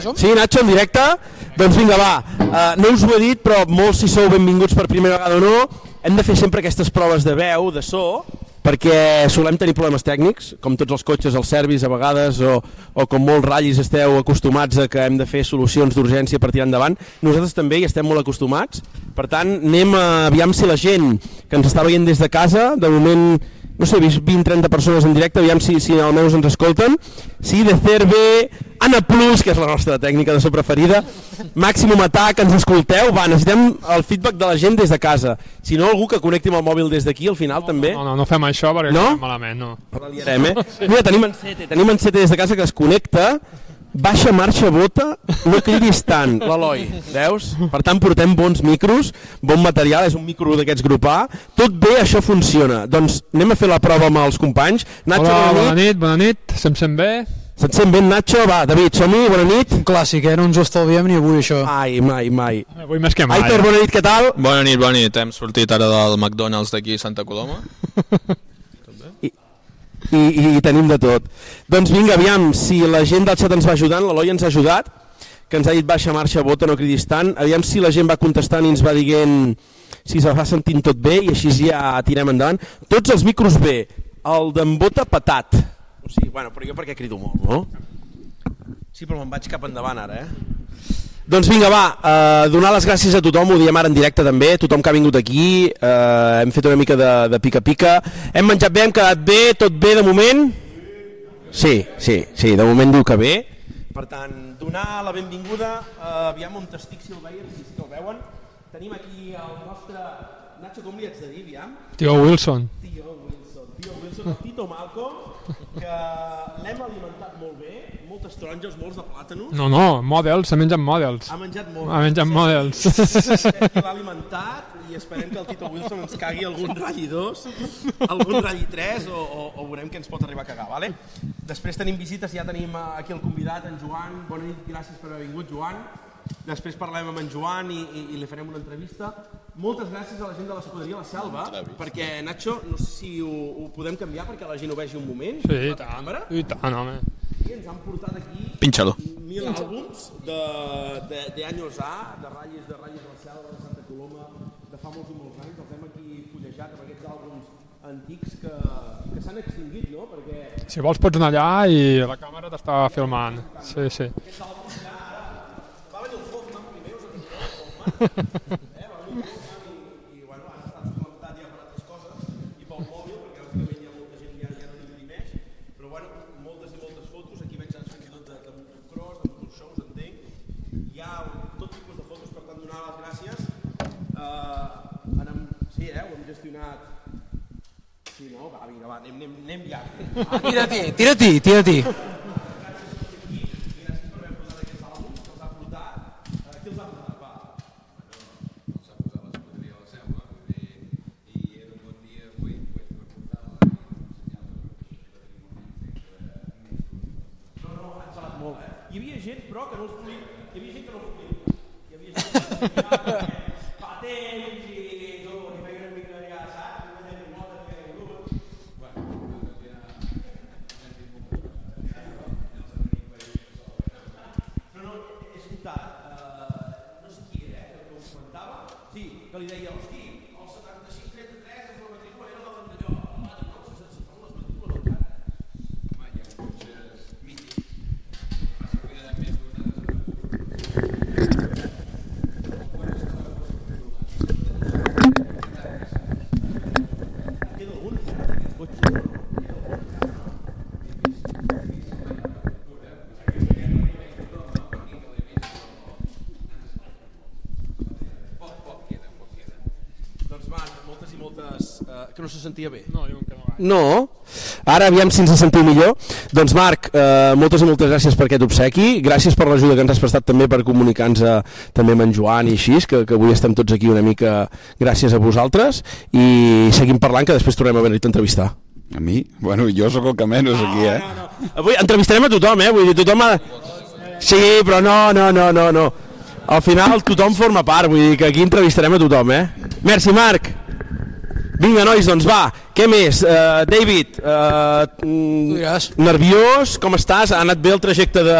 som? Sí, Nacho, en directe. Doncs vinga, va. Uh, no us ho he dit, però molts si sou benvinguts per primera vegada o no, hem de fer sempre aquestes proves de veu, de so, perquè solem tenir problemes tècnics, com tots els cotxes, els servis a vegades, o, o com molts ratllis esteu acostumats a que hem de fer solucions d'urgència per tirar endavant. Nosaltres també hi estem molt acostumats. Per tant, anem a aviam si la gent que ens està veient des de casa, de moment, no sé, he vist 20-30 persones en directe, aviam si, si almenys ens escolten. Sí, de CERVE, Anna Plus, que és la nostra tècnica de so preferida, Màximum Atac, ens escolteu, va, necessitem el feedback de la gent des de casa. Si no, algú que connecti amb el mòbil des d'aquí, al final, també. No, no, no fem això perquè No? no? malament, no. La liarem, eh? Mira, tenim en Sete, tenim en Sete des de casa que es connecta, baixa marxa, bota, no cridis tant, l'Eloi, veus? Per tant, portem bons micros, bon material, és un micro d'aquests grup A, tot bé, això funciona. Doncs anem a fer la prova amb els companys. Nacho, Hola, bona bona nit. nit, bona nit, se'm sent bé? Se't sent ben, Nacho? Va, David, som-hi, bona nit. Clàssic, eh? No ens ho estalviem ni avui, això. Ai, mai, mai. Avui més que mai. Aitor, bona nit, què tal? Bona nit, bona nit. Hem sortit ara del McDonald's d'aquí a Santa Coloma. I, i, i tenim de tot. Doncs vinga, aviam, si la gent del xat ens va ajudant, l'Eloi ens ha ajudat, que ens ha dit baixa marxa, bota, no cridis tant, aviam si la gent va contestant i ens va dient si se va sentint tot bé i així ja tirem endavant. Tots els micros bé, el d'en Bota patat. O sigui, bueno, però jo perquè crido molt, no? Sí, però me'n vaig cap endavant ara, eh? Doncs vinga, va, eh, donar les gràcies a tothom, ho diem ara en directe també, tothom que ha vingut aquí, eh, hem fet una mica de de pica-pica, hem menjat bé, hem quedat bé, tot bé de moment? Sí, sí, sí, de moment diu que bé. Per tant, donar la benvinguda, eh, aviam on estic, si el veien, si sí que el veuen. Tenim aquí el nostre... Nacho, com li haig de dir, aviam? Tio Wilson. Tio Wilson, tio Wilson, el Tito Malcolm, que l'hem alimentat molt bé, moltes taronges, molts de plàtanos, No, no, models, se mengen models. ha menjat molt. Ha menjat models. que l'ha alimentat i esperem que el Tito Wilson ens cagui algun ratll 2, algun ratll 3 o, o, o veurem què ens pot arribar a cagar, vale? Després tenim visites, ja tenim eh, aquí el convidat, en Joan. Bona nit, gràcies per haver vingut, Joan. Després parlem amb en Joan i, i, i li farem una entrevista. Moltes gràcies a la gent de l'escuderia La Selva, perquè, Nacho, no sé si ho, ho podem canviar perquè la gent ho vegi un moment. Sí, i la tant, càmera. i tant, home. I ens han portat aquí Pinxa-lo. mil àlbums de, de, de anys A, de ratlles, de ratlles de la selva, de Santa Coloma, de fa molts i molts anys, els hem aquí fullejat amb aquests àlbums antics que, que s'han extingit, no? Perquè Si vols pots anar allà i la càmera t'està filmant. Sí, sí. va venir el Hoffman primer, us en recordeu? Hoffman, eh? Va venir el Hoffman i, i bueno, han estat suplantat ja per altres coses i pel mòbil, perquè bàsicament hi ha molta gent que ja, ja no l'imprimeix, però bueno, moltes i moltes fotos, aquí veig fins i tot de, de motocross, de motoshows, entenc, hi ha tot tipus de fotos, per tant, donar les gràcies. Uh, anem, sí, eh, ho hem gestionat. Sí, no? Va, vinga, va, anem, anem, anem ja. Ah, Tira-t'hi, tira-t'hi, tira-t'hi. gràcies per haver portat aquests àlbums, que els ha portat. Uh, qui els ha portat? Va. No, no, han parlat molt, eh? Hi havia gent, però, que no els volia... Hi havia gent que no els volia. Hi havia gent que no els volia. Patents i tot, i feia una mica ja, saps? Una mica de moda, que era grup. No, no, he escoltat, eh, no sé qui era, eh, que ho comentava, sí, que li deia, hosti, el 7533 és la matrícula, era la d'anterior. Ah, no, si se'n separen les matrícules encara. En queda algun, encara, d'aquests cotxes? Doncs va, moltes i moltes, eh, que no se sentia bé. No, diuen que no gaire. No. Ara aviam si ens sentiu millor. Doncs Marc, eh, moltes i moltes gràcies per aquest obsequi, gràcies per l'ajuda que ens has prestat també per comunicar-nos eh, també amb en Joan i així, que, que avui estem tots aquí una mica gràcies a vosaltres i seguim parlant que després tornem a venir-te a entrevistar. A mi? Bueno, jo sóc el que menys aquí, eh? Avui entrevistarem a tothom, eh? Vull dir, tothom ha... Sí, però no, no, no, no, no. Al final tothom forma part, vull dir que aquí entrevistarem a tothom, eh? Merci, Marc. Vinga, nois, doncs va, què més? Uh, David, uh, diràs. nerviós, com estàs? Ha anat bé el trajecte de,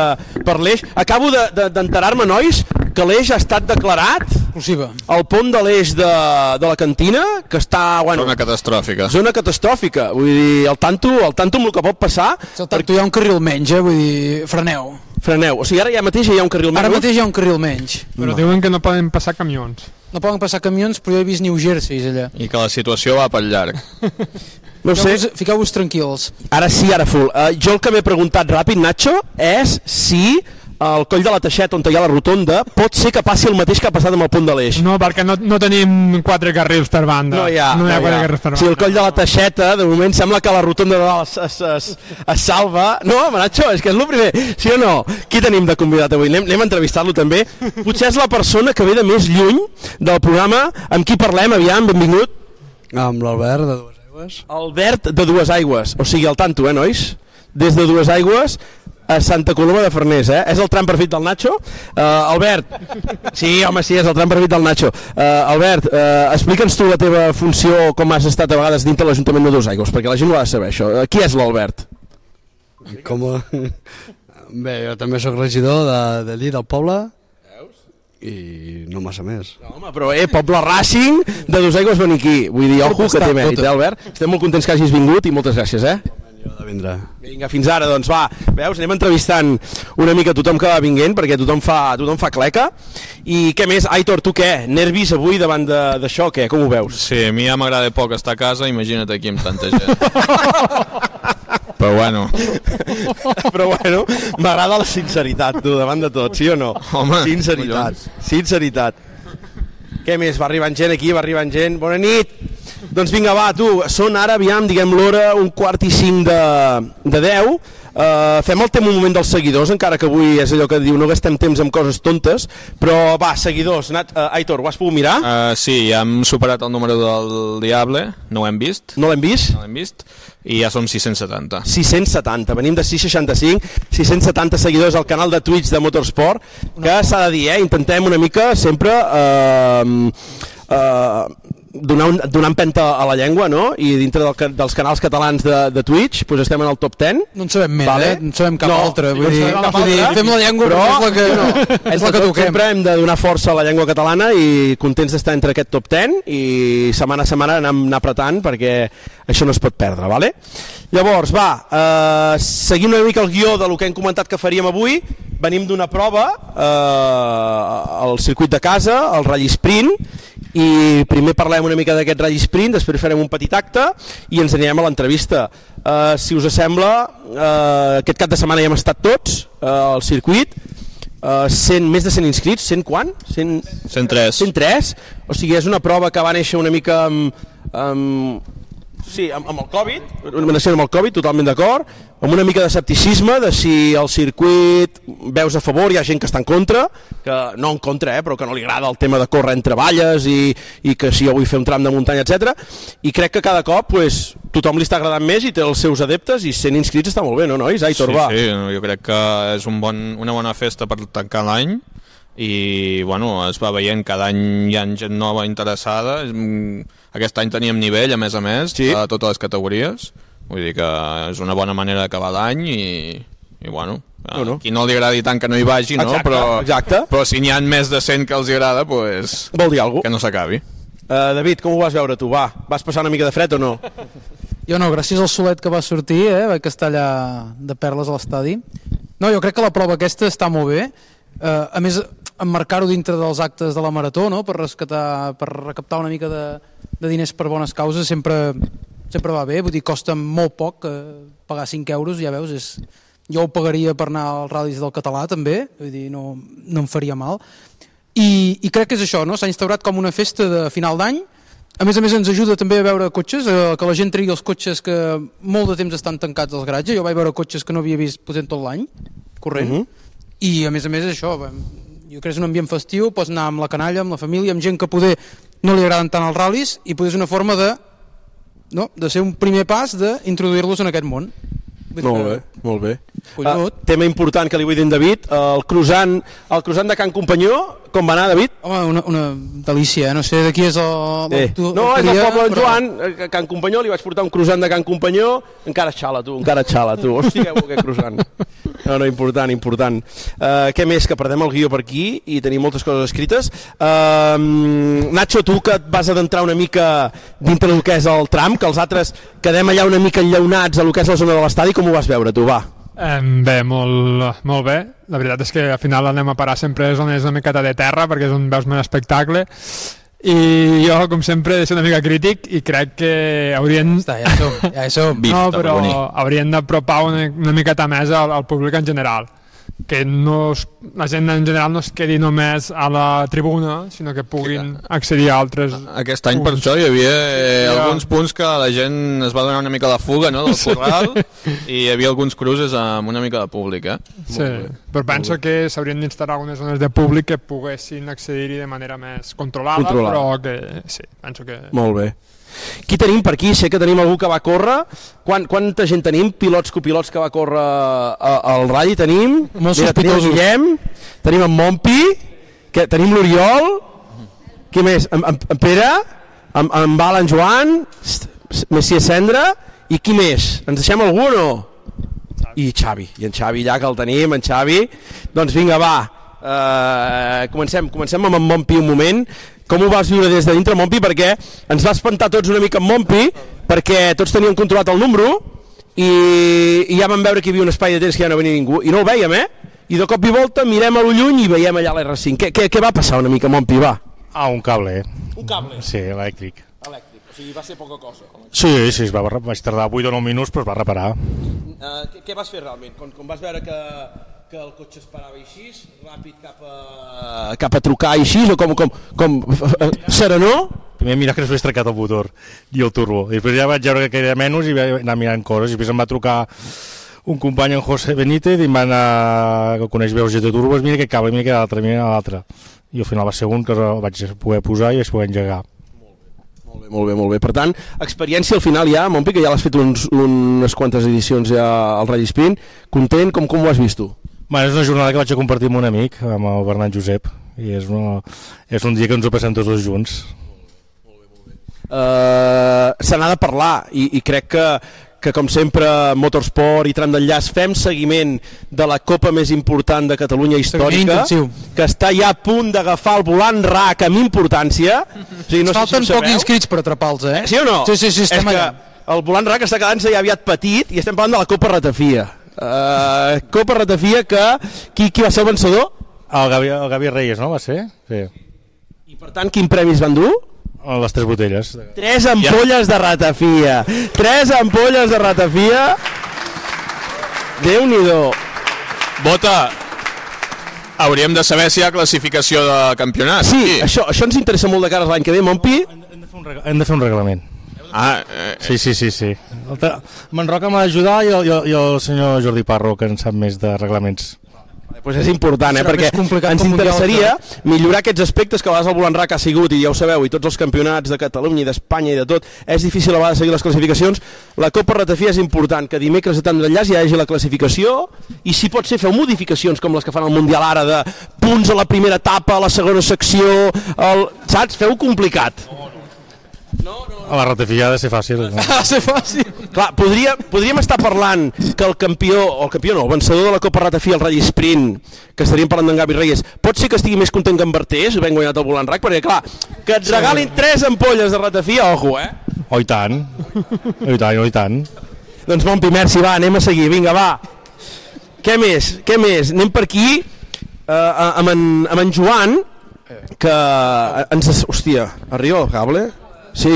per l'Eix? Acabo de- de- d'enterar-me, de, nois, que l'Eix ha estat declarat Exclusiva. el pont de l'Eix de, de la cantina, que està, bueno, Zona catastròfica. zona catastròfica. Vull dir, el tanto, el tanto amb el que pot passar, Al tanto hi ha un carril menys, eh? Vull dir, freneu. freneu. O sigui, ara ja mateix hi ha un carril Ara menys. mateix hi ha un carril menys. Però diuen que no poden passar camions. No poden passar camions, però jo he vist New Jersey allà. I que la situació va pel llarg. No ho sé, Fiqueu-vos fiqueu tranquils. ara sí, ara full. Uh, jo el que m'he preguntat ràpid, Nacho, és si el coll de la Teixeta, on hi ha la rotonda, pot ser que passi el mateix que ha passat amb el pont de l'Eix. No, perquè no, no tenim quatre carrils per banda. No hi ha. no hi ha quatre carrils O per banda. sigui, el coll de la Teixeta, de moment sembla que la rotonda de dalt es, es, es, es salva. No, home, Nacho, és que és el primer. Sí o no? Qui tenim de convidat avui? Anem, anem a entrevistar-lo també. Potser és la persona que ve de més lluny del programa. Amb qui parlem, aviam, benvingut. Amb l'Albert de Dues Aigües. Albert de Dues Aigües. O sigui, el tanto, eh, nois? Des de Dues Aigües a Santa Coloma de Farners, eh? És el tram perfit del Nacho? Uh, Albert, sí, home, sí, és el tram perfit del Nacho. Uh, Albert, uh, explica'ns tu la teva funció, com has estat a vegades dintre l'Ajuntament de Dues Aigües, perquè la gent ho ha de saber, això. Uh, qui és l'Albert? Com a... Bé, jo també sóc regidor de, de allí, del poble. I no massa més. Home, però, eh, Poble Racing de Dues Aigües Beniquí. Vull dir, ojo, que té mèrit, eh, Albert? Estem molt contents que hagis vingut i moltes gràcies, eh? Jo de vindrà. Vinga, fins ara, doncs va, veus, anem entrevistant una mica tothom que va vinguent, perquè tothom fa, tothom fa cleca. I què més, Aitor, tu què? Nervis avui davant de- d'això, o què? Com ho veus? Sí, a mi ja m'agrada poc estar a casa, imagina't aquí amb tanta gent. Però bueno, Però bueno, m'agrada la sinceritat, tu, davant de tot, sí o no? Home, sinceritat, collons. sinceritat. Què més? Va arribant gent aquí, va arribant gent. Bona nit! Doncs vinga, va, tu, són ara, aviam, diguem l'hora, un quart i cinc de, de deu. Uh, fem el tema un moment dels seguidors, encara que avui és allò que diu no gastem temps amb coses tontes, però va, seguidors, Nat, uh, Aitor, ho has pogut mirar? uh, sí, ja hem superat el número del Diable, no ho hem vist, No l'hem vist? no l'hem vist, i ja som 670. 670, venim de 665, 670 seguidors al canal de Twitch de Motorsport, que s'ha de dir, eh, intentem una mica sempre eh, eh, donar, un, donar empenta a la llengua, no? I dintre del, ca- dels canals catalans de, de Twitch doncs estem en el top 10. No en sabem més, Vale. eh? No en sabem cap No, altre. no Vull en dir, sabem cap vull dir, altre, fem la llengua, però és la que, no, és la que tot toquem. Sempre hem de donar força a la llengua catalana i contents d'estar entre aquest top 10 i setmana a setmana anar, anar apretant perquè això no es pot perdre, vale? Llavors, va, eh, seguint una mica el guió de lo que hem comentat que faríem avui, venim d'una prova eh, al circuit de casa, al Rally Sprint, i primer parlem una mica d'aquest Rally Sprint, després farem un petit acte i ens anirem a l'entrevista. Uh, si us sembla, uh, aquest cap de setmana hi hem estat tots uh, al circuit, uh, 100, més de 100 inscrits, 100 quan? 100, 103. 103? O sigui, és una prova que va néixer una mica amb... amb Sí, amb, amb el Covid, una nació amb el Covid, totalment d'acord, amb una mica d'escepticisme de si el circuit veus a favor, hi ha gent que està en contra, que no en contra, eh, però que no li agrada el tema de córrer entre valles i, i que si jo vull fer un tram de muntanya, etc. I crec que cada cop pues, tothom li està agradant més i té els seus adeptes i 100 inscrits està molt bé, no, nois? Aitor, va. Sí, sí, jo crec que és un bon, una bona festa per tancar l'any i bueno, es va veient cada any hi ha gent nova interessada Mm, aquest any teníem nivell a més a més Sí. a totes les categories vull dir que és una bona manera d'acabar l'any i, i bueno a No, no. qui no li agradi tant que no hi vagi no? Exacte, però, exacte. però si n'hi ha més de 100 que els hi agrada pues, Vol dir alguna que cosa? no s'acabi Uh, David, com ho vas veure tu? Va, vas passar una mica de fred o no? Jo no, gràcies al solet que va sortir, eh, vaig estar allà de perles a l'estadi. No, jo crec que la prova aquesta està molt bé. Eh, a més, emmarcar-ho dintre dels actes de la Marató, no?, per rescatar, per recaptar una mica de, de diners per bones causes, sempre, sempre va bé. Vull dir, costa molt poc eh, pagar 5 euros, ja veus, és, jo ho pagaria per anar als ral·lis del català, també, vull dir, no, no em faria mal. I, i crec que és això, no? s'ha instaurat com una festa de final d'any, a més a més ens ajuda també a veure cotxes, eh, que la gent trigui els cotxes que molt de temps estan tancats als garatges, jo vaig veure cotxes que no havia vist potser tot l'any, corrent, Mhm. i a més a més això, va, jo crec que és un ambient festiu, pots anar amb la canalla, amb la família, amb gent que poder no li agraden tant els ral·lis, i poder és una forma de, no? de ser un primer pas d'introduir-los en aquest món. Vull dir Molt que- bé, molt bé. Collonut. Ah, tema important que li vull dir a en David, el croissant, el croissant de Can Companyó, com va anar, David? Home, una, una delícia, eh? no sé de qui és el... Eh. l'autor- No, és el l'autoria, poble d'en però- Joan, eh, Can Companyó, li vaig portar un croissant de Can Companyó, encara xala tu, encara xala tu, hòstia, que bo aquest croissant. No, no, important, important. Uh, què més, que perdem el guió per aquí i tenim moltes coses escrites. Uh, Nacho, tu que et vas adentrar una mica dintre del que és el tram, que els altres quedem allà una mica enllaunats a lo que és la zona de l'estadi, com ho vas veure tu, va? Em, Bé, molt, molt bé. La veritat és que al final anem a parar sempre és on és una miqueta de terra, perquè és on veus més espectacle. I jo, com sempre, he de ser una mica crític i crec que haurien... Està, ja hi som, ja hi som. Vista, no, però Pellegrini. haurien d'apropar una, una miqueta més al, al públic en general que no es, la gent en general no es quedi només a la tribuna, sinó que puguin accedir a altres... Aquest any per això hi havia eh, Ja. alguns punts que la gent es va donar una mica la fuga no, del corral i hi havia alguns cruces amb una mica de públic, eh? Sí, però penso que s'haurien d'instal·lar algunes zones de públic que poguessin accedir-hi de manera més controlada, Controlada. però que sí, penso que... Molt bé. Qui tenim per aquí? Sé que tenim algú que va córrer. Quan, quanta gent tenim? Pilots, copilots que va córrer a- al ratll tenim. Molt tenim el sospitosos. Guillem, tenim en Monpi, que, tenim l'Oriol, qui més? En, en, en Pere, en, en Val, en Joan, st- s- Messias Cendra, i qui més? Ens deixem algú o no? I Xavi, i en Xavi ja que el tenim, en Xavi. Doncs vinga, va, uh, comencem, comencem amb en Monpi un moment. Com ho vas viure des de dintre, Monpi? Perquè ens va espantar tots una mica en Monpi, perquè tots tenien controlat el número i, i ja vam veure que hi havia un espai de temps que ja no venia ningú. I no el veiem, eh? I de cop i volta mirem a lo lluny i veiem allà l'R5. Què, què, què va passar una mica, Monpi, va? Ah, un cable. Un cable. Sí, elèctric. Elèctric, o sigui, va ser poca cosa. Sí, sí, es va, barra- vaig tardar 8 o 9 minuts, però es va reparar. Uh, què, què vas fer realment? Quan, quan vas veure que, que el cotxe es parava així, ràpid cap a... Eh, cap a trucar així, o com... com, com eh, serenor? Primer mirar que no s'hagués trencat el motor i el turbo. I després ja vaig veure que quedaria menys i vaig anar mirant coses. I després em va trucar un company, en José Benítez, i em va anar, que coneix bé el GT Turbos, mira aquest cable, mira aquest altre, mira l'altre. I al final va ser un que el vaig poder posar i es poder engegar. Molt bé, molt bé, molt bé. Per tant, experiència al final ja, Montpi, que ja l'has fet uns, unes quantes edicions ja al Rally Spin. Content? Com, com ho has vist tu? Bueno, és una jornada que vaig a compartir amb un amic, amb el Bernat Josep, i és, una, és un dia que ens ho passem tots dos junts. eh, se n'ha de parlar i, i crec que, que com sempre Motorsport i Tram d'Enllaç fem seguiment de la copa més important de Catalunya Seguiment històrica intensiu. que està ja a punt d'agafar el volant rac amb importància o sigui, No no sé si Falten ho si pocs sabeu inscrits per atrapar-los, eh? sí o no? Sí, sí, sí estem és allà. que el volant rac està quedant-se ja aviat petit i estem parlant de la copa ratafia Uh, Copa Ratafia que qui, qui va ser el vencedor El Gavi, el Gavi Reyes, no va ser? Sí. i per tant quin premis van dur? Les tres botelles. Tres ampolles de ratafia. Tres ampolles de ratafia. déu nhi Bota, hauríem de saber si hi ha classificació de campionat. Sí, això, això ens interessa molt de cara a l'any que ve, Montpi. Hem de fer un, reg hem de fer un reglament. Ah, eh, Sí, sí, sí. sí. El te- Manroca m'ha d'ajudar i, el- i, el- i el senyor Jordi Parro, que en sap més de reglaments. Pues és important, eh? Serà perquè més complicat ens com un interessaria millorar aquests aspectes que a vegades el volant rac ha sigut, i ja ho sabeu, i tots els campionats de Catalunya i d'Espanya i de tot, és difícil a vegades seguir les classificacions. La Copa Ratafia és important, que dimecres de tant d'enllaç ja hi hagi la classificació, i si pot ser feu modificacions com les que fan al Mundial ara, de punts a la primera etapa, a la segona secció, el... saps? Feu complicat. A la ratafia ha de ser fàcil. No? Va ser fàcil. Clar, podria, podríem estar parlant que el campió, o el campió no, el vencedor de la Copa Ratafia, el Rally Sprint, que estaríem parlant d'en Gavi Reyes, pot ser que estigui més content que en Bertés, ben guanyat el volant rac, perquè clar, que et regalin tres ampolles de Ratafia, ojo, eh? Oh, i tant. Oh, i tant, oh, i tant. Doncs Montpi, merci, va, anem a seguir, vinga, va. Què més? Què més? Anem per aquí eh, a- amb, en, amb en Joan, que eh, ens... Hòstia, arriba el cable? Sí,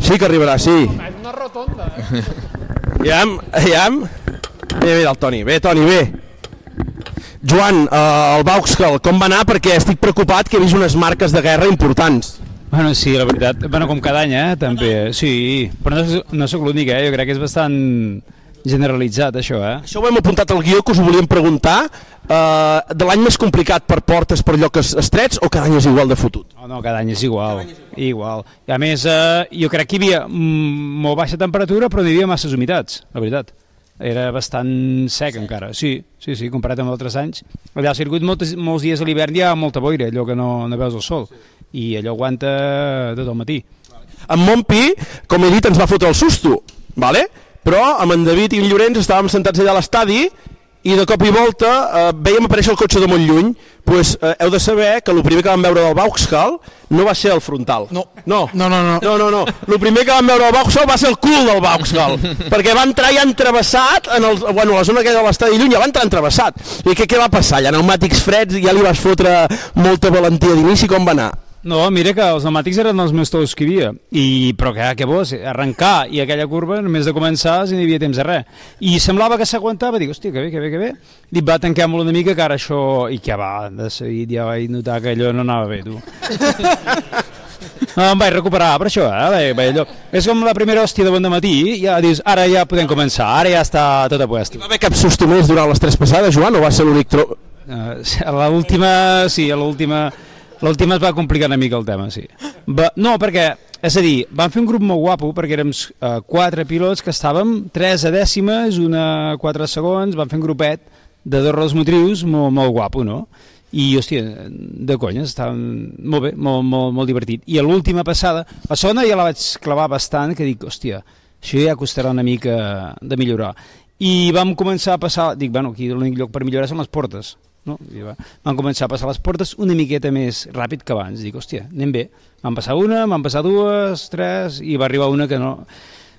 sí que arribarà, sí. És una rotonda, eh? Aviam, aviam. Bé, bé, el Toni. Bé, Toni, bé. Joan, eh, el Bauxcal, com va anar? Perquè estic preocupat que he vist unes marques de guerra importants. Bueno, sí, la veritat. Bueno, com cada any, eh, també. Sí, però no, sóc- no sóc l'únic, eh? Jo crec que és bastant generalitzat, això, eh? Això ho hem apuntat al guió que us ho volíem preguntar. Eh, de l'any més complicat per portes, per llocs estrets, o cada any és igual de fotut? No, no, cada any és igual. Igual. I a més, eh, jo crec que hi havia mm, molt baixa temperatura, però no hi havia masses humitats, la veritat. era bastant sec encara, sí, sí, sí, comparat amb altres anys. Allà al circuit moltes, molts dies a l'hivern hi ha molta boira, allò que no, no veus el sol, i allò aguanta tot el matí. En Montpi, com he dit, ens va fotre el susto, vale? però amb en David i en Llorenç estàvem sentats allà a l'estadi i de cop i volta eh, veiem aparèixer el cotxe de Montlluny, pues, eh, heu de saber que el primer que vam veure del Vauxhall no va ser el frontal. No. No. No, no, no. No, no, no. El primer que vam veure del Vauxhall va ser el cul del Vauxhall, perquè va entrar ja entrevessat, en el, bueno, a la zona aquella de l'estadi lluny ja va entrar entrevessat. I què, què va passar? Allà, pneumàtics freds, ja li vas fotre molta valentia d'inici, com va anar? No, mira que els pneumàtics eren els meus tous que hi havia, I, però que, que bo, si arrencar i aquella curva només de començar si no hi havia temps de res. I semblava que s'aguantava, dic, hòstia, que bé, que bé, que bé. I va tancar molt una mica que ara això... I que va, de seguit ja vaig notar que allò no anava bé, tu. No, em vaig recuperar, per això, eh? vaig, vaig allò. És com la primera hòstia de bon matí, ja dius, ara ja podem començar, ara ja està tot a puesto. Va haver cap susto més durant les tres passades, Joan, o va ser l'únic tro... Eh, a l'última, sí, a l'última... L'última es va complicar una mica el tema, sí. Va, no, perquè, és a dir, vam fer un grup molt guapo perquè érem eh, quatre pilots que estàvem, tres a dècimes, una a quatre segons, vam fer un grupet de dos rols motrius molt, molt guapo, no? I, hòstia, de conyes, estava molt bé, molt, molt, molt divertit. I a l'última passada, la segona ja la vaig clavar bastant, que dic, hòstia, això ja costarà una mica de millorar. I vam començar a passar, dic, bueno, aquí l'únic lloc per millorar són les portes. No? I va, van començar a passar les portes una miqueta més ràpid que abans. Dic, hòstia, anem bé. Van passar una, van passar dues, tres, i va arribar una que no...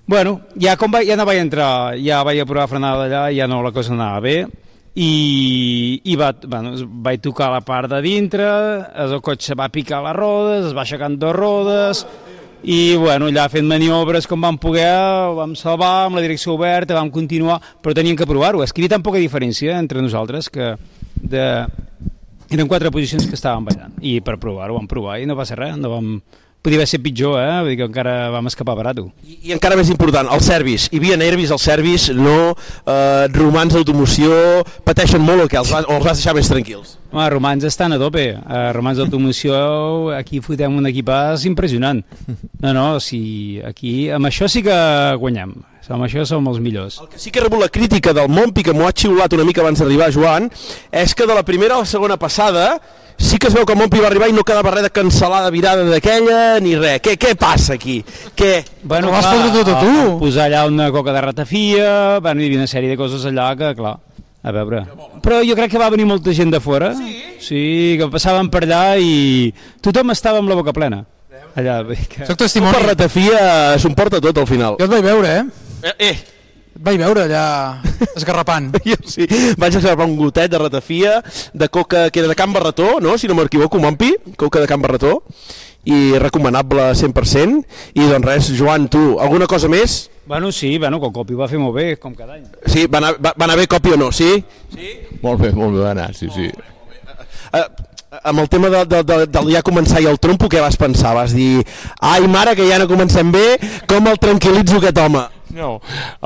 Bueno, ja com va, ja no vaig entrar, ja vaig a provar frenada allà, ja no, la cosa anava bé, i, i va, bueno, es- vaig tocar la part de dintre, es- el cotxe va picar les rodes, es va aixecant dues rodes, i bueno, allà fent maniobres com vam poder, ho vam salvar amb la direcció oberta, vam continuar, però teníem que provar-ho. És que hi havia tan poca diferència entre nosaltres que de... eren quatre posicions que estàvem ballant. I per provar-ho vam provar i no va ser res, no vam... Podia haver ser pitjor, eh? Vull dir que encara vam escapar barat. I, I encara més important, el servis. Hi havia nervis al servis, no eh, romans d'automoció, pateixen molt o què? Els vas, o els vas deixar més tranquils? Home, romans estan a tope. A Eh, romans d'automoció, aquí fotem un equipàs impressionant. No, no, si aquí... Amb això sí que guanyem. Amb això som els millors. El que sí que he rebut la crítica del Montpi, que m'ho ha xiulat una mica abans d'arribar, Joan, és que de la primera a la segona passada sí que es veu que el Montpi va arribar i no quedava res de cancel·lar de virada d'aquella ni res. Què, què passa aquí? Què? Bueno, Ho vas clar, fotre tot a a- tu. a Posar allà una coca de ratafia, bueno, hi havia una sèrie de coses allà que, clar, a veure... Però jo crec que va venir molta gent de fora. Sí? Sí, que passaven per allà i tothom estava amb la boca plena. Allà, vull dir que... Soc Tu per testimoni. ratafia s'ho emporta Ah, tot al final. Jo et vaig veure, eh? Eh, eh. Et vaig veure allà esgarrapant. Jo sí, vaig agafar un gotet de ratafia, de coca que era de Can Barretó, no? si no m'equivoco, Mompi, coca de Can Barretó, i recomanable 100%. I doncs res, Joan, tu, alguna cosa més? Bueno, sí, bueno, que el copi va fer molt bé, com cada any. Sí, va anar, va, va anar bé còpia o no, sí? Molt bé, molt bé va anar, sí, sí. Eh, amb el tema de, de, de, del ja començar i el trompo, què vas pensar? Vas dir, ai mare, que ja no comencem bé, com el tranquil·litzo aquest home? No,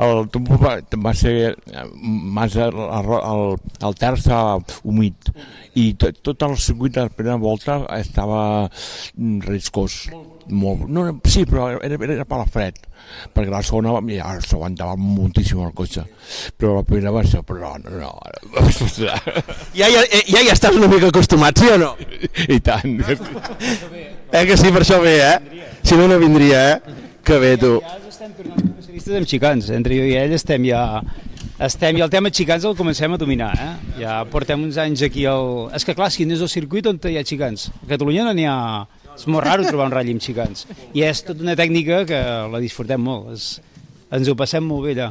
el tombo va, va ser eh, massa el, el, el terç estava humit i to, tot el circuit de la primera volta estava mm, riscós. Molt. No, no, sí, però era, era, era per la fred, perquè la segona va- ja s'aguantava moltíssim el cotxe, però la primera va ser, però no, no, Ja, ja, eh, ja hi estàs una mica acostumat, sí o no? i tant. Eh que sí, per això ve, eh? Si no, no vindria, eh? Que bé, tu. Ja estem tornant especialistes amb xicans, entre jo i ell estem ja... Estem, i el tema xicans el comencem a dominar, eh? Ja portem uns anys aquí al... És que clar, si no és el circuit on hi ha xicans. A Catalunya no n'hi ha... És molt raro trobar un ratll amb xicans. I és tota una tècnica que la disfrutem molt. És... Ens ho passem molt bé allà.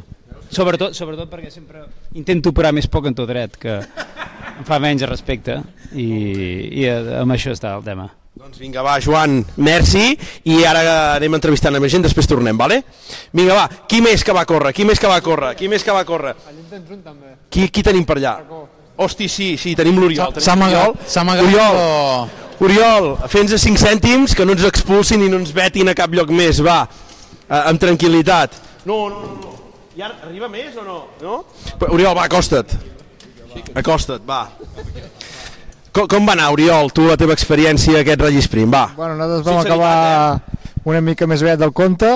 Sobretot, sobretot perquè sempre intento operar més poc en tot dret, que em fa menys respecte. I, i eh, amb això està el tema. Doncs vinga, va, Joan, merci, i ara anem entrevistant a més gent, després tornem, vale? Vinga, va, qui més que va córrer, qui més que va córrer, qui més que va córrer? Qui, qui tenim per allà? Hosti, sí, sí, tenim l'Oriol. tenim S'ha amagat, l'Oriol. s'ha amagat. Oriol, però- Oriol, fes 5 cèntims, que no ens expulsin i no ens vetin a cap lloc més, va, eh, amb tranquil·litat. No, no, no, no. I ara arriba més o no? No? Però, Oriol, va, acosta't. Acosta't, va. Com, com va anar, Oriol, tu, la teva experiència aquest Rallis Prim, va. Bueno, nosaltres vam Sinceritat, acabar una mica més bé del compte,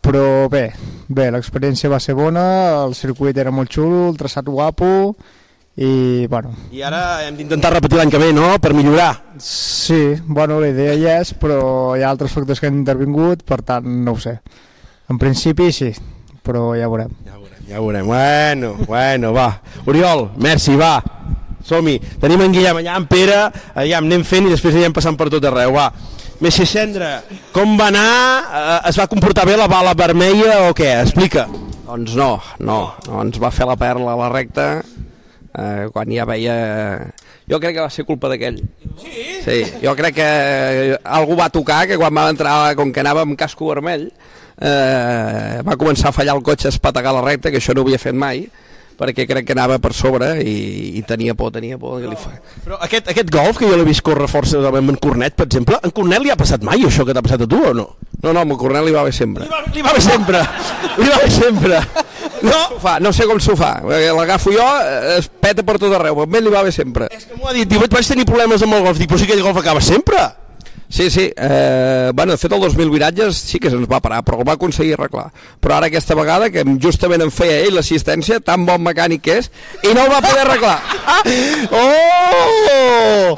però bé, Bé, l'experiència va ser bona, el circuit era molt xulo, el traçat guapo i, bueno, I ara hem d'intentar repetir l'any que ve, no?, per millorar. sí, bueno, la idea hi és, però hi ha altres factors que han intervingut, per tant, no ho sé. En principi, sí, però ja veurem. Ja ho veurem. Bueno, bueno, va. Oriol, merci, va. Som-hi. Tenim en Guillem allà, en Pere, allà anem fent i després anirem passant per tot arreu, va. Meixer Cendra, com va anar? Eh, Es va comportar bé la bala vermella o què? Explica. Doncs no, no, no ens va fer la perla a la recta eh, quan ja veia... Jo crec que va ser culpa d'aquell. Sí? Sí, jo crec que eh, algú va tocar que quan va entrar, com que anava amb casco vermell, eh, va començar a fallar el cotxe a espategar la recta, que això no ho havia fet mai, perquè crec que anava per sobre i, i tenia por, tenia por. Que li fa... Però aquest, aquest golf que jo l'he vist córrer força amb en Cornet, per exemple, en Cornet li ha passat mai això que t'ha passat a tu o no? No, no, amb el Cornel li va bé sempre. Li va, li va bé sempre. Li va bé sempre. No, fa, no sé com s'ho fa. perquè L'agafo jo, eh, es peta per tot arreu. A ell li va bé sempre. És que m'ho ha dit, diu, vaig tenir problemes amb el golf. Dic, però sí que el golf acaba sempre. Sí, sí. Eh, bueno, de fet, el 2000 viratges sí que se'ns va parar, però el va aconseguir arreglar. Però ara aquesta vegada, que justament em feia ell l'assistència, tan bon mecànic que és, i no ho va poder arreglar. Ah! Oh!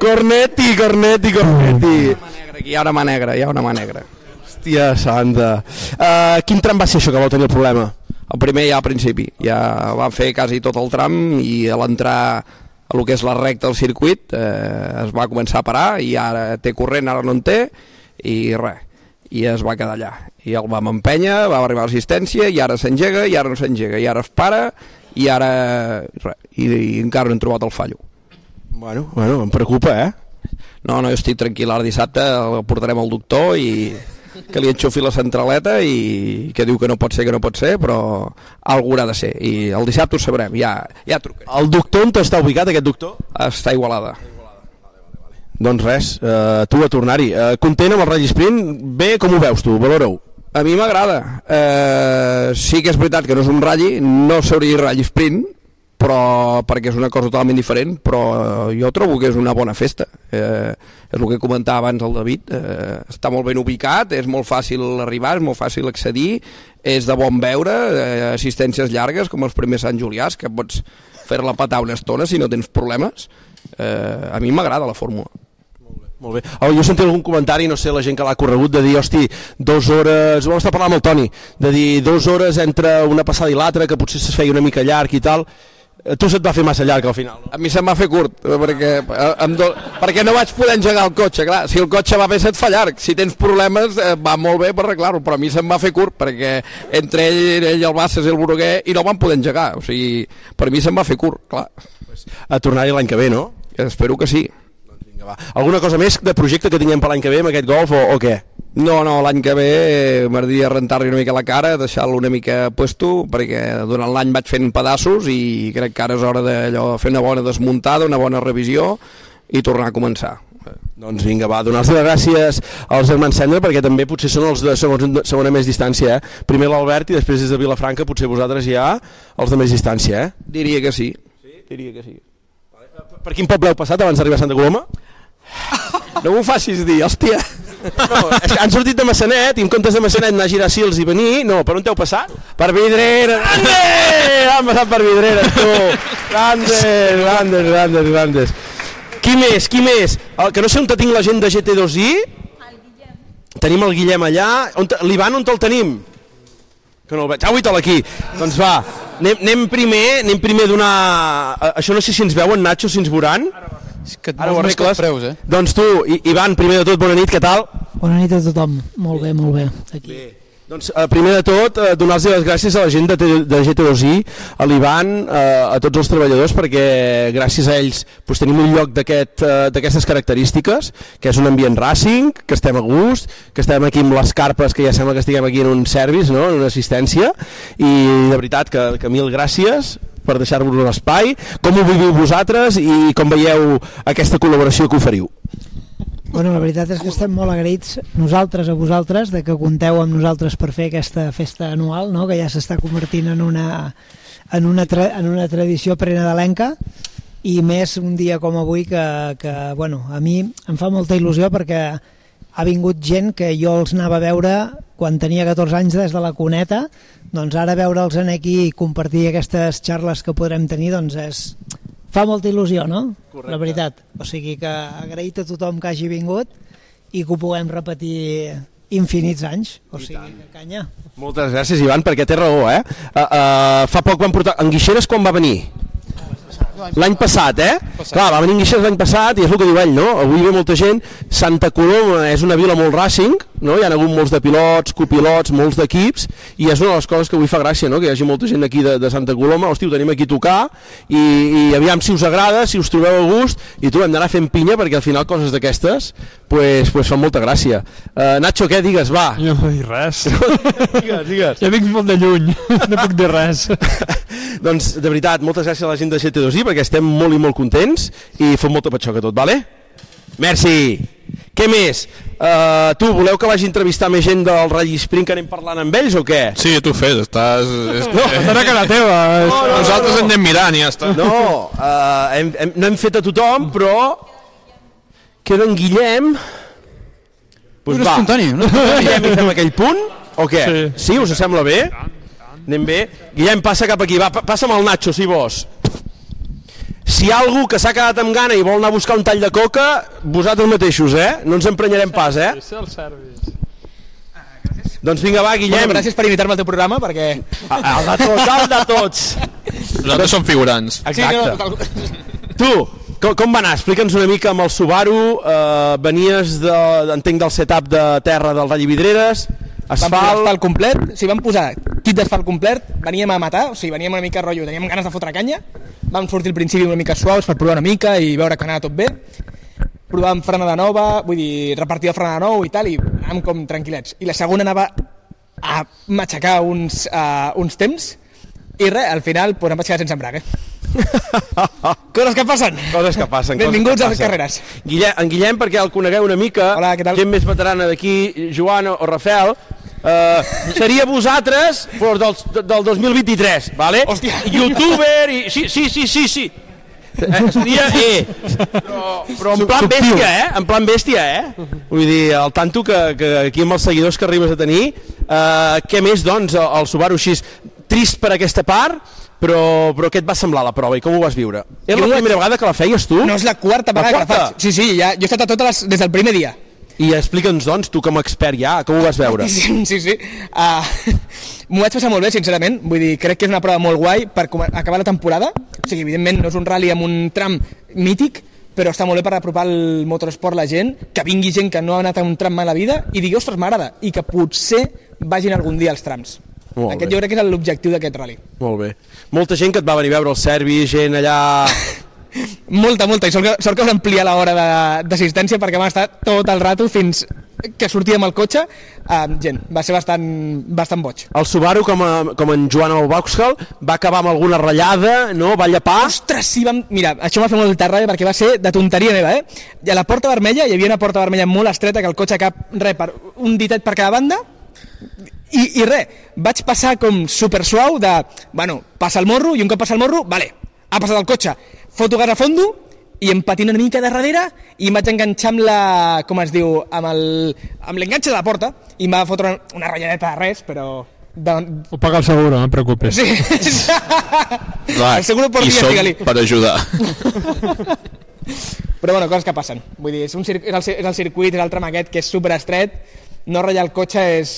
Cornetti, Cornetti, Cornetti. Aquí hi ha una mà negra, hi ha una mà negra. Hòstia santa. Uh, quin tram va ser això que vau tenir el problema? El primer ja al principi, ja va fer quasi tot el tram i a l'entrar a lo que és la recta del circuit eh, es va començar a parar i ara té corrent, ara no en té i res, i es va quedar allà i el vam empènyer, va arribar a l'assistència i ara s'engega, i ara no s'engega i ara es para i ara res, i, i encara no hem trobat el fallo Bueno, bueno, em preocupa, eh? No, no, jo estic tranquil, ara dissabte el portarem al doctor i que li enxufi la centraleta i que diu que no pot ser, que no pot ser, però algú haurà de ser. I el dissabte ho sabrem, ja, ja trucaré. El doctor on està ubicat, aquest doctor? Està igualada. Doncs res, uh, tu a tornar-hi. Uh, content amb el Rally Sprint? Bé, com ho veus tu? Valora-ho. A mi m'agrada. Eh, sí que és veritat que no és un ratlli, no seria ratlli sprint, però perquè és una cosa totalment diferent, però eh, jo trobo que és una bona festa. Eh, és el que comentava abans el David, eh, està molt ben ubicat, és molt fàcil arribar, és molt fàcil accedir, és de bon veure, eh, assistències llargues, com els primers Sant Juliàs, que pots fer-la petar una estona si no tens problemes. Eh, a mi m'agrada la fórmula. Molt bé. Oh, jo sentia algun comentari, no sé, la gent que l'ha corregut, de dir, hosti, dues hores... Ho vam estar parlant amb el Toni, de dir dues hores entre una passada i l'altra, que potser es feia una mica llarg i tal. A tu se't va fer massa llarg al final. A mi se'm va fer curt, eh, perquè, eh, em do... perquè no vaig poder engegar el cotxe, clar, si el cotxe va bé se't fa llarg, si tens problemes eh, va molt bé per arreglar-ho, però a mi se'm va fer curt, perquè entre ell, ell el Bassas i el Bruguer, i no van poder engegar, o sigui, per mi se'm va fer curt, clar. A tornar-hi l'any que ve, no? Espero que sí. Va. Alguna cosa més de projecte que tinguem per l'any que ve amb aquest golf o, o què? No, no, l'any que ve eh, m'agradaria rentar-li una mica la cara, deixar-lo una mica puesto, perquè durant l'any vaig fent pedaços i crec que ara és hora d'allò fer una bona desmuntada, una bona revisió i tornar a començar. Doncs vinga, va, donar-los les gràcies als germans Cendra perquè també potser són els de segons, segona més distància, eh? Primer l'Albert i després des de Vilafranca potser vosaltres ja els de més distància, eh? Diria que sí. sí? Diria que sí. Per quin poble heu passat abans d'arribar a Santa Coloma? No m'ho facis dir, hòstia. No, és que han sortit de Massanet i en comptes de Massanet anar a Girassils i venir, no, per on t'heu passat? Per Vidrera. Grande! Han passat per Vidrera, tu. Grandes, grandes, grandes, grandes. Qui més, qui més? El, que no sé on tinc la gent de GT2i. Tenim el Guillem allà. On te- L'Ivan, on te'l tenim? Que no el veig. Ah, avui te'l aquí. Doncs va, anem, anem primer, anem primer a donar... a- Això no sé si ens veuen, Nacho, si ens veuran. És que et Ara ho vols més que arregles. els preus, eh? Doncs tu, I Ivan, primer de tot, bona nit, què tal? Bona nit a tothom. Molt bé, molt bé. Aquí. Bé. Doncs, eh, primer de tot, eh, donar-los les gràcies a la gent de, T- de GT2i, a l'Ivan, eh, a tots els treballadors, perquè gràcies a ells doncs, tenim un lloc d'aquest, eh, d'aquestes característiques, que és un ambient racing, que estem a gust, que estem aquí amb les carpes, que ja sembla que estiguem aquí en un service, no? en una assistència, i de veritat que, que mil gràcies per deixar-vos un espai, com ho viviu vosaltres i com veieu aquesta col·laboració que oferiu. Bueno, la veritat és que estem molt agraïts nosaltres a vosaltres de que compteu amb nosaltres per fer aquesta festa anual, no? que ja s'està convertint en una, en una, tra en una tradició prenadalenca i més un dia com avui que, que bueno, a mi em fa molta il·lusió perquè ha vingut gent que jo els anava a veure quan tenia 14 anys des de la cuneta, doncs ara veure'ls en aquí i compartir aquestes xarles que podrem tenir, doncs és... fa molta il·lusió, no? Correcte. La veritat. O sigui que agraït a tothom que hagi vingut i que ho puguem repetir infinits anys. O sigui, que canya. Moltes gràcies, Ivan, perquè té raó, eh? Uh, uh, fa poc van portar... En Guixeres quan va venir? L'any passat, eh? Clar, va venir en Guixers l'any passat i és el que diu ell, no? Avui ve molta gent. Santa Coloma és una vila molt racing, no? Hi ha hagut molts de pilots, copilots, molts d'equips, i és una de les coses que avui fa gràcia, no? Que hi hagi molta gent aquí de, de Santa Coloma. Hosti, ho tenim aquí a tocar i, i aviam si us agrada, si us trobeu a gust, i tu hem d'anar fent pinya perquè al final coses d'aquestes pues, pues fan molta gràcia. Uh, Nacho, què digues, va? Jo no dic res. digues, digues. Jo vinc molt de lluny, no puc dir res. doncs, de veritat, moltes gràcies a la gent de GT2i perquè estem molt i molt contents i fot molta patxoca tot, vale? Merci! Què més? Uh, tu, voleu que vagi a entrevistar més gent del Rally Sprint que anem parlant amb ells o què? Sí, tu fes, estàs... No, estarà que la teva. No, no, Nosaltres no. anem mirant i ja està. No, uh, hem, hem, no hem fet a tothom, però queda en Guillem. Pues Un espontani, un espontani. Guillem, hi fem aquell punt o què? Sí, us sembla bé? Anem bé? Guillem, passa cap aquí, va, pa- passa amb el Nacho, si vols. Si hi ha algú que s'ha quedat amb gana i vol anar a buscar un tall de coca, vosaltres mateixos, eh? No ens emprenyarem pas, eh? el service. Doncs vinga, va, Guillem. Bueno, gràcies per invitar-me al teu programa, perquè... El de tots, el de tots. Nosaltres som figurants. Sí, no, total... Tu, com, com va anar? Explica'ns una mica amb el Subaru. Eh, venies, de, entenc, del setup de terra del Rally Vidreres. Vam posar Asfalt. asfalt complet, si vam posar kit d'asfalt complet, veníem a matar, o sigui, veníem una mica rotllo, teníem ganes de fotre canya, vam sortir al principi una mica suaus per provar una mica i veure que anava tot bé, provàvem frenada nova, vull dir, repartida frenada nou i tal, i anàvem com tranquil·lets. I la segona anava a matxacar uns, uh, uns temps, i res, al final pues, em vaig quedar sense embrague. Coses que passen. Coses que passen. Benvinguts coses que a les passen. carreres. Guillem, en Guillem, perquè el conegueu una mica, Hola, què tal? gent més veterana d'aquí, Joan o o Rafael, eh, seria vosaltres però del, del 2023, vale? Hòstia. Youtuber i... Sí, sí, sí, sí, sí. Eh, seria, eh, però, però en plan Subtil. bèstia, eh? En plan bèstia, eh? Vull dir, el tanto que, que aquí amb els seguidors que arribes a tenir, eh, què més, doncs, el, el Subaru així, trist per aquesta part, però, però què et va semblar la prova i com ho vas viure? Era Jo la vaig- primera vegada que la feies tu? No és la quarta La vegada que la quarta? faig. Sí, sí, ja, jo he estat a totes les, des del primer dia. I explica'ns, doncs, tu com a expert ja, com ho vas veure? Sí, sí. sí. Uh, M'ho vaig passar molt bé, sincerament. Vull dir, crec que és una prova molt guai per com- acabar la temporada. O sigui, evidentment no és un rally amb un tram mític, però està molt bé per apropar el motorsport a la gent, que vingui gent que no ha anat a un tram mai a la vida i digui, ostres, m'agrada, i que potser vagin algun dia als trams. Molt Aquest bé. jo crec que és l'objectiu d'aquest rally. Molt bé. Molta gent que et va venir a veure el servi, gent allà... Molta, molta, i sort que, sort que vam ampliar l'hora de- d'assistència perquè vam estar tot el rato fins que sortíem al cotxe amb gent. Va ser bastant, bastant boig. El Subaru, com, a, com en Joan al Vauxhall, va acabar amb alguna ratllada, no? Va llepar... Ostres, sí, vam... Mira, això m'ha fet molta ràbia perquè va ser de tonteria meva, eh? I a la porta vermella, hi havia una porta vermella molt estreta que el cotxe cap, re, per, un ditet per cada banda, i, i re, vaig passar com super suau de, bueno, passa el morro, i un cop passa el morro, vale, ha passat el cotxe, foto gas a fondo, i em patino una mica de darrere i em vaig enganxar amb la... com es diu? amb el- amb l'enganxe de la porta i em va fotre una, una ratlladeta de res, però... De, Ho paga el seguro, no et preocupis. sí, Clar, El seguro por hi dia, som digue-li. per ajudar. Però bueno, coses que passen. Vull dir, és, un cir- és, el, cir- és el circuit, és el tram aquest, que és super estret, no ratllar el cotxe és...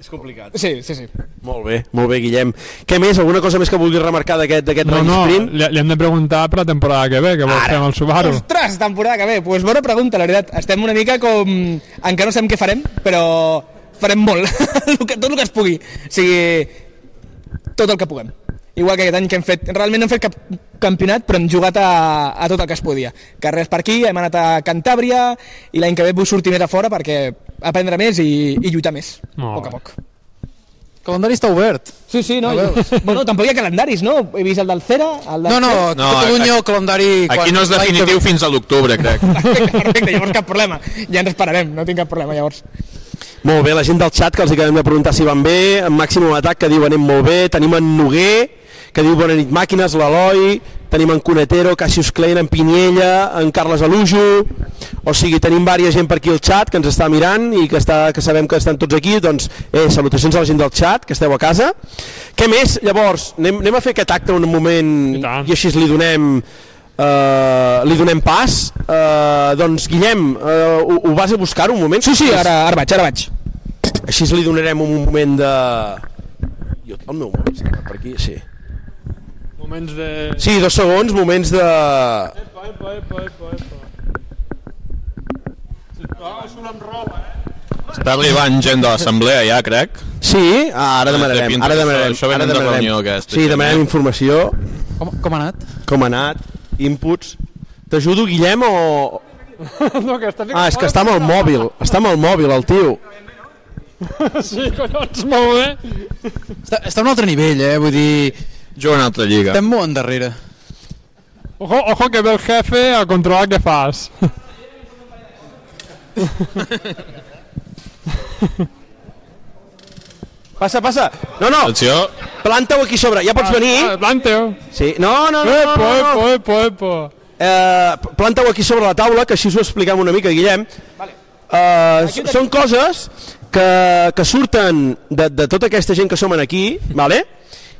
És complicat. Sí, sí, sí. Molt bé, molt bé, Guillem. Què més? Alguna cosa més que vulguis remarcar d'aquest d'aquest No, Rally no, Sprint? li, li hem de preguntar per la temporada que ve, que vol fer amb el Subaru. Ostres, temporada que ve. Doncs pues bona pregunta, la veritat. Estem una mica com... Encara no sabem què farem, però farem molt. El que- tot el que es pugui. O sigui, tot el que puguem. Igual que aquest any que hem fet... Realment no hem fet cap campionat, però hem jugat a, a tot el que es podia. Carrers per aquí, hem anat a Cantàbria, i l'any que ve vull sortir més a fora perquè aprendre més i, i lluitar més, a Molt poc bé. a poc. Calendari està obert. Sí, sí, no? A veure. Bueno, tampoc hi ha calendaris, no? He vist el del Cera, el del No, no, Cera. no Catalunya el calendari... Aquí no és definitiu fins a l'octubre, crec. Perfecte, llavors cap problema. Ja ens esperarem, no tinc cap problema, llavors. Molt bé, la gent del xat que els acabem de preguntar si van bé, en Màximo Atac que diu anem molt bé, tenim en Noguer, que diu Bona nit màquines, l'Eloi, tenim en Cunetero, Cassius Klein, en Pinyella, en Carles Alujo, o sigui, tenim vària gent per aquí al xat que ens està mirant i que, està, que sabem que estan tots aquí, doncs, eh, salutacions a la gent del xat, que esteu a casa. Què més? Llavors, anem, anem a fer aquest acte un moment i, i així li donem... Uh, li donem pas uh, doncs Guillem, uh, ho, ho vas a buscar un moment? Sí, sí, ara- ara vaig, ara vaig així li donarem un moment de jo, el meu moment, sí, per aquí, sí Moments de... Sí, dos segons, moments de... Epa, epa, epa, epa, epa. Sisplau, surt amb roba, eh? Està arribant gent de l'assemblea ja, crec. Sí, ah, ara demanarem, ara demanarem, Això ara venen de demanarem. reunió aquesta. sí, demanem informació, Com, com ha anat? com ha anat, inputs. T'ajudo, Guillem, o... no, que està Ah, és que està amb el mòbil, està amb el mòbil, el tio. sí, collons, molt bé. Està, està a un altre nivell, eh? Vull dir... Jo una altra lliga. Estem molt endarrere. Ojo, ojo que ve el jefe a controlar què fas. Passa, passa. No, no. Atenció. Planta-ho aquí sobre. Ja pots Ah, venir. ah, Planta-ho. Sí. No, no, no. no, Epo, no, no. epo, epo, Eh, planta-ho aquí sobre la taula, que així us ho expliquem una mica, Guillem. Eh, s- són coses que, que surten de, de tota aquesta gent que som en aquí, vale?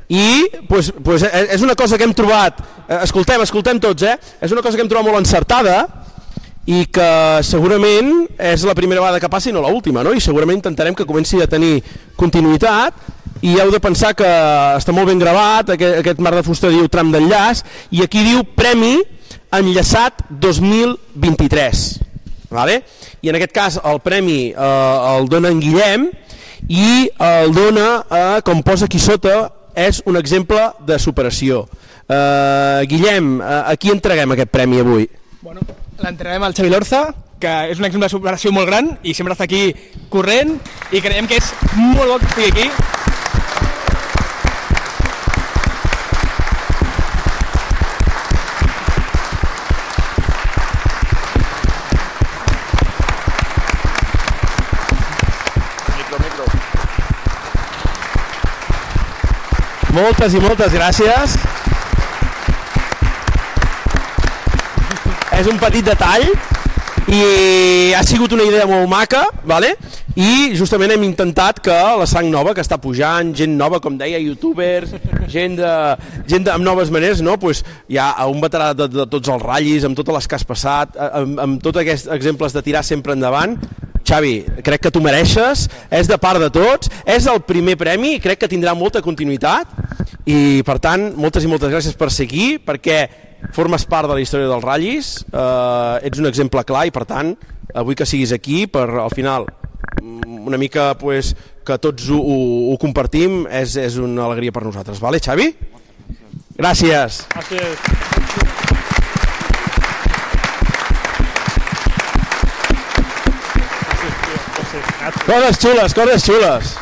i pues, pues, eh, és una cosa que hem trobat, eh, escoltem, escoltem tots, eh? és una cosa que hem trobat molt encertada i que segurament és la primera vegada que passa i no l'última, no? i segurament intentarem que comenci a tenir continuïtat i heu de pensar que està molt ben gravat, aquest, aquest mar de fusta diu tram d'enllaç, i aquí diu Premi Enllaçat 2023 vale? i en aquest cas el premi eh, el dona en Guillem i el dona, eh, com posa aquí sota és un exemple de superació eh, Guillem, eh, a qui entreguem aquest premi avui? L'entrenem al Xavi Lorza, que és un exemple de superació molt gran i sempre està aquí corrent i creiem que és molt bo que estigui aquí. Micro, micro. Moltes i moltes gràcies. És un petit detall i ha sigut una idea molt maca, vale? i justament hem intentat que la sang nova que està pujant, gent nova, com deia, youtubers, gent, de, gent de, amb noves maneres, no? pues hi ha un veterà de, de tots els ratllis, amb totes les que has passat, eh, amb, amb tots aquests exemples de tirar sempre endavant, Xavi, crec que tu mereixes, és de part de tots, és el primer premi, i crec que tindrà molta continuïtat i, per tant, moltes i moltes gràcies per ser aquí, perquè formes part de la història dels ratllis, eh, ets un exemple clar i, per tant, avui que siguis aquí, per al final mm, una mica pues, que tots ho, ho, ho compartim, és, és una alegria per nosaltres. Vale, Xavi? Gràcies. Gràcies. Coses xules, coses xules.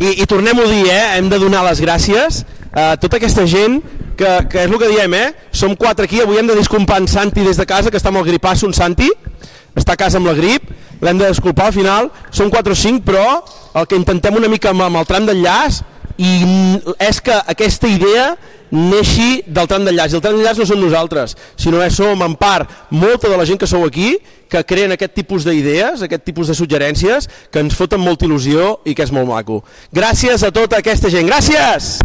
I, i tornem-ho a dir, eh? hem de donar les gràcies a tota aquesta gent que, que és el que diem, eh? som quatre aquí, avui hem de disculpar en Santi des de casa, que està amb el gripasso, en Santi, està a casa amb la grip, l'hem de disculpar al final, som 4 o 5, però el que intentem una mica amb, amb el tram d'enllaç i n- és que aquesta idea neixi del tram d'enllaç. I el tram d'enllaç no som nosaltres, sinó que som en part molta de la gent que sou aquí que creen aquest tipus d'idees, aquest tipus de suggerències que ens foten molta il·lusió i que és molt maco. Gràcies a tota aquesta gent. Gràcies!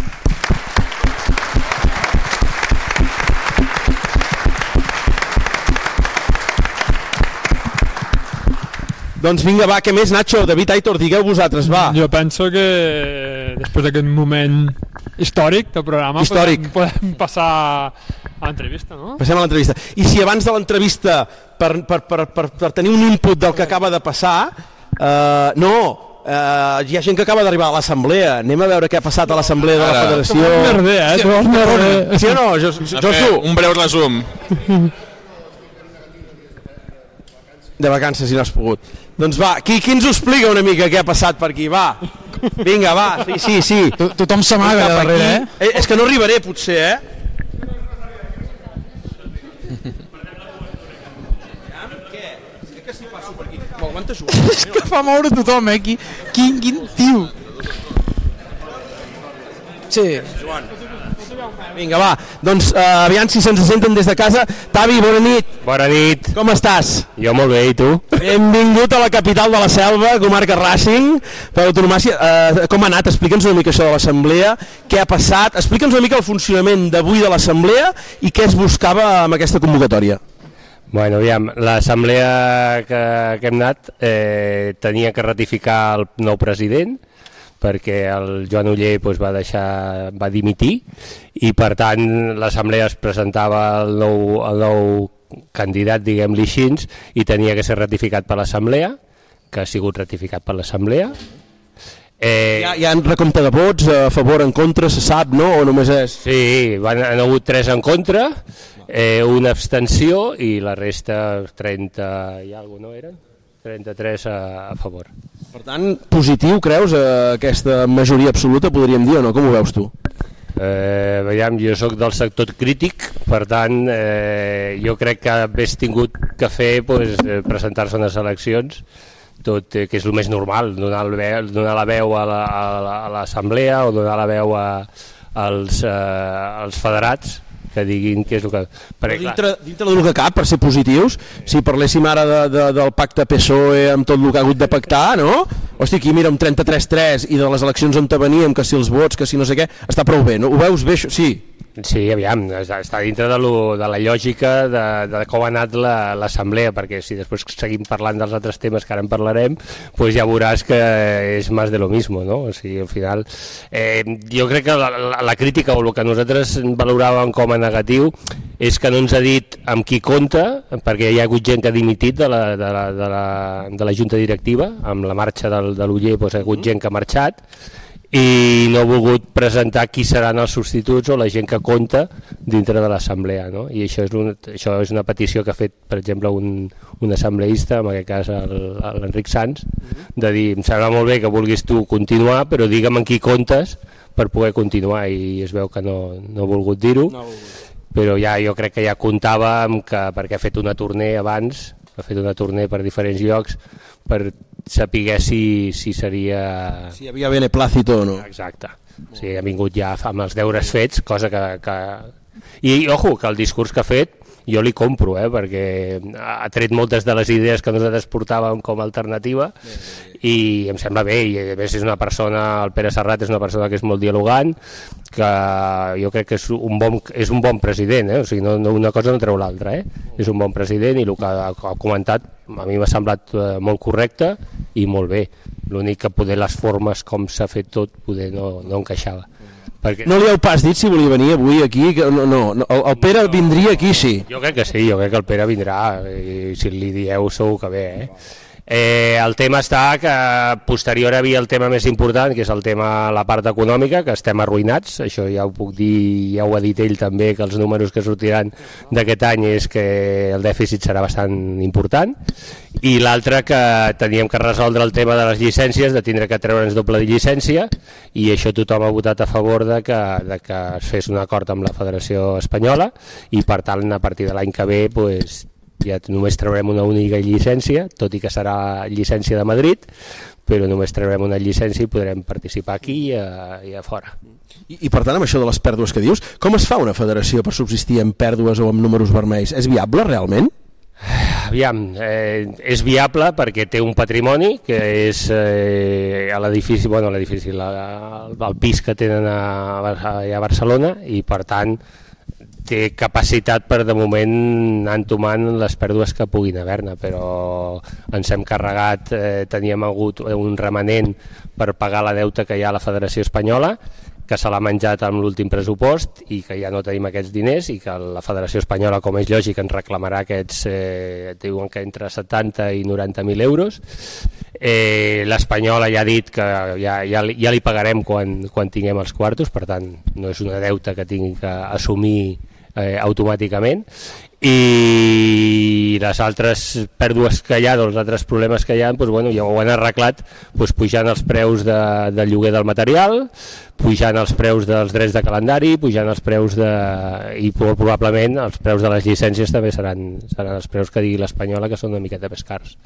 Doncs vinga, va, què més, Nacho? David Aitor, digueu vosaltres, va. Jo penso que eh, després d'aquest moment històric del programa Històric. Podem, podem passar a l'entrevista, no? Passem a l'entrevista. I si abans de l'entrevista, per, per, per, per, per tenir un input del que acaba de passar, eh, no, eh, hi ha gent que acaba d'arribar a l'assemblea. Anem a veure què ha passat a l'assemblea de la Ara. federació. Tu vols merder, eh? Tu vols merder. Sí o no? Jo, jo, A fer jo Un breu resum. De vacances, si no has pogut. Doncs va, qui, qui ens ho explica una mica què ha passat per aquí? Va, vinga, va, sí, sí, sí. To tothom s'amaga Cap darrere, eh? aquí. eh? És que no arribaré, potser, eh? És que fa moure tothom, eh? Qui, quin, quin tio. Sí. Joan. Vinga, va. Doncs uh, aviam si se'ns senten des de casa. Tavi, bona nit. Bona nit. Com estàs? Jo molt bé, i tu? Benvingut a la capital de la selva, comarca Racing, per autonomàcia. Uh, com ha anat? Explica'ns una mica això de l'assemblea, què ha passat, explica'ns una mica el funcionament d'avui de l'assemblea i què es buscava amb aquesta convocatòria. Bueno, aviam, l'assemblea que, que hem anat eh, tenia que ratificar el nou president perquè el Joan Uller doncs, va deixar, va dimitir i per tant l'assemblea es presentava el nou, el nou candidat, diguem-li així, i tenia que ser ratificat per l'assemblea, que ha sigut ratificat per l'assemblea. Eh, Hi ha, hi ha recompte de vots, eh, a favor, en contra, se sap, no? O només és... Sí, van, han hagut 3 en contra, eh, una abstenció i la resta 30 i alguna no eren? 33 a, a favor. Per tant, positiu, creus, eh, aquesta majoria absoluta, podríem dir, o no? Com ho veus tu? Eh, veiem, jo sóc del sector crític, per tant, eh, jo crec que hagués tingut que fer pues, eh, presentar-se a unes eleccions, tot eh, que és el més normal, donar, el veu, donar la veu a la- a la- a l'assemblea o donar la veu a, als, eh, als federats, que diguin què és el que... Perquè, clar, Dintre, dintre del que cap, per ser positius, si parléssim ara de, de, del pacte PSOE E amb tot el que ha hagut de pactar, no? Hosti, aquí mira, un 33-3 i de les eleccions on te veníem, que si els vots, que si no sé què, està prou bé, no? Ho veus bé, això? Sí. Sí, aviam, està està dintre de, lo, de la lògica de, de com ha anat la- l'assemblea, perquè si després seguim parlant dels altres temes que ara en parlarem, pues ja veuràs que és més de lo mismo, no? O sigui, al final, eh, jo crec que la, la, la crítica o el que nosaltres valoràvem com a negatiu és que no ens ha dit amb qui compta, perquè hi ha hagut gent que ha dimitit de la, de la, de la, de la junta directiva, amb la marxa del, de l'Uller doncs, hi ha hagut gent que ha marxat, i no ha volgut presentar qui seran els substituts o la gent que compta dintre de l'assemblea, no? I això és, un, això és una petició que ha fet, per exemple, un, un assembleista, en aquest cas el- l'Enric Sanz, de dir, em sembla molt bé que vulguis tu continuar, però digue'm en qui comptes per poder continuar, i es veu que no, no ha volgut dir-ho, no però ja jo crec que ja comptava amb que, perquè ha fet una tournée abans, ha fet una tournée per diferents llocs, per saber si, si seria... Si hi havia beneplácito o no. Exacte. O sigui, ha vingut ja fa- amb els deures fets, cosa que, que... I, ojo, que el discurs que ha fet jo li compro, eh, perquè ha tret moltes de les idees que nosaltres portàvem com a alternativa i em sembla bé, i a més és una persona, el Pere Serrat és una persona que és molt dialogant, que jo crec que és un bon, és un bon president, eh? o sigui, no, no, una cosa no treu l'altra, eh? és un bon president i el que ha, ha comentat a mi m'ha semblat eh, molt correcte i molt bé, l'únic que poder les formes com s'ha fet tot poder no, no encaixava. Perquè... No li heu pas dit si volia venir avui aquí? Que, no, no, no, el, el Pere vindria aquí, sí. Jo crec que sí, jo crec que el Pere vindrà, i si li dieu segur que ve, eh? Eh, el tema està que posterior hi havia el tema més important, que és el tema la part econòmica, que estem arruïnats, això ja ho puc dir, ja ho ha dit ell també, que els números que sortiran d'aquest any és que el dèficit serà bastant important, i l'altre que teníem que resoldre el tema de les llicències, de tindre que treure'ns doble de llicència, i això tothom ha votat a favor de que, de que es fes un acord amb la Federació Espanyola, i per tant, a partir de l'any que ve, pues, ja només traurem una única llicència, tot i que serà llicència de Madrid, però només traurem una llicència i podrem participar aquí i a, i a fora. I, I per tant, amb això de les pèrdues que dius, com es fa una federació per subsistir amb pèrdues o amb números vermells? És viable, realment? Aviam, eh, és viable perquè té un patrimoni que és eh, a l'edifici, bueno, a l'edifici, la- el pis que tenen a, Bar- a, a Barcelona i per tant té capacitat per de moment anar entomant les pèrdues que puguin haver-ne, però ens hem carregat, eh, teníem hagut un remanent per pagar la deuta que hi ha a la Federació Espanyola, que se l'ha menjat amb l'últim pressupost i que ja no tenim aquests diners i que la Federació Espanyola, com és lògic, ens reclamarà aquests, eh, diuen que entre 70 i 90.000 euros. Eh, L'Espanyola ja ha dit que ja, ja, li- ja li pagarem quan, quan tinguem els quartos, per tant, no és una deuta que tingui que assumir eh, automàticament i les altres pèrdues que hi ha, doncs, els altres problemes que hi ha, doncs, bueno, ja ho han arreglat doncs, pujant els preus de, del lloguer del material, pujant els preus dels drets de calendari, pujant els preus de... i molt probablement els preus de les llicències també seran, seran els preus que digui l'Espanyola, que són una miqueta més cars.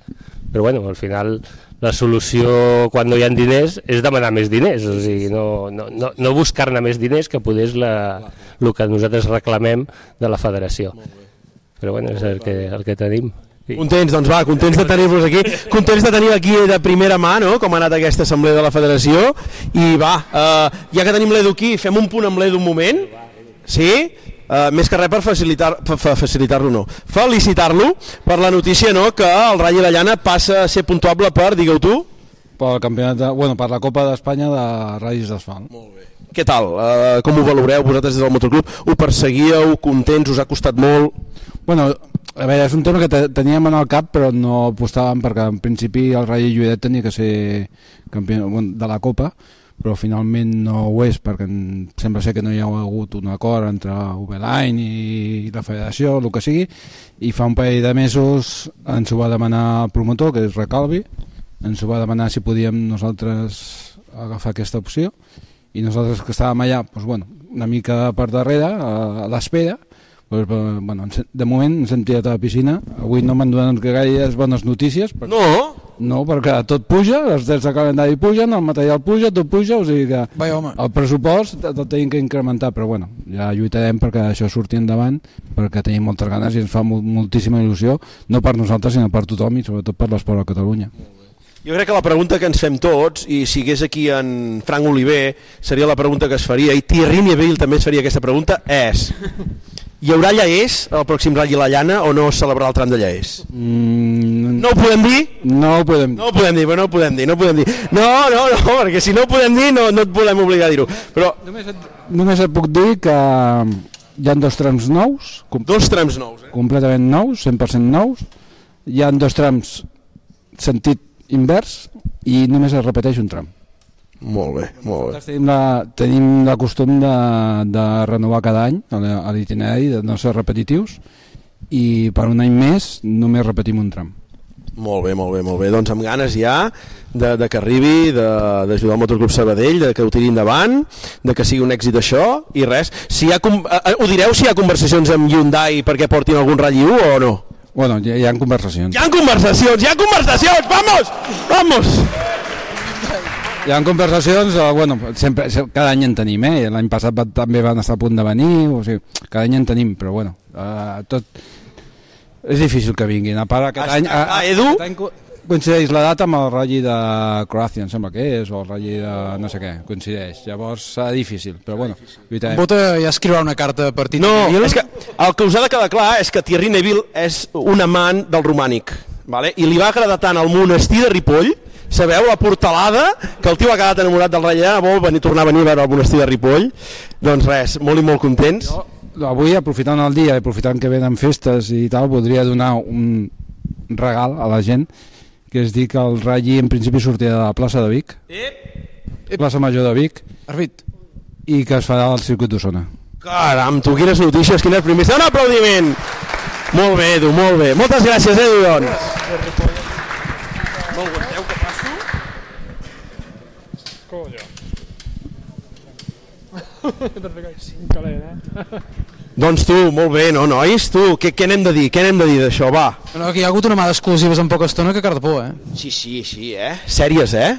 Però bueno, al final la solució quan no hi ha diners és demanar més diners, o sigui, no, no, no, no buscar-ne més diners que poder és la, el que nosaltres reclamem de la federació però bueno, és el que, el que tenim. Sí. Contents, doncs va, contents de tenir-vos aquí, contents de tenir aquí de primera mà, no?, com ha anat aquesta assemblea de la federació, i va, eh, ja que tenim l'Edu aquí, fem un punt amb l'Edu un moment, sí?, Uh, més que res per facilitar-lo fa, fa, facilitar no, felicitar-lo per la notícia no, que el Rally La Llana passa a ser puntuable per, digueu tu pel campionat de, bueno, per la Copa d'Espanya de Rallis d'Asfalt què tal? Uh, com ho valoreu vosaltres des del motoclub? Ho perseguíeu? Contents? Us ha costat molt? Bueno, a veure, és un tema que te- teníem en el cap però no apostàvem perquè en principi el Rally Lloret tenia que ser campió bueno, de la Copa però finalment no ho és perquè en- sembla ser que no hi ha hagut un acord entre Ubelain i la federació, el que sigui i fa un parell de mesos ens ho va demanar el promotor, que és Recalvi ens ho va demanar si podíem nosaltres agafar aquesta opció i nosaltres que estàvem allà doncs, bueno, una mica per darrere a, a l'espera doncs, eh, bueno, ens- de moment ens hem tirat a la piscina avui no m'han donat gaires bones notícies perquè, no? no, perquè tot puja els drets de calendari pugen, el material puja tot puja, o sigui que Vai, home. el pressupost el tenim que incrementar però bueno, ja lluitarem perquè això surti endavant perquè tenim moltes ganes i ens fa mol- moltíssima il·lusió no per nosaltres sinó per tothom i sobretot per l'esport a Catalunya Jo crec que la pregunta que ens fem tots, i si hagués aquí en Frank Oliver, seria la pregunta que es faria, i Thierry Neville també es faria aquesta pregunta, és... Hi haurà llaés al pròxim Rally La Llana o no es celebrarà el tram de llaés? mm, No ho podem dir? No ho podem dir. No ho podem dir, però no ho podem dir, no ho podem dir. No, no, no, perquè si no ho podem dir no, no et volem obligar a dir-ho. Però Només et puc dir que um, hi han dos trams nous. Dos trams nous, eh? Completament nous, 100% nous. Hi han dos trams sentit invers i només es repeteix un tram. Molt bé, molt bé. Tenim, la, tenim la costum de, de renovar cada any a la- a l'itinerari, de no ser repetitius, i per un any més només repetim un tram. Molt bé, molt bé, molt bé. Doncs amb ganes ja de, de que arribi, de- d'ajudar el Motoclub Sabadell, de que ho tiri endavant, de que sigui un èxit això i res. Si hi ha, com- eh, eh, ho direu si hi ha conversacions amb Hyundai perquè portin algun ratll 1 o no? Bueno, hi, hi ha conversacions. Hi ha conversacions, hi ha conversacions, vamos, vamos! Hi ha conversacions, eh, bueno, sempre, se- cada any en tenim, eh? L'any passat va, també van estar a punt de venir, o sigui, cada any en tenim, però bueno, eh, tot... És difícil que vinguin, a part aquest any... A, Ah, Edu? coincideix la data amb el ratlli de Croàcia, em sembla que és, o el ratlli de no sé què, coincideix. Llavors serà difícil, però bueno, lluitarem. Bota ja escriurà una carta per Tito No, Neville. és que el que us ha de quedar clar és que Thierry Neville és un amant del romànic, vale? i li va agradar tant el monestir de Ripoll, sabeu, la portalada, que el tio ha quedat enamorat del rei Llana, vol venir, tornar a venir a veure el monestir de Ripoll, doncs res, molt i molt contents. Avui, aprofitant el dia, i aprofitant que venen festes i tal, voldria donar un regal a la gent, que és dir que el ratlli en principi sortirà de la plaça de Vic, plaça major de Vic, Arbit. i que es farà al circuit d'Osona. Caram, tu, quines notícies, quines primeres. Un aplaudiment! Molt bé, Edu, molt bé. Moltes gràcies, Edu, doncs. Coño. Calent, eh? Doncs tu, molt bé, no, nois? Tu, què, què n'hem de dir? Què n'hem de dir d'això, va? No, que hi ha hagut una mà d'exclusives en poca estona que Cardepó, eh? Sí, sí, sí, eh? Sèries, eh?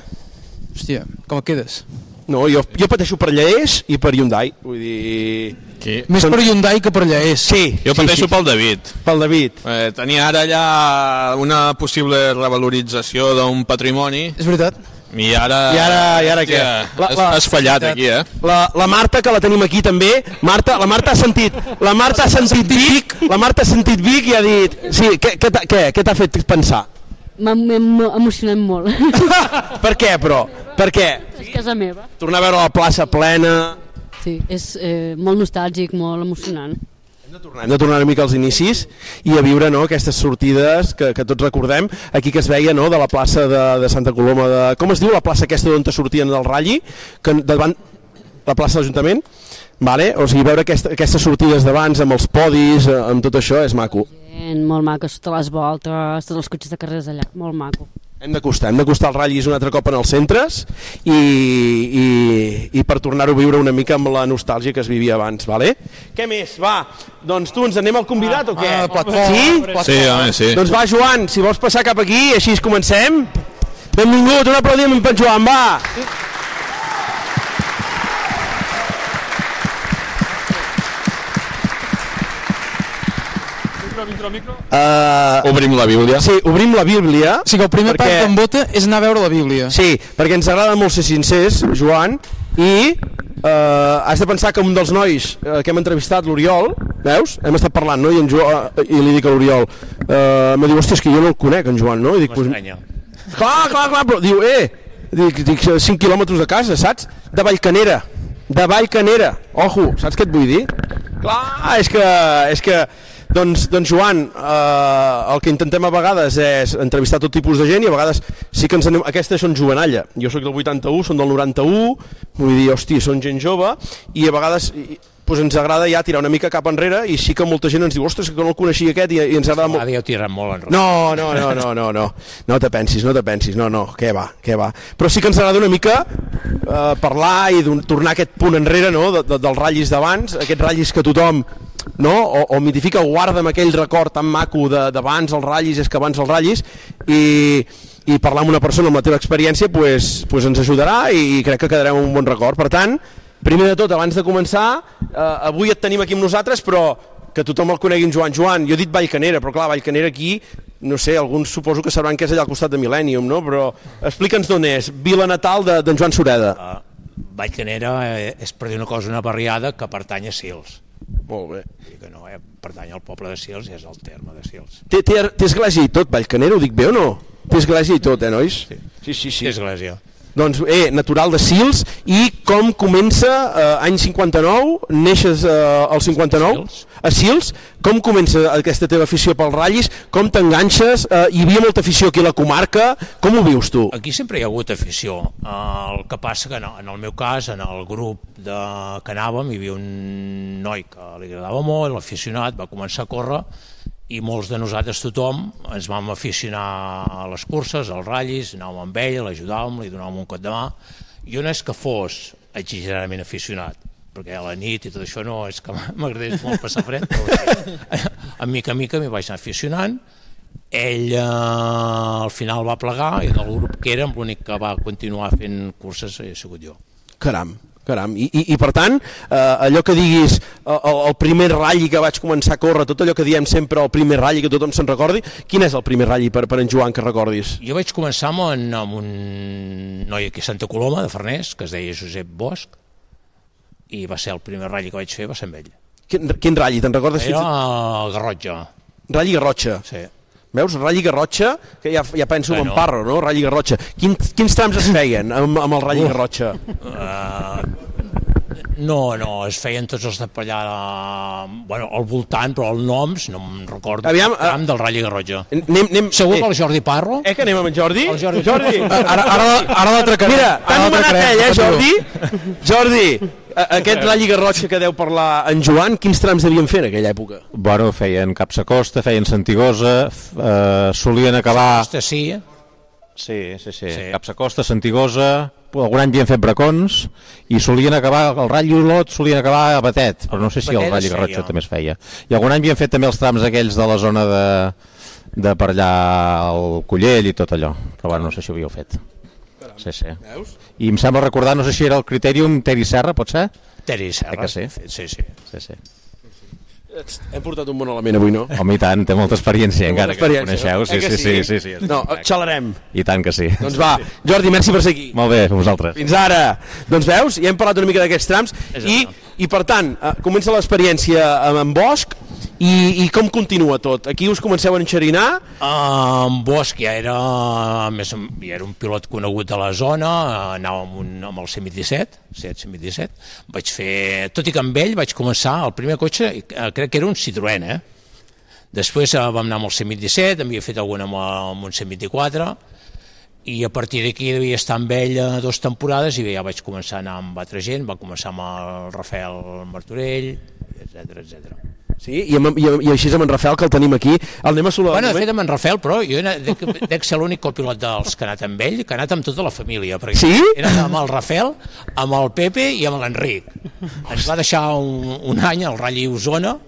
Hòstia, com et quedes? No, jo, jo pateixo per Lleés i per Hyundai, vull dir... Qui? Més per Hyundai que per Lleés. Sí. Jo pateixo pel David. Pel David. Eh, tenia ara allà una possible revalorització d'un patrimoni És veritat. i ara... I ara, i ara què? La, la, has, has fallat aquí, eh? La, la Marta, que la tenim aquí també, Marta, la Marta ha sentit, la Marta ha sentit Vic, la Marta ha sentit Vic i ha dit... Sí, què, què, t'ha- què, què t'ha fet pensar? M'ha m'he emo- emocionat molt. Per què, però? Per què? és casa meva. Tornar a veure la plaça plena... Sí, és eh, molt nostàlgic, molt emocionant. Hem de tornar una mica als inicis i a viure no, aquestes sortides que, que tots recordem, aquí que es veia no, de la plaça de, de Santa Coloma, de, com es diu la plaça aquesta d'on te sortien del ratlli, que davant la plaça de l'Ajuntament, Vale? O sigui, veure aquesta, aquestes sortides d'abans amb els podis, eh, amb tot això, és maco. Gent, molt maco, totes les voltes, tots els cotxes de carreres allà, molt maco. Hem d'acostar, hem d'acostar els ratllis un altre cop en els centres i, i, i per tornar-ho a viure una mica amb la nostàlgia que es vivia abans, vale? Què més? Va, doncs tu, ens anem al convidat o què? Ah, plataforma, sí? hombre. Eh, Sí, home, sí. Doncs va, Joan, si vols passar cap aquí, així comencem. Benvingut, un aplaudiment per en Joan, va! Micro, micro, micro. Uh, obrim la Bíblia. Sí, obrim la Bíblia. O sigui, el primer pas d'en Bota és anar a veure la Bíblia. Sí, perquè ens agrada molt ser sincers, Joan, i uh, has de pensar que un dels nois uh, que hem entrevistat, l'Oriol, veus? Hem estat parlant, no? I, en jo, uh, i li dic a l'Oriol, uh, me diu, hòstia, és que jo no el conec, en Joan, no? I dic, pues, clar, clar, clar, però diu, eh, dic, dic 5 quilòmetres de casa, saps? De Vallcanera, de Vallcanera, ojo, saps què et vull dir? Clar, és que, és que doncs, doncs Joan, eh, el que intentem a vegades és entrevistar tot tipus de gent i a vegades sí que ens anem... Aquestes són jovenalla. Jo sóc del 81, són del 91, vull dir, hosti, són gent jove, i a vegades i, doncs ens agrada ja tirar una mica cap enrere i sí que molta gent ens diu, ostres, que no el coneixia aquest i, i ens agrada molt... M'havia tirat molt enrere. No, no, no, no, no, no. No te pensis, no te pensis. No, no, què va, què va. Però sí que ens agrada una mica eh, parlar i d'un- tornar a aquest punt enrere, no?, de, de, dels ratllis d'abans, aquests ratllis que tothom no? O, o mitifica o guarda amb aquell record tan maco de- d'abans els ratllis, és que abans els ratllis i, i parlar amb una persona amb la teva experiència pues, pues ens ajudarà i crec que quedarem amb un bon record per tant, primer de tot, abans de començar eh, avui et tenim aquí amb nosaltres però que tothom el conegui en Joan Joan jo he dit Vallcanera, però clar, Vallcanera aquí no sé, alguns suposo que sabran que és allà al costat de Millennium, no? però explica'ns d'on és Vila Natal de- d'en de, Joan Sureda Vallcanera eh, és, per dir una cosa, una barriada que pertany a Sils. Molt bé. Que no, eh, pertany al poble de Sils i és el terme de Sils. té, té, té església i tot, Vallcanera, ho dic bé o no? Té església i tot, eh, nois? Sí. Sí, sí, sí. Església. Doncs, eh, natural de Sils, i com comença eh, any 59, neixes eh, al 59, a Sils, com comença aquesta teva afició pel ratllis, com t'enganxes, eh, hi havia molta afició aquí a la comarca, com ho vius tu? Aquí sempre hi ha hagut afició. Eh, El que passa que, no, en el meu cas, en el grup de... que anàvem, hi havia un noi que li agradava molt, l'aficionat, va començar a córrer, i molts de nosaltres, tothom, ens vam aficionar a les curses, als ratllis, anàvem amb ell, l'ajudàvem, li donàvem un cop de mà. Jo no és que fos exageradament aficionat, perquè a la nit i tot això no és que m'agradés molt passar fred, però sí. a mica a mica m'hi vaig anar aficionant, ell eh, al final va plegar i del grup que érem l'únic que va continuar fent curses he sigut jo. Caram, caram. I, i, i per tant, eh, allò que diguis eh, el, el primer ratll que vaig començar a córrer, tot allò que diem sempre el primer ratll que tothom se'n recordi, quin és el primer ratll per, per en Joan que recordis? Jo vaig començar amb, un- amb un noi aquí a Santa Coloma, de Farners, que es deia Josep Bosch, i va ser el primer ratll que vaig fer, va ser amb ell. Quin, quin ratll, te'n recordes? Era el Garrotxa. Ratll Garrotxa. Sí. Veus, Ratll Garrotxa, que ja, ja penso Bueno. bueno. en Parro, no? Ratll Garrotxa. Quin, quins trams es feien amb, amb el Ratll Uf. Garrotxa? Uh, no, no, es feien tots els de per allà, bueno, al voltant, però els noms, no em recordo. Aviam, eh, el tram del Ratll Garrotxa. Anem, anem, Segur que el Jordi Parro? Eh, que anem amb en Jordi? El Jordi. Jordi! Mira, t'ha anomenat ell, eh, Jordi? Jordi, a- aquest Ratll Garrotxa que deu parlar en Joan, quins trams devien fer en aquella època? Bueno, feien Capsa Costa, feien Santigosa, f- eh, solien acabar... Costa, sí, eh? Sí, sí, sí. sí. Capsa Costa, Santigosa, algun any hi hem fet bracons, i solien acabar, el Ratll Olot solien acabar a Batet, però no sé si el Batet Ratll es feia. Garrotxa també es feia. I algun any hi hem fet també els trams aquells de la zona de, de per allà el Collell i tot allò, però bueno, no sé si ho havíeu fet. Sí, sí. I em sembla recordar, no sé si era el Criterium Teri Serra, pot ser? Teri Serra. Eh que sí? Sí, sí. sí, sí. Hem portat un bon element avui, no? Home, i tant, té molta experiència, Té encara molta que experiència, no coneixeu. no? Sí, Eh que sí, sí, sí? sí, sí, sí. No, xalarem. I tant que sí. Doncs va, Jordi, merci per ser aquí. Molt bé, vosaltres. Fins ara. Doncs veus, ja hem parlat una mica d'aquests trams i, i per tant, eh, comença l'experiència amb en Bosch i, i com continua tot? Aquí us comenceu a enxerinar? Eh, En Bosch ja era, a més, ja era un pilot conegut de la zona, eh, anava amb, un, amb el 127, 727, vaig fer, tot i que amb ell vaig començar el primer cotxe, eh, crec que era un Citroën, eh? Després eh, vam anar amb el 127, havia fet alguna amb, amb un 124, i a partir d'aquí devia estar amb ell eh, dues temporades i bé, ja vaig començar a anar amb altra gent, va començar amb el Rafael Martorell, etc etc. Sí, i, amb, i, amb- i així amb en Rafael, que el tenim aquí. El anem a saludar. Bueno, de un moment? fet, amb en Rafael, però jo he anat- dec, dec ser l'únic copilot dels que ha anat amb ell, que ha anat amb tota la família, perquè Sí? he anat amb el Rafael, amb el Pepe i amb l'Enric. Ens va deixar un, un any al Rally Osona,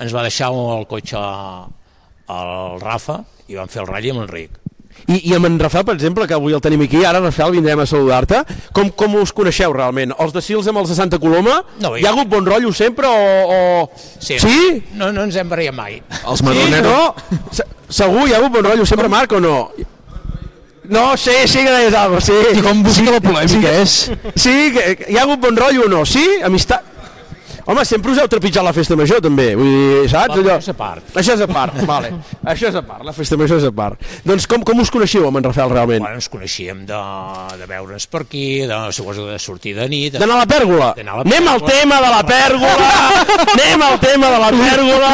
ens va deixar el cotxe al Rafa i vam fer el Rally amb l'Enric. I, I amb en Rafael, per exemple, que avui el tenim aquí, ara, Rafael, vindrem a saludar-te. Com, com us coneixeu, realment? Els de Sils amb els de Santa Coloma? No, Hi ha hagut bon rotllo sempre o... o... Sí? sí? No, no ens hem barallat mai. Els Madroneros? Sí, no? Se- Segur, hi ha hagut bon rotllo sempre, Marc, o no? No, sí, sí que deies Albert, sí. I com busca sí, la polèmica, sí, és. Sí, que, que hi ha hagut bon rotllo o no? Sí? Amistat? Home, sempre us heu trepitjat la festa major, també. Vull dir, saps? Va, Allò... això és a part. Això és a part, vale. Això és a part, la festa major és a part. Doncs com, com us coneixeu amb en Rafael, realment? Bueno, ens coneixíem de, de veure'ns per aquí, de, suposo de sortir de nit... D'anar a la pèrgola. D'anar a la Anem al pèrgola. tema de la pèrgola. Anem al tema de la pèrgola.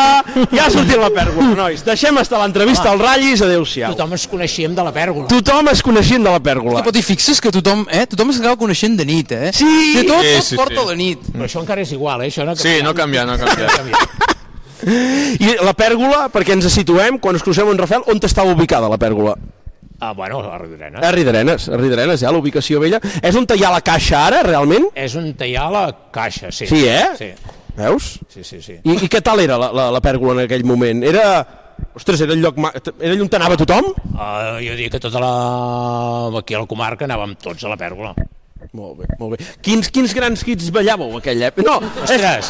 Ja ha sortit la pèrgola, nois. Deixem estar l'entrevista al Rallis. Adéu-siau. Tothom ens coneixíem de la pèrgola. Tothom es coneixent de la pèrgola. Però t'hi fixes que tothom, eh? Tothom s'acaba coneixent de nit, eh? Sí! De tot, Sí, sí, sí, sí, porta sí. sí. la nit. Però això encara és igual, eh? Això no ha Sí, no canvia, no canvia. I la pèrgola, perquè ens situem, quan us crucem en Rafael, on estava ubicada la pèrgola? Ah, bueno, a Riudarenes. A Ridarenes, a Ridarenes, ja, l'ubicació vella. És on hi ha la caixa ara, realment? És on hi ha la caixa, sí. Sí, eh? Sí, Veus? sí, sí. sí. I, i què tal era la, la, la pèrgola en aquell moment? Era... Ostres, era el lloc... Ma... Era allà on anava tothom? Uh, jo diria que tota la... aquí a la comarca anàvem tots a la pèrgola. Molt bé, molt bé. Quins, quins grans hits ballàveu aquella època? No, Ostres!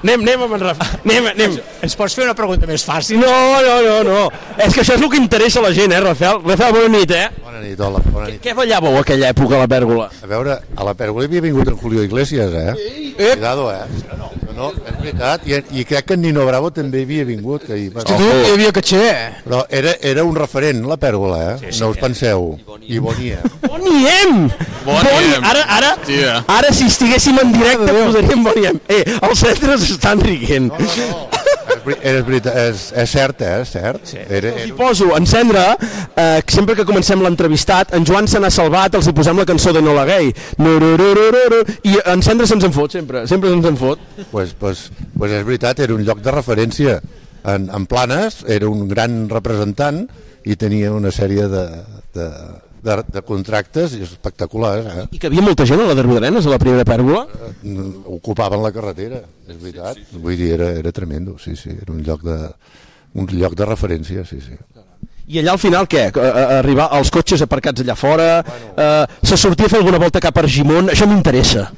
Anem, anem amb en Rafael. Anem, anem. Ens pots fer una pregunta més fàcil? No, no, no, no. És que això és el que interessa a la gent, eh, Rafael? Rafael, bona nit, eh? Bona nit, hola, bona nit. Què ballàveu aquella època a la pèrgola? A veure, a la pèrgola hi havia vingut en Julio Iglesias, eh? Sí. Cuidado, eh? No, no, és veritat. I, I crec que en Nino Bravo també hi havia vingut. Que hi... Hosti, tu, hi havia catxer, eh? Però era, era un referent, la pèrgola, eh? Sí, sí, no us penseu. I Bonia. Boniem! Boniem. Ara, ara, Hòstia. ara, si estiguéssim en directe, posaríem Boniem. Eh, els centres estan riguent. No, no, no. és, veri- és, veritat, és, és cert, eh? És cert. Sí. Era, Hi era... poso, en cendra, eh, sempre que comencem l'entrevistat, en Joan se n'ha salvat, els hi posem la cançó de Nola Gay. Nurururururu, I en cendra se'ns en fot, sempre. Sempre se'ns en fot. Pues, pues, pues és veritat, era un lloc de referència. En, en Planes era un gran representant i tenia una sèrie de, de, de, de contractes espectaculars. Eh? I que hi havia molta gent a la de Rodarenes, a la primera pèrgola. Mm, ocupaven la carretera, és veritat. Sí, sí, sí. Vull dir, era, era tremendo, sí, sí, era un lloc de, un lloc de referència, sí, sí. I allà al final què? A- a- Arribar als cotxes aparcats allà fora, eh, se sortia a fer alguna volta cap a Argimon, això m'interessa.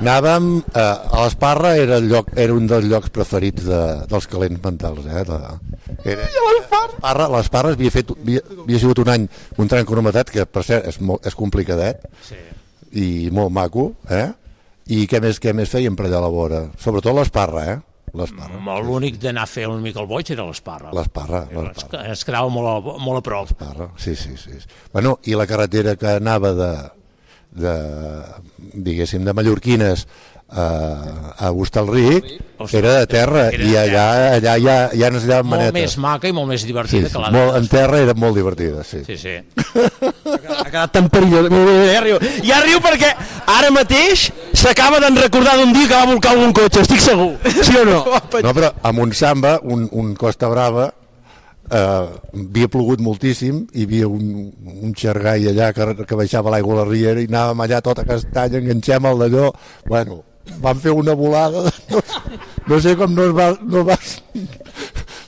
Anàvem, eh, a l'Esparra era, el lloc, era un dels llocs preferits de, dels calents mentals, eh? De, era, l'Esparra, l'Esparra havia, fet, havia, havia sigut un any un tren cronometrat, que per cert és, molt, és complicadet, Sí. i molt maco, eh? I què més, què més feien per allà a la vora? Sobretot l'Esparra, eh? L'Esparra, Molt L'únic d'anar a fer una mica el boig era l'Esparra. l'Esparra, l'Esparra. Es, es quedava molt a, molt a prop. Esparra, sí, sí, sí. Bueno, i la carretera que anava de, de diguéssim, de Mallorquines a, a Hostalric era de terra i allà, allà ja, ja ens llaven Molt manetes. més maca i molt més Sí, divertida sí, que la molt, en terra era molt divertida, sí. Sí, sí. Ha quedat tan perillós. Mira, mira, Ja riu, ja riu perquè ara mateix s'acaba d'en recordar d'un dia que va volcar algun cotxe, estic segur. Sí o no? No, però a Montsamba, un, un Costa Brava, eh, havia plogut moltíssim, hi havia un, un xergai allà que, que baixava l'aigua a la riera i anàvem allà tota castanya, enganxem el d'allò, bueno, van fer una volada, no, sé- no sé com no es va... No es va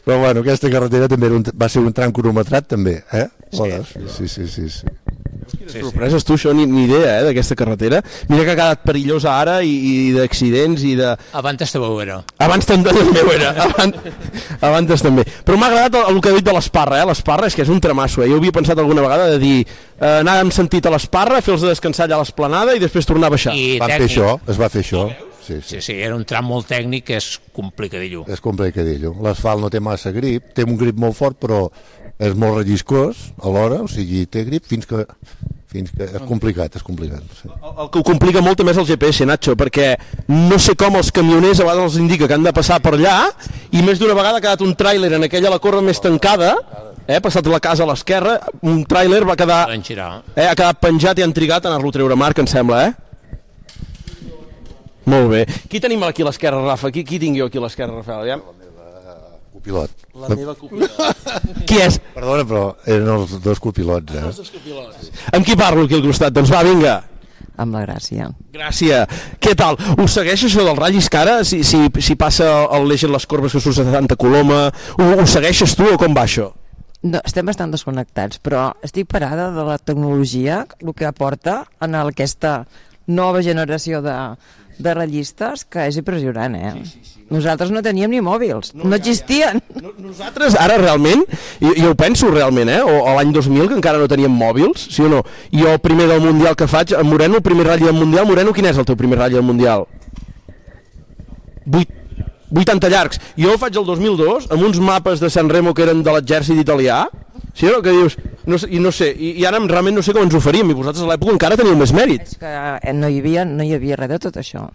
però bueno, aquesta carretera també era un, va ser un tram cronometrat també, eh? Sí, sí, sí, sí, sí. Sí, Sorpreses, tu, això ni, ni idea, eh, d'aquesta carretera. Mira que ha quedat perillosa ara i, i d'accidents i de... Abans estava era. Abans també, també ho era, abans, abans també. Però m'ha agradat el, el que ha dit de l'Esparra, eh? L'Esparra és que és un tramasso, eh? Jo havia pensat alguna vegada de dir eh, anar amb sentit a l'Esparra, fer-los descansar allà a l'esplanada i després tornar a baixar. I Van fer això, es va fer això. Sí, sí. Sí, sí, era un tram molt tècnic que és complicadillo. És complicadillo. L'asfalt no té massa grip, té un grip molt fort, però és molt relliscós alhora, o sigui, té grip fins que... Fins que és complicat, és complicat. Sí. El que ho complica molt també és el GPS, Nacho, perquè no sé com els camioners a vegades els indica que han de passar per allà i més d'una vegada ha quedat un tràiler en aquella la corba més tancada eh, ha passat la casa a l'esquerra, un tràiler va quedar... Van girar. Eh, ha quedat penjat i han trigat a anar-lo a treure Marc, em sembla, eh? Molt bé. Qui tenim aquí a l'esquerra, Rafa? Qui, qui tinc jo aquí a l'esquerra, Rafael? Aviam. Copilot. La meva copilota. Qui és? Perdona, però eren els dos copilots, eh? Amb qui parlo aquí al costat? Doncs va, vinga. Amb la gràcia. Gràcia. Què tal? Us segueix això del ratllis que ara, si, si, si passa el l'eix en les corbes que surts a Santa Coloma, ho, ho segueixes tu o com va això? No, estem bastant desconnectats, però estic parada de la tecnologia, el que aporta en aquesta nova generació de, de ratllistes, que és impressionant, eh? Sí, sí, sí, no. Nosaltres no teníem ni mòbils, no, no existien. Ja, ja. Nosaltres ara realment, i, jo ho penso realment, eh? o a l'any 2000 que encara no teníem mòbils, sí o no? I el primer del Mundial que faig, en Moreno, el primer ratll del Mundial, Moreno, quin és el teu primer ratll del Mundial? 8, 80 llargs. Jo el faig el 2002 amb uns mapes de San Remo que eren de l'exèrcit italià, sí o no? Que dius, no, sé- i no sé, i, i ara realment no sé com ens ho faríem, i vosaltres a l'època encara teníeu més mèrit. És que eh, no hi, havia, no hi havia res de tot això.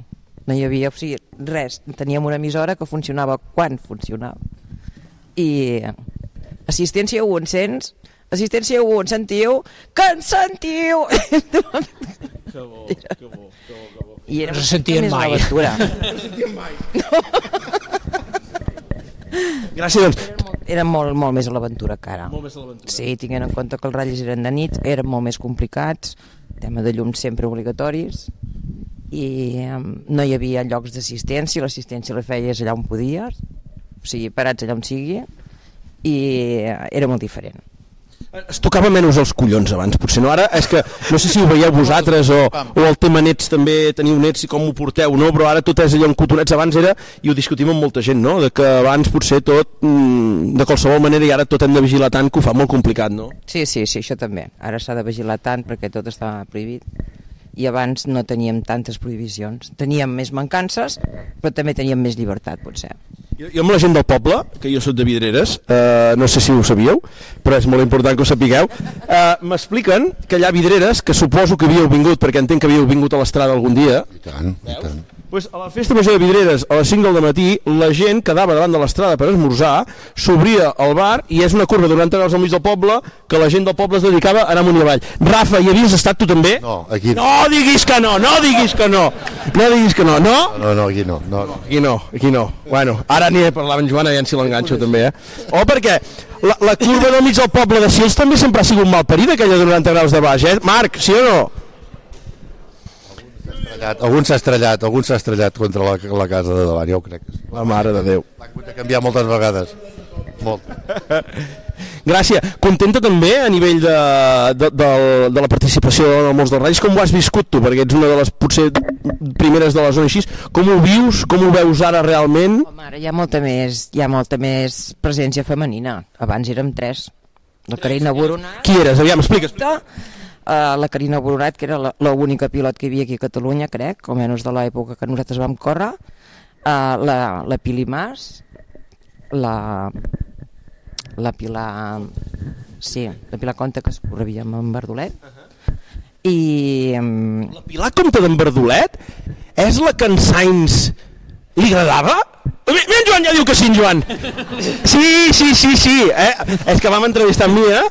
No hi havia, o sigui, res. Teníem una emissora que funcionava quan funcionava. I assistència 1 en sents, assistència 1 en sentiu, que en sentiu! Que bo, que bo, que bo. I era No se sentien més mai. una aventura. No se sentien mai. Gràcies, doncs. Era molt, molt més a l'aventura que ara. Molt més a l'aventura. Sí, tinguent en compte que els ratllis eren de nit, eren molt més complicats, tema de llums sempre obligatoris, i eh, no hi havia llocs d'assistència, l'assistència la feies allà on podies, o sigui, parats allà on sigui, i eh, era molt diferent. Es tocava menys els collons abans, potser no. Ara és que, no sé si ho veieu vosaltres o, o el tema nets també, teniu nets i com ho porteu, no? Però ara tot és allò en cotonets. Abans era, i ho discutim amb molta gent, no? De que abans potser tot, mm, de qualsevol manera, i ara tot hem de vigilar tant que ho fa molt complicat, no? Sí, sí, sí, això també. Ara s'ha de vigilar tant perquè tot està prohibit i abans no teníem tantes prohibicions. Teníem més mancances, però també teníem més llibertat, potser. Jo, jo amb la gent del poble, que jo sóc de Vidreres, eh, no sé si ho sabíeu, però és molt important que ho sapigueu, eh, m'expliquen que allà a Vidreres, que suposo que havíeu vingut, perquè entenc que havíeu vingut a l'estrada algun dia, I tant, i tant. Pues a la festa major de Vidreres, a les 5 del matí, la gent quedava davant de l'estrada per esmorzar, s'obria el bar i és una curva durant graus al mig del poble que la gent del poble es dedicava a anar amunt i avall. Rafa, hi havies estat tu també? No, aquí no. No diguis que no, no diguis que no. No diguis que no, no? No, no, aquí no. no, no. Aquí no, aquí no. Bueno, ara aniré parlant amb Joan, aviam si l'enganxo també, eh? O perquè la, la curva del mig del poble de Sils també sempre ha sigut mal parida, aquella de 90 graus de baix, eh? Marc, sí o no? Estrellat. Algun s'ha estrellat, algun s'ha estrellat contra la, la casa de davant, jo ho crec. La mare de Déu. L'ha hagut de canviar moltes vegades. Molt. Gràcies. Contenta també a nivell de, de, de, de la participació en el Molts dels Reis. Com ho has viscut tu? Perquè ets una de les potser primeres de la zona així. Com ho vius? Com ho veus ara realment? Home, ara hi ha molta més, hi ha molta més presència femenina. Abans érem tres. La Carina Boronat... Qui eres? Aviam, explica, Uh, la Carina Boronat, que era la- l'única pilot que hi havia aquí a Catalunya, crec, almenys de l'època que nosaltres vam córrer, uh, la, la Pili Mas, la, la Pilar... Sí, la Pilar Conte, que es correvíem amb Verdolet. I... Um, La Pilar Comte d'en Verdolet és la que en Sainz li agradava? Mira, mira, en Joan ja diu que sí, en Joan. Sí, sí, sí, sí. Eh? És que vam entrevistar amb Mia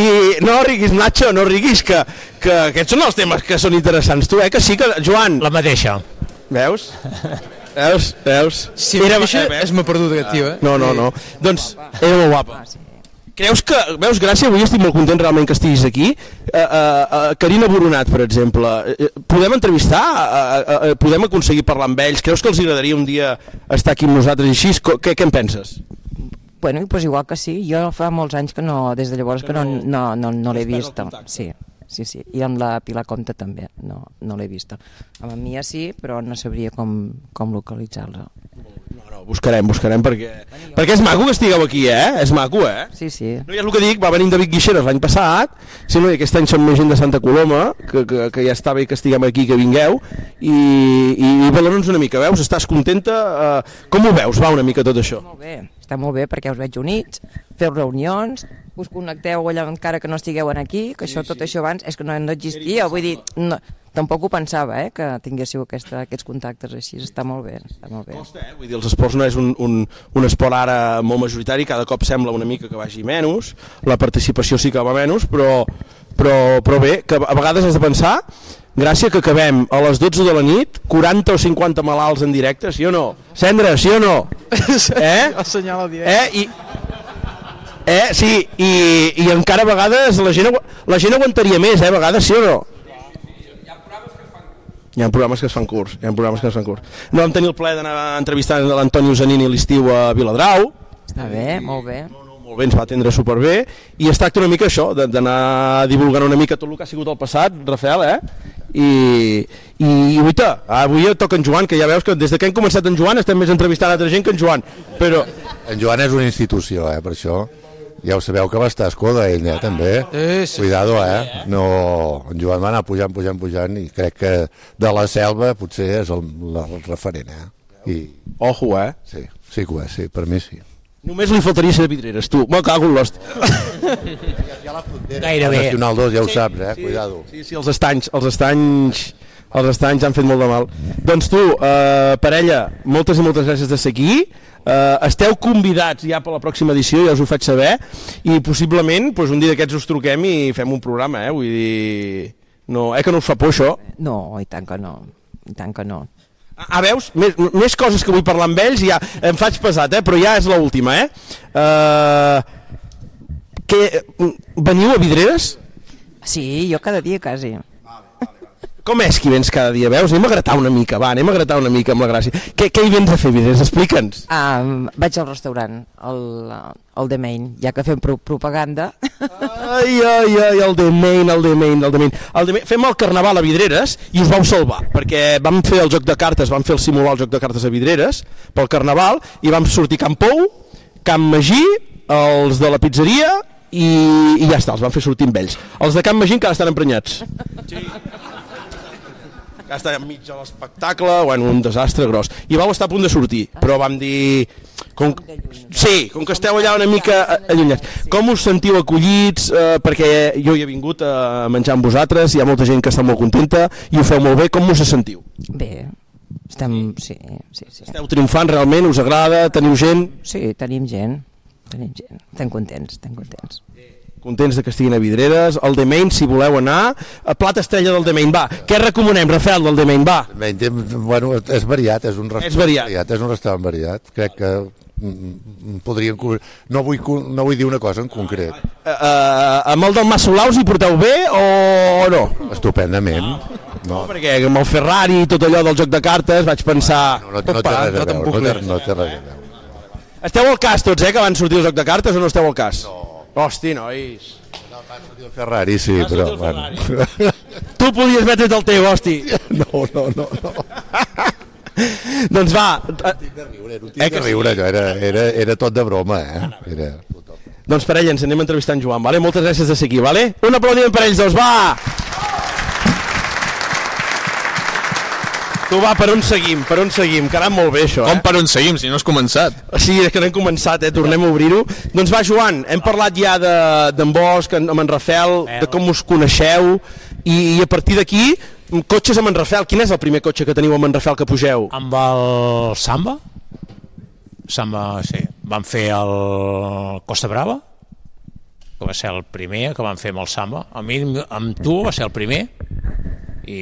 i no riguis, Nacho, no riguis, que, que aquests són els temes que són interessants. Tu, eh, que sí, que Joan... La mateixa. Veus? Veus? Veus? Si era mateixa, és m'ha perdut aquest tio, eh? No, no, no. Doncs era molt guapa. Creus que, veus, gràcies, avui estic molt content realment que estiguis aquí. Uh, uh, uh, Carina Boronat, per exemple, eh, eh, podem entrevistar? Uh, uh, uh, podem aconseguir parlar amb ells? Creus que els agradaria un dia estar aquí amb nosaltres així? Co- Què, què en penses? Bueno, doncs igual que sí. Jo fa molts anys que no, des de llavors que no, no, no, no l'he vista. Sí, sí, sí. I amb la Pilar Comte també, no, no l'he vista. Amb en Mia sí, però no sabria com, com localitzar-la. No, buscarem, buscarem, perquè, perquè és maco que estigueu aquí, eh? És maco, eh? Sí, sí. No, ja és el que dic, va venir David Guixeres l'any passat, si no, i aquest any som més gent de Santa Coloma, que, que, que ja està bé que estiguem aquí, que vingueu, i, i valora'ns una mica, Eh, veus? Estàs contenta? Uh, com ho veus, va, una mica tot això? Molt bé. està molt bé perquè us veig units, feu reunions, us connecteu allà encara que no estigueu en aquí, que sí, això, tot sí. això abans és que no, no existia, vull dir, no, tampoc ho pensava, eh, que tinguéssiu aquesta, aquests contactes així, està molt bé, està molt bé. Costa, eh? Vull dir, els esports no és un, un, un esport ara molt majoritari, cada cop sembla una mica que vagi menys, la participació sí que va menys, però, però, però bé, que a vegades has de pensar, gràcia que acabem a les 12 de la nit, 40 o 50 malalts en directe, sí o no? Cendra, sí o no? Eh? Assenyala dient. Eh? I, eh? Sí, i, i encara a vegades la gent, agu- la gent aguantaria més, eh? A vegades sí o no? Hi ha programes que es fan curts, hi ha programes que es fan curts. No vam tenir el plaer d'anar a entrevistar l'Antoni Usanini l'estiu a Viladrau. Està bé, molt bé. Molt bé, ens va atendre superbé. I es tracta una mica això, de- d'anar divulgant una mica tot el que ha sigut el passat, Rafael, eh? I, i uita, avui ja toca en Joan, que ja veus que des de que hem començat en Joan estem més entrevistant altra gent que en Joan. Però... En Joan és una institució, eh, per això. Ja ho sabeu que va estar a Escoda, ell, eh, també. Sí, sí. Cuidado, eh? No, en Joan va anar pujant, pujant, pujant, i crec que de la selva potser és el, la, el referent, eh? I... Ojo, eh? Sí, sí que ho és, sí, per mi sí. Només li faltaria ser de Vidreres, tu. Uh, Me cago en l'host. El Nacional 2 ja ho saps, eh? Sí, Cuidado. Sí, sí, els estanys, els estanys, els estanys han fet molt de mal. Doncs tu, eh, parella, moltes i moltes gràcies de ser aquí. Eh, esteu convidats ja per la pròxima edició, ja us ho faig saber, i possiblement doncs, un dia d'aquests us truquem i fem un programa, eh? Vull dir... No, eh que no us fa por això? No, i tant que no, i tant que no. Ah, veus? Més, més coses que vull parlar amb ells, ja em faig pesat, eh? però ja és l'última, eh? Uh, que, mm, veniu a Vidreres? Sí, jo cada dia quasi. Com és que hi vens cada dia, veus? Anem a gratar una mica, va, anem a gratar una mica amb la gràcia. Què, què hi vens a fer, a Vidreres? Explica'ns. Um, vaig al restaurant, el, el de Main, ja que fem pro propaganda. Ai, ai, ai, el de Main, el de Main, el de Main. El de Main. Fem el carnaval a Vidreres i us vau salvar, perquè vam fer el joc de cartes, vam fer el simular el joc de cartes a Vidreres pel carnaval i vam sortir Camp Pou, Camp Magí, els de la pizzeria i, i ja està, els van fer sortir amb ells. Els de Camp Magí encara estan emprenyats. Ja està enmig de l'espectacle, bueno, un desastre gros. I vau estar a punt de sortir, però vam dir... Com... Sí, com que esteu allà una mica eh, allunyats. Com us sentiu acollits? Eh, perquè jo hi he vingut a menjar amb vosaltres, hi ha molta gent que està molt contenta i ho feu molt bé. Com us sentiu? Bé, estem... Sí, sí, sí. Esteu triomfant realment? Us agrada? Teniu gent? Sí, tenim gent. Tenim gent. Estem contents, estem contents. Contents de que estiguin a Vidreres. El de Main, si voleu anar. A Plata Estrella del de Main, va. Què recomanem, Rafael, del de Main, va? Bé, té- bueno, és variat, és un restaurant És variat. és un restaurant variat. Crec que mm, mm, podrien... cobrir- No vull, co- no vull dir una cosa en concret. Eh, eh, amb el del Massolaus hi porteu bé o no? Estupendament. No, perquè amb el Ferrari i tot allò del joc de cartes vaig pensar... no, no té res a veure, no té, no té res a veure. Esteu al cas tots, eh, que van sortir el joc de cartes o no esteu al cas? No. Hosti, nois. Ferrari sí, però... Bueno. Tu podies metre't el teu, hosti. No, no, no. no. doncs va. eh, Tinc de riure, allò, era, era, era tot de broma, eh? Era... Doncs per ell ens anem a entrevistar en Joan, vale? Moltes gràcies de ser aquí, vale? Un aplaudiment per ells dos, va! Tu va, per on seguim, per on seguim, que ha anat molt bé això, eh? Com per on seguim, si no has començat? Sí, és que no hem començat, eh? Tornem a obrir-ho. Doncs va, Joan, hem parlat ja de- d'en Bosch, en- amb en Rafel, de com us coneixeu, i, i a partir d'aquí, m, cotxes amb en Rafel. Quin és el primer cotxe que teniu amb en Rafel que pugeu? Amb el Samba? Samba, sí. Vam fer el Costa Brava, que va ser el primer que vam fer amb el Samba. A mi, amb tu, va ser el primer. I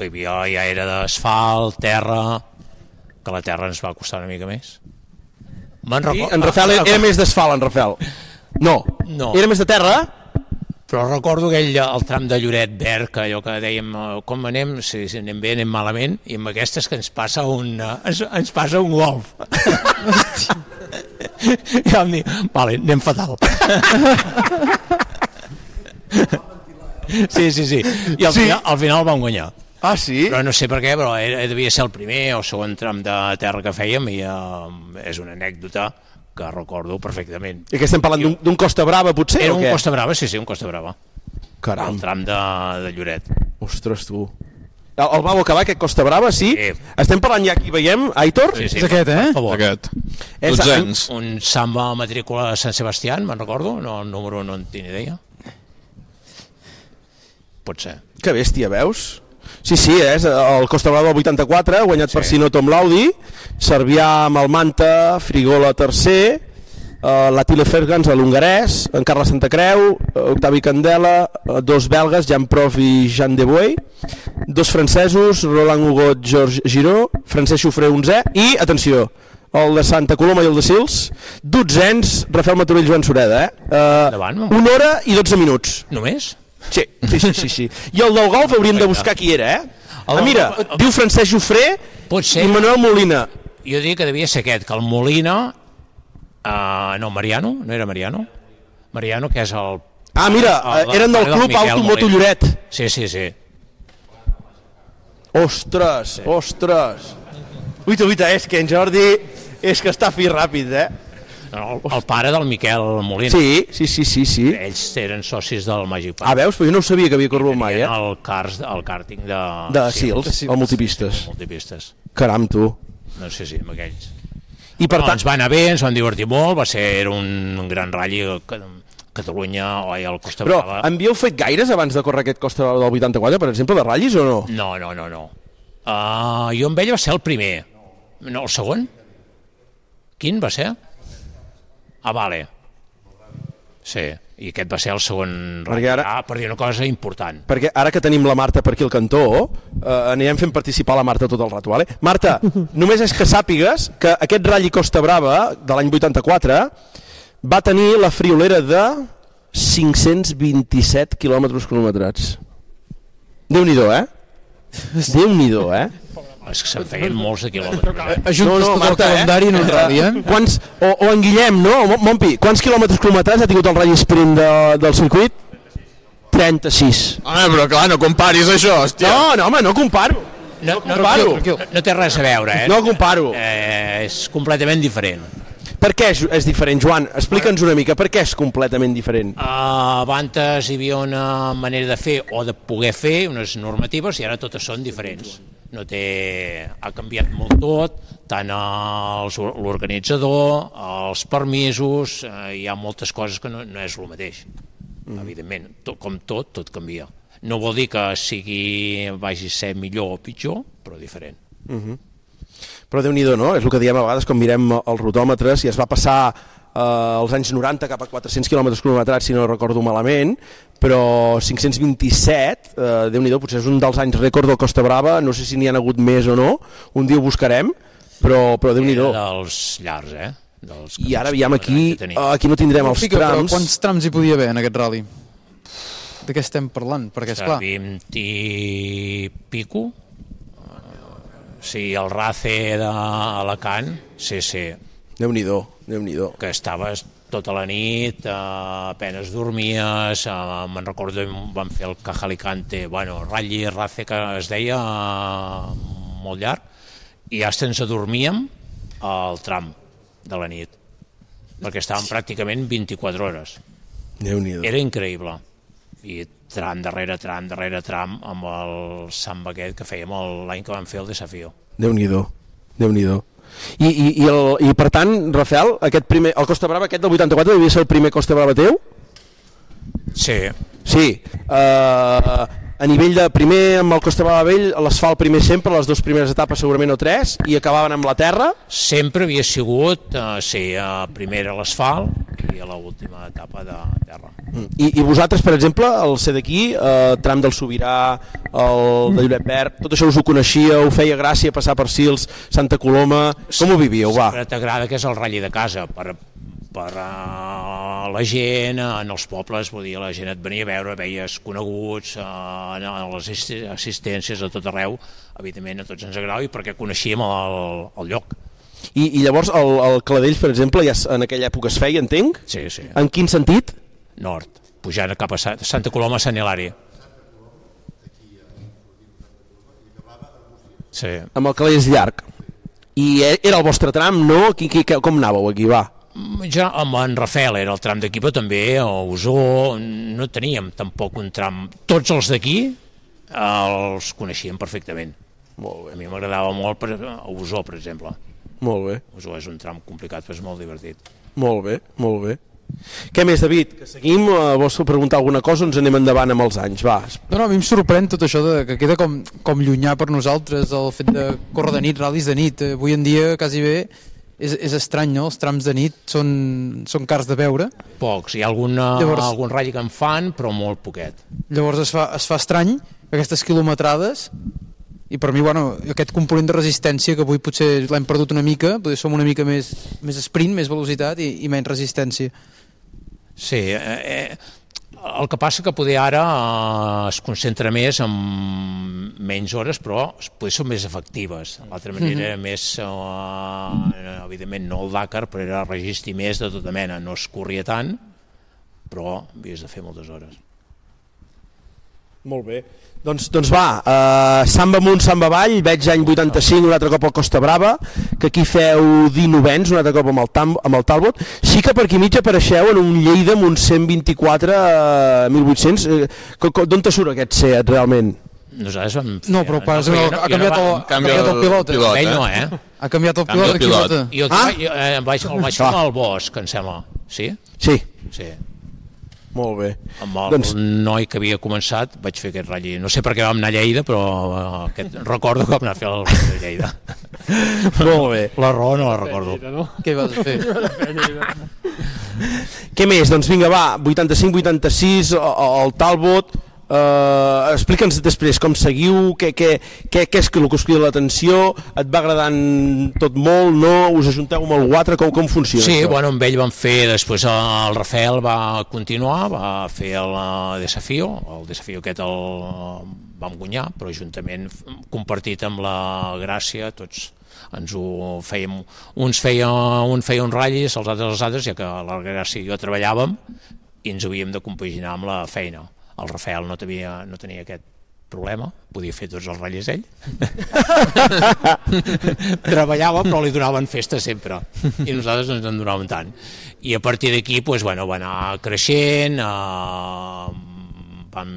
que hi havia, ja era d'asfalt, terra, que la terra ens va costar una mica més. Me'n Sí, recordo- en Rafel era, ah, era més d'asfalt, en Rafel. No. No. Era més de terra? Però recordo aquell, el tram de Lloret Verd, que allò que dèiem, eh, com anem, si, si anem bé, anem malament, i amb aquestes que ens passa un, eh, ens, ens passa un golf. I vam dir, vale, anem fatal. sí, sí, sí. I al, sí. Final, al final vam guanyar. Ah, sí? Però no sé per què, però era, devia ser el primer o segon tram de terra que fèiem i eh, és una anècdota que recordo perfectament. I que estem parlant d'un- d'un Costa Brava, potser? Era o un què? Costa Brava, sí, sí, un Costa Brava. Caram. El tram de, de Lloret. Ostres, tu. El, el vau acabar, aquest Costa Brava, sí? sí. Estem parlant ja aquí, veiem, Aitor? Sí, sí. És aquest, eh? Per favor. Aquest. És Dotzens. un, un samba matrícula de Sant Sebastià, me'n recordo, no, el número no en tinc idea. Pot ser. Que bèstia, veus? Sí, sí, eh? és el Costa Brava del 84, guanyat sí. per Sinoto amb l'Audi, Servià amb el Manta, Frigola tercer, eh, la Tile Fergans a l'Hongarès, en Carles Santa Creu, eh, Octavi Candela, eh, dos belgues, Jan Prof i Jean de Boy, dos francesos, Roland Hugot, George Giró, Francesc Xofré, 11 i, atenció, el de Santa Coloma i el de Sils, dotzens, Rafael Maturell, Joan Sureda, eh? eh una hora i 12 minuts. Només? Sí, sí, sí, sí, sí. I el del golf hauríem de buscar qui era, eh? Ah, mira, diu Francesc Jofré i Manuel Molina. Jo diria que devia ser aquest, que el Molina... Uh, no, Mariano? No era Mariano? Mariano, que és el... Ah, mira, eh, eren del pare Club Miquel Auto Molina. Moto Lloret. Sí, sí, sí. Ostres, sí. ostres. Uita, uita, és que en Jordi és que està fi ràpid, eh? El, el pare del Miquel Molina. Sí, sí, sí, sí. sí. Ells eren socis del Magic Park. Ah, veus? Però jo no ho sabia que havia corregut mai, eh? El, cars, el càrting de... De Sils, el multipistes. Multipistes. Caram, tu. No sé si amb aquells. I per tant... Ens va anar bé, ens vam divertir molt, va ser era un, un gran ratll que Catalunya, oi, al Costa Però Brava... en havíeu fet gaires abans de córrer aquest Costa Brava del 84, per exemple, de ratllis o no? No, no, no, no. Uh, jo amb ell va ser el primer. No, el segon? Quin va ser? Ah, vale. Sí, i aquest va ser el segon... Perquè ratll. ara- Ah, per dir una cosa important. Perquè ara que tenim la Marta per aquí al cantó, eh, anirem fent participar la Marta tot el rato, vale? Marta, només és que sàpigues que aquest Rally Costa Brava de l'any 84 va tenir la friolera de 527 quilòmetres cronometrats. Déu-n'hi-do, eh? Déu-n'hi-do, eh? És que se'n feien molts de quilòmetres. eh? eh? Quants, o, o en Guillem, no? O Mon- Monpi, quants quilòmetres cronometrats ha tingut el Rally Sprint de, del circuit? 36. Home, Ah, però clar, no comparis això, hòstia. No, no, home, no comparo. No, no, comparo. no, no té res a veure, eh? No comparo. Eh, és completament diferent. Per què és, és diferent, Joan? Eh? Explica'ns una mica, per què és completament diferent? Uh, abans hi havia una manera de fer o de poder fer unes normatives i ara totes són diferents. No té... Ha canviat molt tot, tant els- l'organitzador, els permisos, eh, hi ha moltes coses que no, no és el mateix. Mm. Evidentment, tot, com tot, tot canvia. No vol dir que sigui vagi a ser millor o pitjor, però diferent. Uh -huh. Però déu nhi no? És el que diem a vegades quan mirem els rotòmetres i es va passar eh, als anys 90 cap a 400 km cronometrats, si no recordo malament, però 527, eh, déu nhi potser és un dels anys rècord del Costa Brava, no sé si n'hi han hagut més o no, un dia ho buscarem, però, però déu nhi dels llargs, eh? Dels I ara aviam aquí, aquí no tindrem els Fica, Però trams. quants trams hi podia haver en aquest rally? De què estem parlant? Perquè, Està esclar, 20 i pico. Sí, el RACE d'Alacant, sí, sí. Déu-n'hi-do, déu nhi Que estaves tota la nit, eh, apenes dormies, eh, me'n recordo, vam fer el Cajalicante, bueno, Rally RACE, que es deia eh, molt llarg, i ja se'ns adormíem al tram de la nit, perquè estàvem pràcticament 24 hores. Déu-n'hi-do. Era increïble. I tram darrere tram darrere tram amb el samba aquest que fèiem el- l'any que vam fer el desafió. déu nhi déu nhi I, i, i, el, I per tant, Rafael, aquest primer, el Costa Brava aquest del 84 devia ser el primer Costa Brava teu? Sí. Sí. Uh, a nivell de primer, amb el Costa Brava vell, les fa el primer sempre, les dues primeres etapes segurament o tres, i acabaven amb la terra. Sempre havia sigut eh, ser a primera a l'asfalt i a l'última etapa de terra. I, i vosaltres, per exemple, el ser d'aquí, eh, tram del Sobirà, el de Lloret Verd, tot això us ho coneixia, ho feia gràcia passar per Sils, Santa Coloma... Com ho vivíeu, va? Però t'agrada que és el ratll de casa per, per a la gent, eh, en els pobles, vull dir, la gent et venia a veure, veies coneguts, eh, en en les assisti- assistències a tot arreu, evidentment a tots ens agrada i perquè coneixíem el, el lloc. I, i llavors el, el Cladell, per exemple, ja es- en aquella època es feia, entenc? Sí, sí. En quin sentit? Nord, pujant cap a Sa- Santa Coloma, Sant Hilari. Sí. Amb el Cladell és llarg. I e- era el vostre tram, no? Qui, qui, com anàveu aquí, va? Ja amb en Rafel era el tram d'aquí, però també a Osó no teníem tampoc un tram. Tots els d'aquí els coneixíem perfectament. Molt bé. A mi m'agradava molt per, a Osó, per exemple. Molt bé. Osó és un tram complicat, però és molt divertit. Molt bé, molt bé. Què més, David? Que seguim? Eh, Vols preguntar alguna cosa o ens anem endavant amb els anys? Va, No, no, a mi em sorprèn tot això de, que queda com, com llunyà per nosaltres el fet de córrer de nit, ral·lis de nit. Eh, Avui en dia, quasi bé, és, és estrany, no? Els trams de nit són, són cars de veure. Pocs. Hi ha alguna, Llavors- Llavors... algun ratll que en fan, però molt poquet. Llavors es fa, es fa estrany aquestes quilometrades i per mi, bueno, aquest component de resistència que avui potser l'hem perdut una mica, potser som una mica més, més sprint, més velocitat i, i menys resistència. Sí, eh, eh, el que passa que poder ara eh, es concentra més en menys hores, però es- poder són més efectives. L'altra manera era Mhm. més, eh, evidentment no el Dakar, però era registri més de tota mena. No es corria tant, però havies de fer moltes hores. Molt bé. Doncs, doncs va, uh, Samba amunt, Samba avall, veig any 85 un altre cop al Costa Brava, que aquí feu 19 un altre cop amb el, tam, amb el Talbot. Sí que per aquí mig apareixeu en un Lleida amb un 124 a 1.800. Eh, D'on te surt aquest set, realment? Nosaltres vam fer... No, però pare, jo no, ha jo canviat va- el- ha Canvia canviat el el pilot, eh? pilot, Ell eh? no, eh? Ha canviat el Canvia el pilot, pilot. pilota. I el, Ah? ah? jo, eh, em vaig, el vaig Clar. filmar al bosc, em sembla. Sí? Sí. Sí. Molt bé. Amb el doncs... Doncs- noi que havia començat vaig fer aquest ratll. No sé per què vam anar a Lleida, però eh, aquest, recordo que vam anar a fer el ratll de Lleida. Molt bé. La raó no la recordo. Què vas fer? Què més? Doncs vinga, va, 85-86, el Talbot... Uh, explica'ns després com seguiu, què, què, què, què és que el que us crida l'atenció, et va agradant tot molt, no? Us ajunteu amb el Guatre, com, com funciona? Sí, això? bueno, amb ell vam fer, després el Rafael va continuar, va fer el eh, desafío, el desafío aquest el eh, vam guanyar, però juntament f- compartit amb la Gràcia, tots ens ho fèiem, uns feia, un feia un ratllis, els altres els altres, ja que la Gràcia i jo treballàvem, i ens ho havíem de compaginar amb la feina. El Rafael no, tenia, no tenia aquest problema, podia fer tots els ratllis ell. Treballava, però li donaven festa sempre. I nosaltres no ens en donaven tant. I a partir d'aquí, doncs, bueno, va anar creixent, eh, vam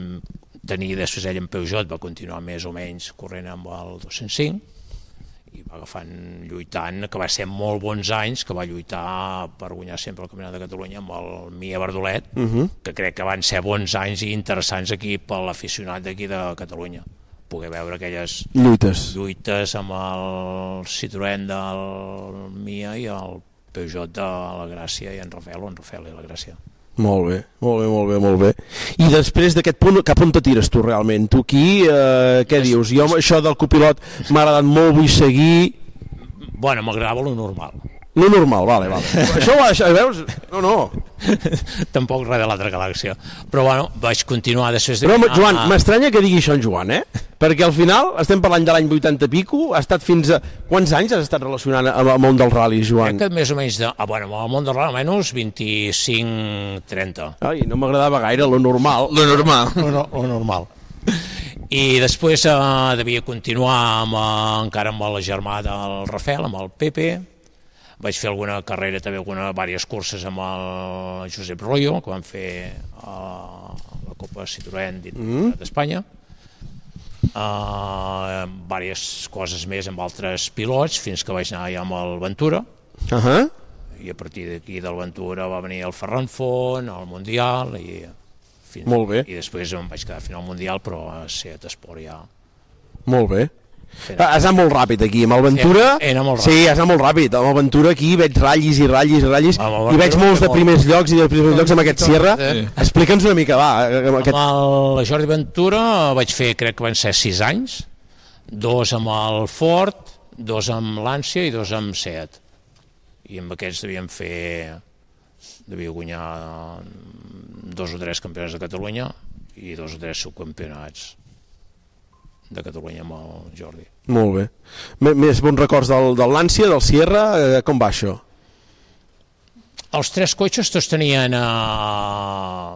tenir després ell en Peugeot, va continuar més o menys corrent amb el 205, i va agafant, lluitant, que va ser molt bons anys, que va lluitar per guanyar sempre el Campionat de Catalunya amb el Mia Bardolet, Mhm. que crec que van ser bons anys i interessants aquí per l'aficionat d'aquí de Catalunya poder veure aquelles Lluites. lluites amb el Citroën del Mia i el Peugeot de la Gràcia i en Rafael, o en Rafael i la Gràcia. Molt bé, molt bé, molt bé, molt bé. I després d'aquest punt, cap on te tires tu realment? Tu aquí, eh, què dius? Jo amb això del copilot m'ha agradat molt, vull seguir... Bueno, m'agradava lo normal. No normal, vale, vale. això, això, veus? No, no. Tampoc res de l'altra galàxia. Però bueno, vaig continuar després de... Però, Ah, Joan, m'estranya que digui això en Joan, eh? Perquè al final estem parlant de l'any 80 i pico, ha estat fins a... Quants anys has estat relacionant amb el món del rally, Joan? Crec que més o menys de... Ah, bueno, al món del rol almenys 25-30. Ai, no m'agradava gaire, lo normal. Lo normal. Lo, no, lo normal. I després eh, devia continuar amb, eh, encara amb la germà del Rafael, amb el Pepe. Vaig fer alguna carrera, també alguna, diverses curses amb el Josep Royo, que van fer eh, la Copa Citroën dit- Mm. d'Espanya. Uh, diverses coses més amb altres pilots, fins que vaig anar ja amb el Ventura, Uh -huh. i a partir d'aquí del Ventura va venir el Ferran Font, el Mundial i, fins, Molt bé. i després em vaig quedar a final Mundial però a Seat Esport ja Molt bé. Ah, Has anat molt ràpid aquí, amb el Ventura... He- he anat molt Sí, ràpid. has anat molt ràpid. Amb el Ventura aquí veig ratllis i ratllis i ratllis, Ah, i veig molts de primers llocs i de primers llocs amb aquest Sierra. Sí. Explica'ns una mica, va. eh, Amb aquest... Amb el Jordi Ventura vaig fer, crec que van ser 6 anys, dos amb el Ford, dos amb l'Ànsia i dos amb Seat. I amb aquests devíem fer... devia guanyar mm, dos o tres campionats de Catalunya i dos o tres subcampionats de Catalunya amb el Jordi. Molt bé. M Més bons records del, del Lancia, del Sierra, eh, com va això? Els tres cotxes tots tenien eh,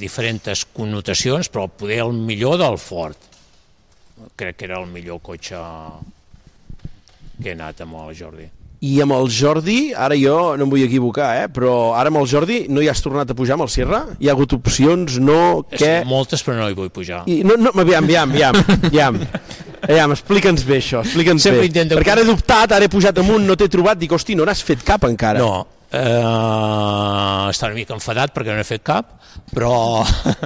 diferents connotacions, però poder el millor del Ford. Crec que era el millor cotxe que he anat amb el Jordi. I amb el Jordi, ara jo no em vull equivocar, eh? però ara amb el Jordi no hi has tornat a pujar amb el Sierra? Hi ha hagut opcions, no, És què? que moltes, però no hi vull pujar. I, no, no, aviam, aviam, aviam, aviam. Aviam, explica'ns bé això, explica'ns Sempre bé. intento- Perquè ara he dubtat, ara he pujat amunt, no t'he trobat, dic, hosti, no n'has fet cap encara. No, eh, està una mica enfadat perquè no he fet cap, però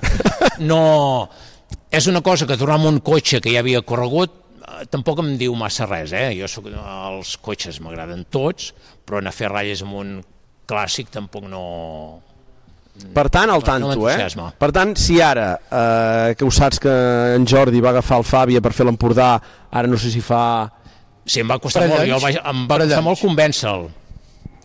no... És una cosa que tornar amb un cotxe que ja havia corregut eh, tampoc em diu massa res, eh? Jo soc, els cotxes m'agraden tots, però anar a fer ratlles amb un clàssic tampoc no... Per tant, al No, no tanto, eh? m'entusiasma. Per tant, si ara, eh, que ho saps que en Jordi va agafar el Fàbia per fer l'Empordà, ara no sé si fa... Sí, em va costar molt, jo vaig, em va costar molt convèncer-lo.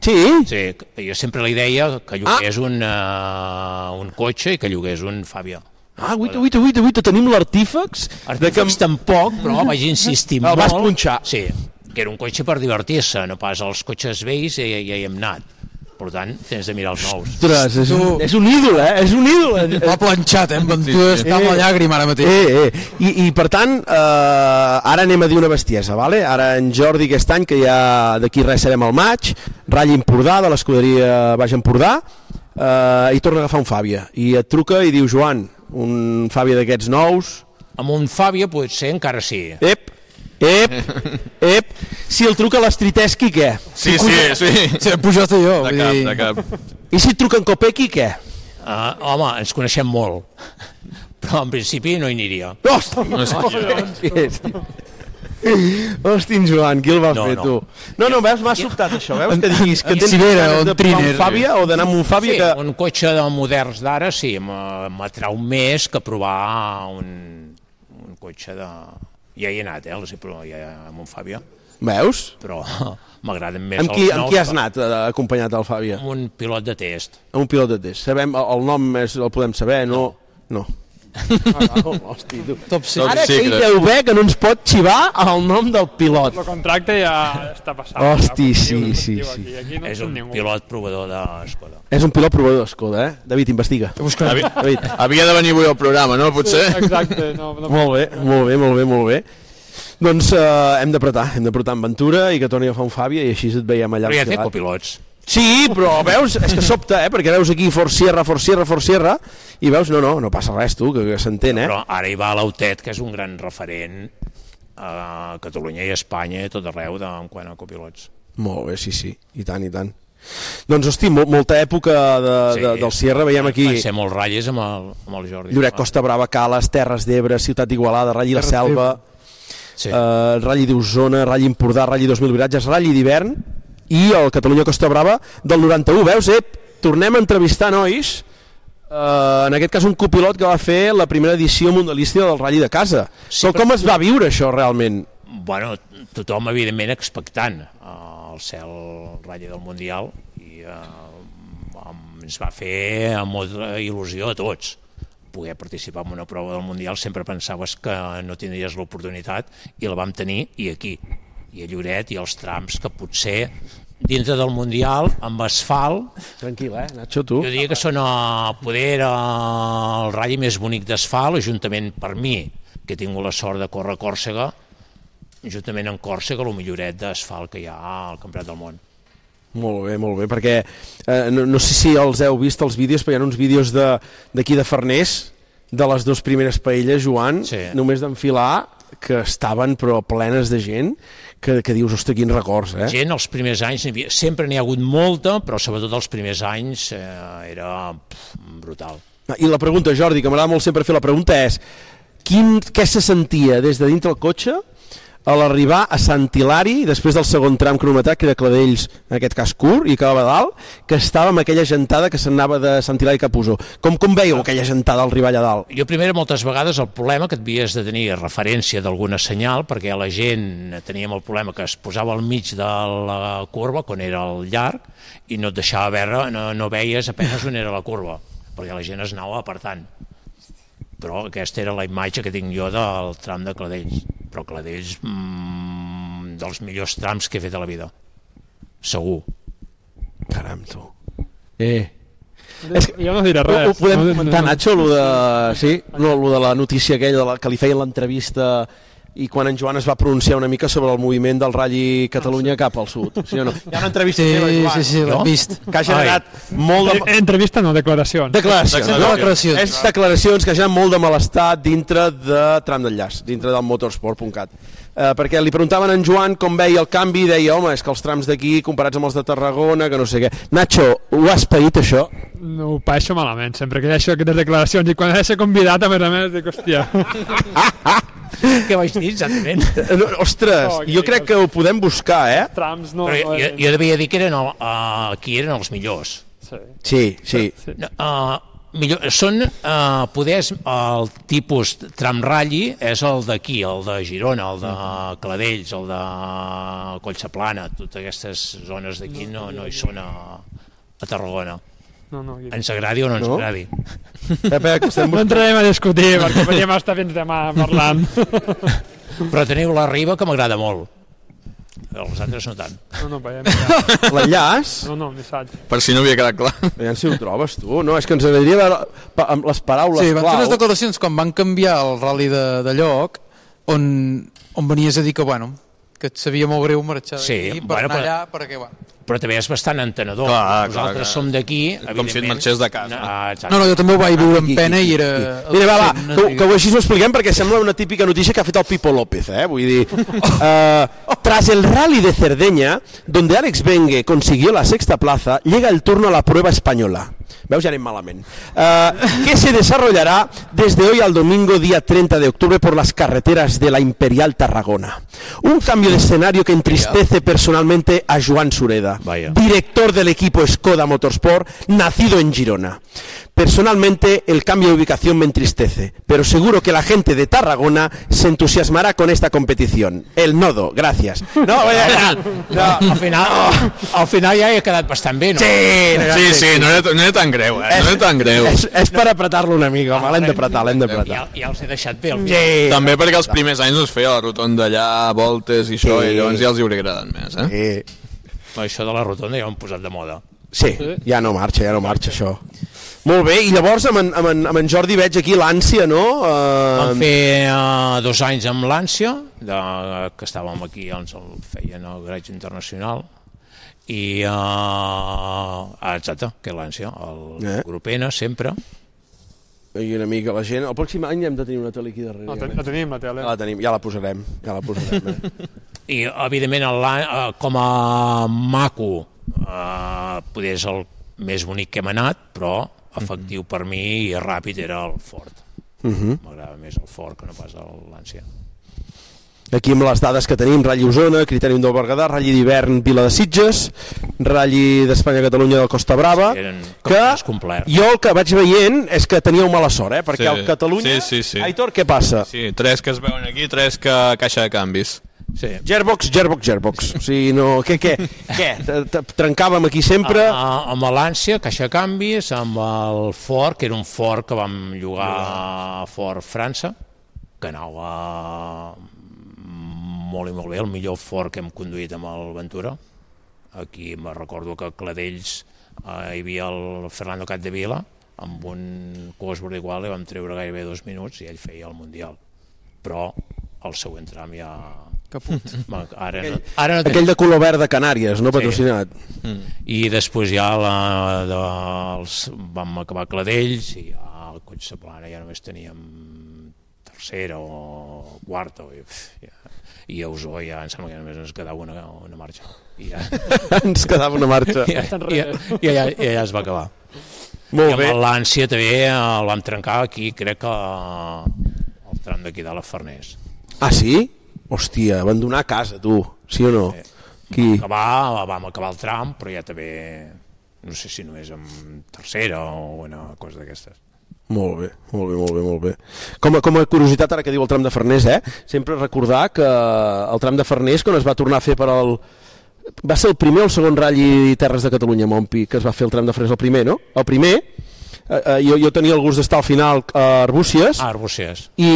Sí? Sí, jo sempre li deia que llogués ah. un, uh, un cotxe i que llogués un Fàbia. Ah, uita, uita, uita, uita, tenim l'artífex. Artífex que... tampoc, però vaig insistir El molt. vas punxar. Sí, que era un cotxe per divertir-se, no pas els cotxes vells ja, ja hi hem anat. Per tant, tens de mirar els nous. Ostres, és, un, és un ídol, eh? És un ídol. L'ha planxat, eh? En Ventura sí, sí. està amb la llàgrima ara mateix. Eh, eh. I, I, per tant, eh, ara anem a dir una bestiesa, vale? Ara en Jordi aquest any, que ja d'aquí res serem al maig, ratlla Empordà, de l'escuderia Baix Empordà, eh, i torna a agafar un Fàbia. I et truca i diu, Joan, un Fàbia d'aquests nous... Amb un Fàbia potser encara sí. Ep, ep, ep. Si el truca l'Estriteschi, què? Si Sí, sí, puja- sí. Si he pujat jo. De cap, de cap. Eh, I si et truca en Copec i què? Uh, home, ens coneixem molt, però en principi no hi aniria. Hosti, No sé qui Hosti, en Joan, qui el va No, no, fer, no. no. tu? No, no, veus, m'ha sobtat això, veus que diguis que En tens Sibera, ganes o de en provar un Triner. Fàbia o d'anar amb un Fàbia sí, que... un cotxe de moderns d'ara sí, m'ha- m'atrau més que provar un, un cotxe de... Ja hi he anat, eh, els he provat ja amb un Fàbia. Veus? Però m'agraden més Amb qui, els amb nous qui has que- anat eh, acompanyat del Fàbia? Amb un pilot de test. Amb un pilot de test. Sabem, el, el nom és, el podem saber, no? No. Hosti, tu. Top secret. Ara Top que ell secret. deu bé que no ens pot xivar el nom del pilot. El contracte ja està passant. Oh. Hosti, sí, sí, sí. Aquí, aquí no És som un ningú. pilot provador d'Escoda. És un pilot provador d'Escoda, eh? David, investiga. Havia, David. havia de venir avui al programa, no? Potser? Exacte, no, no. Molt bé, molt bé, molt bé, molt bé. Doncs eh, hem d'apretar, hem d'apretar amb Ventura i que torni a agafar un Fàbia i així et veiem allà. Però ja té obstigat. copilots. Sí, però veus, és que sobta, eh? Perquè veus aquí for sierra, for sierra, for sierra, i veus, no, no, no passa res, tu, que, que s'entén, eh? Però ara hi va l'Autet, que és un gran referent a Catalunya i a Espanya i a tot arreu de, en quant a copilots. Molt bé, sí, sí, i tant, i tant. Doncs, hosti, mo molta època de, de, del Sierra, veiem aquí Van ser molts ratlles amb el, amb el Jordi. Lloret Costa Brava, Cales, Terres d'Ebre, Ciutat d'Igualada, Ralli la Terres Selva, sí. eh, Ralli d'Osona, Ralli Empordà, Ralli 2000 viratges, Ralli d'hivern i el Catalunya Costa Brava del 91. Veus, Ep, tornem a entrevistar nois, eh, en aquest cas un copilot que va fer la primera edició mundialista del Ralli de casa. Sí, però com es va viure això realment? Bueno, tothom, evidentment, expectant eh, el cel ratlla del Mundial i eh, em- ens va fer molta il·lusió a tots poder participar en una prova del Mundial sempre pensaves que no tindries l'oportunitat i la vam tenir i aquí i a Lloret i als trams que potser dintre del Mundial amb asfalt Tranquil, eh, Nacho, tu? jo diria que són a poder a, el ratll més bonic d'asfalt, juntament per mi, que he tingut la sort de córrer a Còrsega, juntament amb Còrsega, el milloret d'asfalt que hi ha al Campionat del Món. Molt bé, molt bé, perquè eh, no, no sé si els heu vist els vídeos, però hi ha uns vídeos de- d'aquí de, de Farners, de les dues primeres paelles, Joan, sí. només d'enfilar, que estaven però plenes de gent, que, que dius, ostres, quins records, eh? Gent, els primers anys, n'hi havia, sempre n'hi ha hagut molta, però sobretot els primers anys eh, era pff, brutal. Ah, I la pregunta, Jordi, que m'agrada molt sempre fer la pregunta és quin, què se sentia des de dintre el cotxe a l'arribar a Sant Hilari, després del segon tram cronometrat, que era Cladells, en aquest cas curt, i acabava dalt, que estava amb aquella gentada que s'anava de Sant Hilari cap a Osor. Com, com veieu aquella gentada al arribar allà dalt? Jo primer, moltes vegades, el problema que et havies de tenir referència d'alguna senyal, perquè la gent teníem el problema que es posava al mig de la curva, quan era el llarg, i no et deixava veure, no, no veies apenas on era la curva, perquè la gent es anava apartant. Però aquesta era la imatge que tinc jo del tram de Cladells. Però Cladells, mm, dels millors trams que he fet a la vida. Segur. Caram, tu. Eh, Jo no diré Ho, res. ho podem no, comentar, Nacho, lo de, sí, no, lo de la notícia aquella de la, que li feien l'entrevista i quan en Joan es va pronunciar una mica sobre el moviment del Ah, Rally Catalunya cap al sud. Sí o no? Hi ha una entrevista Sí, teva, Joan, sí, sí, l'he no? vist. Que ha generat molt de... Eh, Entrevista no, declaració. Declaracions. no? Declaracions. És declaracions que ja han molt de malestar dintre de tram d'enllaç, dintre del motorsport.cat. Eh, perquè li preguntaven a en Joan com veia el canvi i deia, home, és que els trams d'aquí comparats amb els de Tarragona, que no sé què. Nacho, ho has paït això? No, ho paeixo malament, sempre que deixo aquestes declaracions i quan he de ser convidat, a més a més, dic, hòstia... Què vaig dir exactament? Eh, No, ostres, No, jo crec que ho podem buscar, eh? Trams No, eh, Però jo, jo, jo devia dir que eren el, uh, qui eren els millors. Sí, sí. sí. No, uh, millor, són uh, poders, el tipus tramralli és el d'aquí, el de Girona, el de Cladells, el de Collseplana, totes aquestes zones d'aquí no, no hi són a, a Tarragona. No, no, aquí... Ens agradi o no ens No? agradi. Pepe, No entrarem a discutir, perquè podríem estar fins demà Ah, parlant. Però teniu la Riba, que m'agrada molt. Els altres no tant. No, no, veiem. L'enllaç? No, no, missatge. Per si no havia quedat clar. Aviam si ho trobes, tu. No, és que ens agradaria veure pa- amb les paraules Sí, van fer clau. unes declaracions quan van canviar el rally de, de lloc on, on venies a dir que, bueno, que et sabia molt greu marxar Sí, d'aquí per bueno, anar però- allà, perquè, bueno... Però també és bastant entenedor. Clar, clar, Nosaltres clar. som d'aquí, Ah, Com si et marxés de casa. No, no, jo també ho vaig Ah, viure amb pena i era... Mira, va, va, que, que ho així ho expliquem perquè sembla una típica notícia que ha fet el Pipo López, eh? Vull dir, uh, tras el rally de Cerdeña, donde Alex Bengue consiguió la sexta plaza, llega el turno a la prueba española. Veus, ja anem malament. Uh, que se desarrollará desde hoy al domingo día 30 de octubre por las carreteras de la Imperial Tarragona. Un cambio de escenario que entristece personalmente a Joan Sureda, director del equipo Skoda Motorsport, nacido en Girona. Personalmente, el cambio de ubicación me entristece, pero seguro que la gente de Tarragona se entusiasmará con esta competición. El nodo, gracias. No, oye, No, al final, al final ja he quedat bastant bé, no? Sí, sí, no era, no era tan greu, eh? No era tan greu. és, és per apretar-lo una mica, home, l'hem d'apretar, l'hem d'apretar. Ja, ja els he deixat bé, al final. Sí. També perquè els primers anys es feia la rotonda allà, voltes i això, i llavors ja els hi hauria agradat més, eh? No, això de la rotonda ja ho han posat de moda. Sí, ja no marxa, ja no marxa això. Molt bé, i llavors amb en, amb en, amb en Jordi veig aquí l'ànsia, no? Uh, Vam fer uh, dos anys amb l'Ànsia, de, que estàvem aquí, ens el feien al Garatge Internacional, i uh, ah, exacte, que l'Ànsia, el eh? grup N, sempre. I una mica la gent... El pròxim any hem de tenir una tele aquí darrere. La, eh? ten la tenim, la tele. Ja la tenim, ja la posarem, ja la posarem. I, Eh? evidentment, el, eh, com a maco, eh, poder és el més bonic que hem anat, però efectiu per mi i ràpid era el fort. Mhm. M'agrada més el fort que no pas el- l'ànsia. Aquí amb les dades que tenim, Rally Osona, Criterium del Berguedà, Rally d'hivern Vila de Sitges, Rally d'Espanya-Catalunya del Costa Brava, Sí, eren que campionats complerts. jo el que vaig veient és que teníeu mala sort, eh? perquè sí. el Catalunya... Sí, sí, sí. Aitor, què passa? Sí, tres que es veuen aquí, tres que caixa de canvis. Sí. Gerbox, Gerbox, Gerbox. O sigui, no... Què, què? què? T- t- Trencàvem aquí sempre... A, a, amb l'ànsia, caixa de canvis, amb el fort, que era un fort que vam llogar a Fort França, que anava molt i molt bé, el millor fort que hem conduït amb el Ventura. Aquí me recordo que a Cladells eh, hi havia el Fernando Capdevila, amb un cos igual i vam treure gairebé dos minuts i ell feia el Mundial. Però el següent tram ja... Caput. Ara no, Aquell- ara no Mm. Aquell de color verd de Canàries, no patrocinat. i després ja la, de, els vam acabar Cladells i ja el Collsa Plana ja només teníem tercera o quarta o, ja, i a Osó ja em sembla que només ens quedava una, una marxa i ja, Ens quedava una marxa. i, ja, i, ja, i, ja, i ja es va acabar Molt I amb bé. l'ànsia també eh, el vam trencar aquí crec que eh, el tram d'aquí de la Farners Ah, sí? Hòstia, abandonar casa, tu. Sí o no? Qui? acabar, Ah, vam acabar el tram, però ja també, no sé si només amb tercera o una cosa d'aquestes. Molt bé, molt bé, molt bé, molt bé. Com a, com a curiositat, ara que diu el tram de Farners, eh? sempre recordar que el tram de Farners, quan es va tornar a fer per al... Va ser el primer o el segon ratll Terres de Catalunya, Montpi, que es va fer el tram de Farners, el primer, no? El primer, eh, eh, jo, jo tenia el gust d'estar al final a Arbúcies, Ah, Arbúcies. i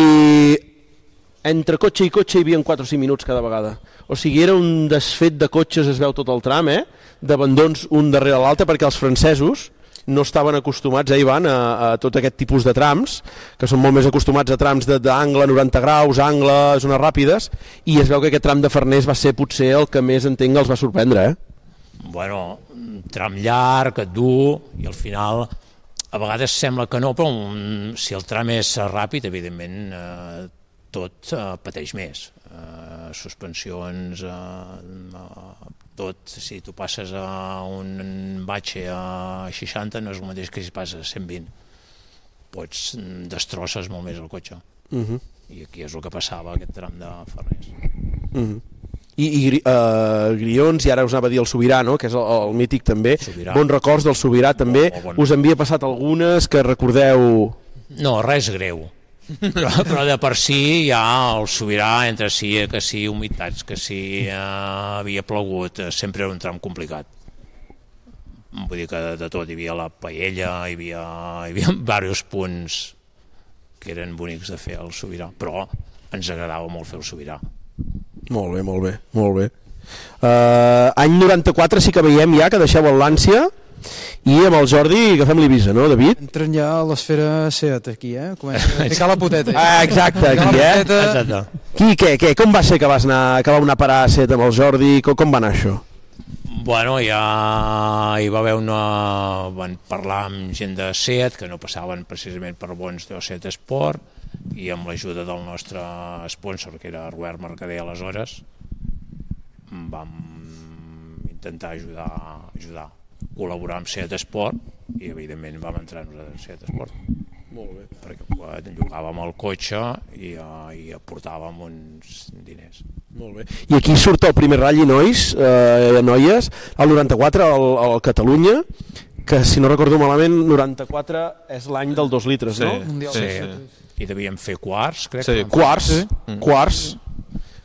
entre cotxe i cotxe hi havia 4 o 5 minuts cada vegada. O sigui, era un desfet de cotxes, es veu tot el tram, eh? d'abandons un darrere l'altre, perquè els francesos no estaven acostumats, eh, Ivan, a, a tot aquest tipus de trams, que són molt més acostumats a trams de- d'angle, 90 graus, angle, zones ràpides, i es veu que aquest tram de Farners va ser potser el que més, entenc, els va sorprendre, eh? bueno, un tram llarg, et du, i al final a vegades sembla que no, però un, si el tram és ràpid, evidentment eh, tot eh, pateix més. Eh, suspensions, eh, eh, tot, si tu passes a un batxe a 60 no és el mateix que si passes a 120. Pots mm, destrosses molt més el cotxe. Mhm. I aquí és el que passava aquest tram de Ferrers. Mm -hmm. I, i gri- eh, Grions, i ara us anava a dir el Sobirà, no? que és el, el mític també. Sobirà. Bons records del Sobirà també. molt bon. Us en havia passat algunes que recordeu... No, res greu. Però, però de per si ja el sobirà entre si eh, que si humitats, que si eh, havia plogut, eh, sempre era un tram complicat. Vull dir que de, de tot, hi havia la paella, hi havia, hi havia diversos punts que eren bonics de fer al sobirà, però ens agradava molt fer el sobirà. Molt bé, molt bé, molt bé. Uh, any 94 sí que veiem ja que deixeu el Lancia i amb el Jordi agafem l'Ibisa, no, David? Entren ja a l'esfera Seat aquí, eh? Comença a ficar la poteta. eh? Ah, exacte, Ficar la aquí, eh? poteta. Qui, què, què? Com va ser que, vas anar, que vau anar a parar a set amb el Jordi? Com, com va anar això? Bueno, ja hi va haver una... Van parlar amb gent de SEAT, que no passaven precisament per bons de SEAT Esport, i amb l'ajuda del nostre sponsor, que era Robert Mercader aleshores, vam intentar ajudar, ajudar col·laborar amb SEAT Esport, i evidentment vam entrar nosaltres a SEAT Esport. Molt bé. Perquè quan llogàvem el cotxe i, eh, i aportàvem uns diners. Molt bé. I aquí surt el primer ratll, nois, eh, noies, el 94, al al Catalunya, que si no recordo malament, 94 és l'any del 2 litres, Sí, no? sí. I devíem fer quarts, crec. Sí, quarts, Mm. sí. quarts.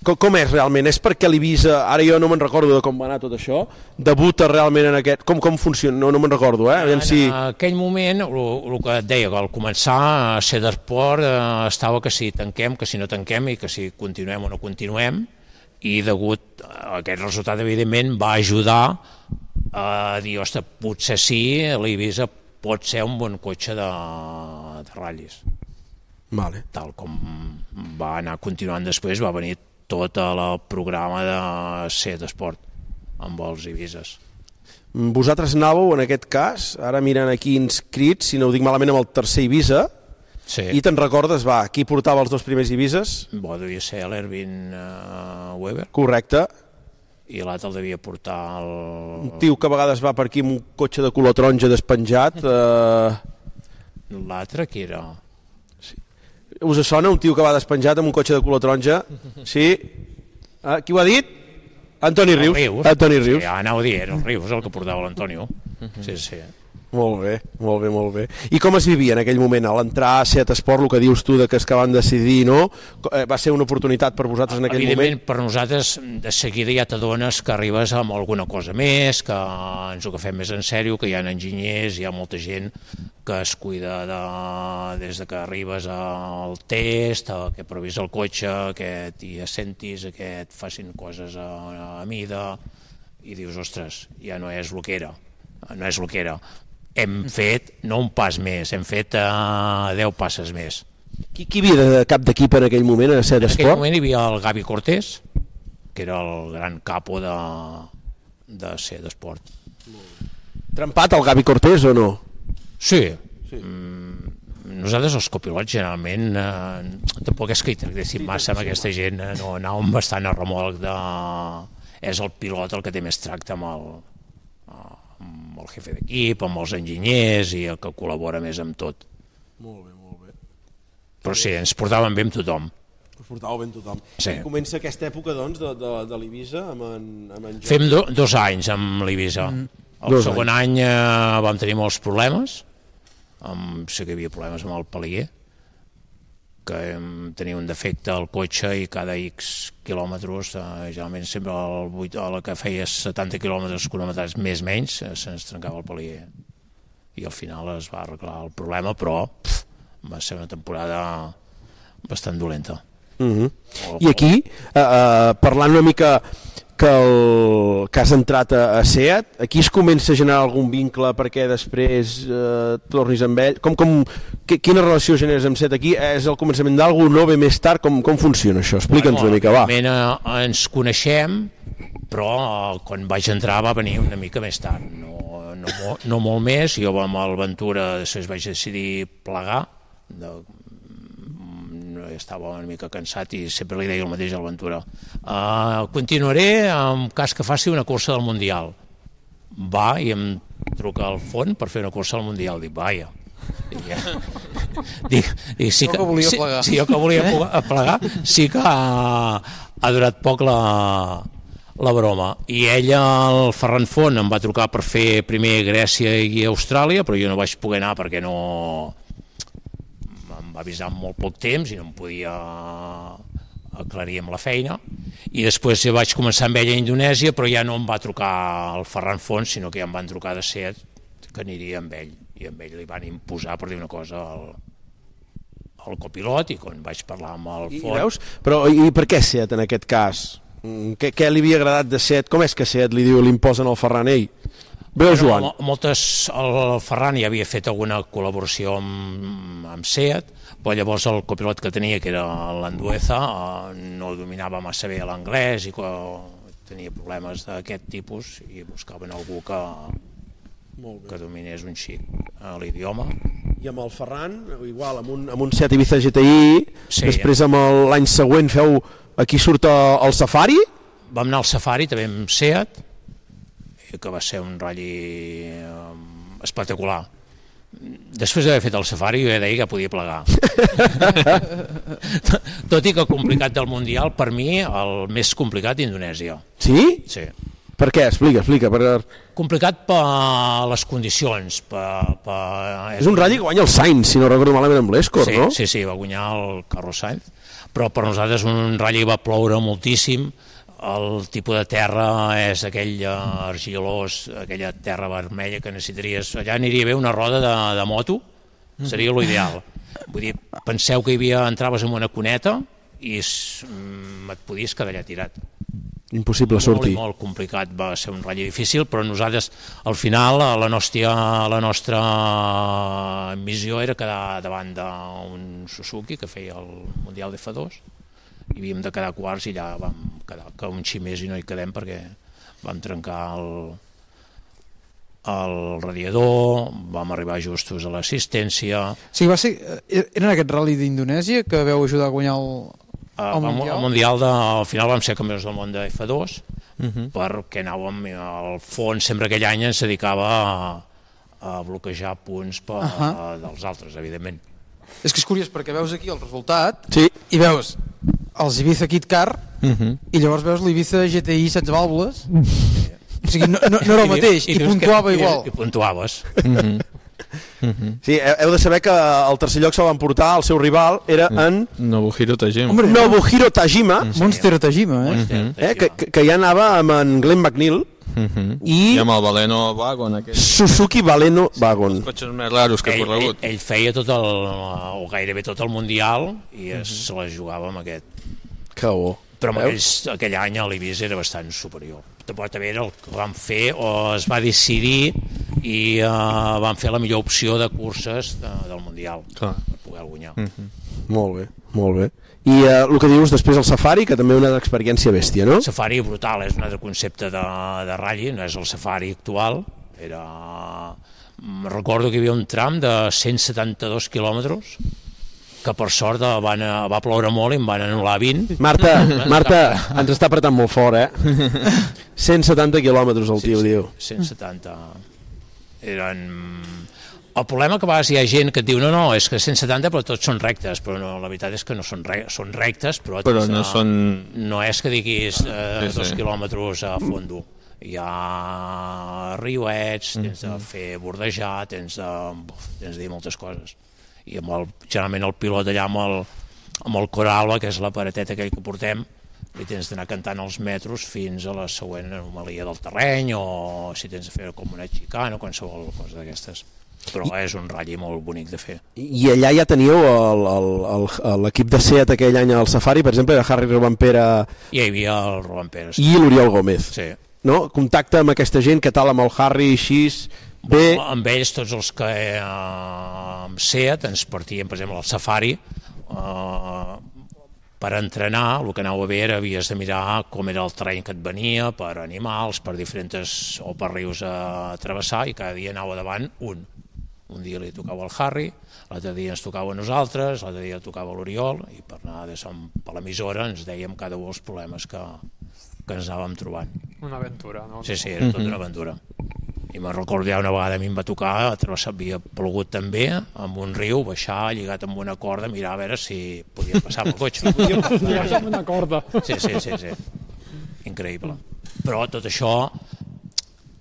Com, com és realment? És perquè l'Ibisa, ara jo no me'n recordo de com va anar tot això, debuta realment en aquest... Com, com funciona? No, no me'n recordo, eh? Aviam En si... aquell moment, el que et deia, que al començar a ser d'esport eh, estava que si tanquem, que si no tanquem i que si continuem o no continuem i degut a aquest resultat, evidentment, va ajudar a dir, ostres, potser sí, l'Ibisa pot ser un bon cotxe de, de ratllis. Vale. Tal com va anar continuant després, va venir tot el programa de ser d'esport amb els Ibises. Vosaltres anàveu, en aquest cas, ara mirant aquí inscrits, si no ho dic malament, amb el tercer Ibiza, sí. i te'n recordes, va, qui portava els dos primers Ibises? Bo, devia ser l'Ervin uh, Weber. Correcte. I l'altre el devia portar el... Un tio que a vegades va per aquí amb un cotxe de color taronja despenjat. Eh, L'altre qui era? us sona un tio que va despenjat amb un cotxe de color taronja? Sí. Eh, qui ho ha dit? Antoni El Rius. Antoni Rius. Sí, anava a dir, era el Rius el que portava l'Antonio. Sí, sí. Molt bé, molt bé, molt bé. I com es vivia en aquell moment, a l'entrar a Seat Esport, el que dius tu de que és que van decidir, no? Co- eh, Va ser una oportunitat per vosaltres en aquell Evidentment, moment? per nosaltres, de seguida ja t'adones que arribes amb alguna cosa més, que ens ho agafem més en sèrio, que hi ha enginyers, hi ha molta gent que es cuida de, des de que arribes al test, a que provis el cotxe, que t'hi assentis, a que et facin coses a, a mida, i dius, ostres, ja no és el que era, no és el que era. Hem fet, no un pas més, hem fet uh, 10 passes més. Qui, qui havia de cap d'equip en aquell moment a Seat En aquell Esport? moment hi havia el Gavi Cortés, que era el gran capo de, de ser d'esport. Trempat el Gavi Cortés o no? Sí. sí. Nosaltres, els copilots, generalment, eh, tampoc és que hi tractéssim massa amb aquesta gent, eh, no, anàvem bastant a remolc de... És el pilot el que té més tracte amb el, amb el jefe d'equip, amb els enginyers i el que col·labora més amb tot. Molt bé, molt bé. Però sí, ens portàvem bé amb tothom. Us portàveu ben tothom. Sí. I comença aquesta època, doncs, de, de, de l'Ibisa amb en, amb en Jordi. Fem do, dos anys amb l'Ibisa. Mm. Mm. El Dos dos segon anys. any eh, vam tenir molts problemes. Amb, sé que hi havia problemes amb el Palier, que em, tenia un defecte al cotxe i cada X quilòmetres, eh, generalment sempre el 8, a la que feies 70 quilòmetres cronometrats més menys, eh, se'ns trencava el Palier. I al final es va arreglar el problema, però pff, va ser una temporada bastant dolenta. Mhm. Uh -huh. I aquí, eh, eh, parlant una mica que, el, que has entrat a, a SEAT? Aquí es comença a generar algun vincle perquè després eh, tornis amb ell? Com, com, qui- quina relació generes amb SEAT aquí? És el començament d'algú no ve més tard? Com, com funciona això? Explica'ns una mica, va. Bueno, eh, ens coneixem, però eh, quan vaig entrar va venir una mica més tard, no, no, mo- no molt més. Jo amb el Ventura després vaig decidir plegar, de, no, estava una mica cansat i sempre li deia el mateix al Ventura. Uh, continuaré en cas que faci una cursa del Mundial. Va i em truca al fon per fer una cursa del Mundial. Dic, vaja, Dic, dic, sí Jo que, que volia sí, plegar. Sí, jo que volia Eh? eh? plegar, sí que ha, ha durat poc la, la broma. I ella, el Ferran Font, em va trucar per fer primer Grècia i Austràlia, però jo no vaig poder anar perquè no... Em va avisar amb molt poc temps i no em podia aclarir amb la feina. I després ja vaig començar amb ella a Indonèsia, però ja no em va trucar el Ferran Font, sinó que ja em van trucar de set que aniria amb ell. I amb ell li van imposar, per dir una cosa, el, el copilot i quan vaig parlar amb el I, i Font... veus? Però i per què SEAT en aquest cas? Mm, Què, què li havia agradat de SEAT? Com és que SEAT li diu, li imposen al Ferran? Ei, veus, Joan? Mo- Moltes, el Ferran ja havia fet alguna col·laboració amb, amb SEAT, però llavors el copilot que tenia, que era l'Andueza, eh, no dominava massa bé l'anglès i co- tenia problemes d'aquest tipus i buscaven algú que, que dominés un xic eh, l'idioma. I amb el Ferran, igual, amb un, amb un Seat Ibiza GTI, Sí. sí, després amb el- l'any següent feu, aquí surt eh, el, el Safari, vam anar al Safari també amb Seat i que va ser un ratlli eh, espectacular després d'haver fet el Safari jo ja deia que podia plegar tot i que complicat del Mundial per mi el més complicat d'Indonèsia sí? Sí. Per què? Explica, explica. Per... eh, complicat per les condicions per, per... És un ratll que guanya el Sainz, si no recordo malament amb l'Escor, sí, no? Sí, sí, va guanyar el Carlos Sainz, però per nosaltres un ratll va ploure moltíssim, el tipus de terra és aquell eh, argilós, aquella terra vermella que necessitaries, allà aniria bé una roda de, de moto, seria l'ideal. Vull dir, penseu que hi havia, entraves en una cuneta i es- mm, et podies quedar allà tirat Impossible sortir. molt, i molt complicat, va ser un ratll difícil, però nosaltres, al final, eh, la nostra, la nostra missió era quedar davant d'un Suzuki que feia el Mundial de F2, i havíem de quedar quarts i allà vam quedar que un xí més i no hi quedem perquè vam trencar el, el radiador, vam arribar justos a l'assistència, O sigui, va ser, eh, era en aquest rally d'Indonèsia que veu ajudar a guanyar el, el el, Mundial? el Eh, Mundial de, al final vam ser campions del món de F2 Mhm. perquè anàvem al fons sempre aquell any ens dedicava a, a bloquejar punts per, Ahà. dels altres, evidentment És que és curiós perquè veus aquí el resultat sí. i veus els Ibiza Kit Car Mhm. Mhm. i llavors veus l'Ibiza GTI 16 vàlvules o sigui, no, no, no era el I dius- mateix i, dius que- puntuava i- igual i puntuaves Mhm. Sí, he- heu de saber que el tercer lloc se l'emportar, el seu rival era en... Nobuhiro Tajima. Hombre, Nobuhiro Tajima. Monster Tajima, eh? eh que, que, que ja anava amb en Glenn McNeil, Mhm. I- I amb el Valeno Wagon, aquell. Suzuki Valeno Wagon. Cotxes més raros que he ell, corregut. ell, ell feia tot el, o gairebé tot el Mundial i es, se la jugava amb aquest Que bo. però amb Mhm. Veus? aquells, aquell any l'Ibis era bastant superior però també era el que van fer o es va decidir i uh, van fer la millor opció de curses de, del Mundial Clar. per poder guanyar mm -hmm. Mhm. Molt bé, molt bé. I eh, el que dius després el Safari, que també una experiència bèstia, no? safari brutal, és un altre concepte de, de rally, no és el safari actual, era... mm, Recordo que hi havia un tram de 172 quilòmetres que per sort eh, van, eh, va ploure molt i em van anul·lar 20. Marta, Eh, Marta, ens està apretant molt fort, eh? 170 quilòmetres el tio, diu. 170 eren... El problema que a vegades hi ha gent que et diu no, no, és que 170 però tots són rectes, però no, la veritat és que no són, re són rectes, però, Però tens, no eh, són- no és que diguis eh, Sí, sí. dos quilòmetres a fondo. Hi ha riuets, Mm. tens de fer bordejar, tens de, buf, tens de dir moltes coses. I amb el, generalment el pilot allà amb el, amb el coralba, que és la pareteta aquell que portem, li tens d'anar cantant els metros fins a la següent anomalia del terreny o si tens de fer com una xicana o qualsevol cosa d'aquestes. però és un ratll molt bonic de fer. I allà ja teníeu el- el- el- l'equip de SEAT aquell any al Safari, per exemple, era Harry Robampera Hi havia el Roban Pérez. i l'Oriol Gómez. Sí. No? Contacte amb aquesta gent, què tal amb el Harry, així... Bé, Bé. Amb ells, tots els que eh, amb SEAT ens partien, per exemple, al safari, eh, per entrenar, el que anava a veure havies de mirar com era el terreny que et venia, per animals, per diferents o per rius a travessar, i cada dia anava davant un. Un dia li tocava al Harry, l'altre dia ens tocava a nosaltres, l'altre dia tocava a l'Oriol, i per anar de som per l'emissora ens dèiem cada un els problemes que, que ens anàvem trobant. Una aventura, no? Sí, sí, era tota una aventura. I me'n recordo ja una vegada a mi em va tocar, travessar, havia plogut també, amb un riu, baixar, lligat amb una corda, mirar a veure si podia passar amb el cotxe. Podia passar amb una corda. Sí, sí, sí, sí. Increïble. Però tot això,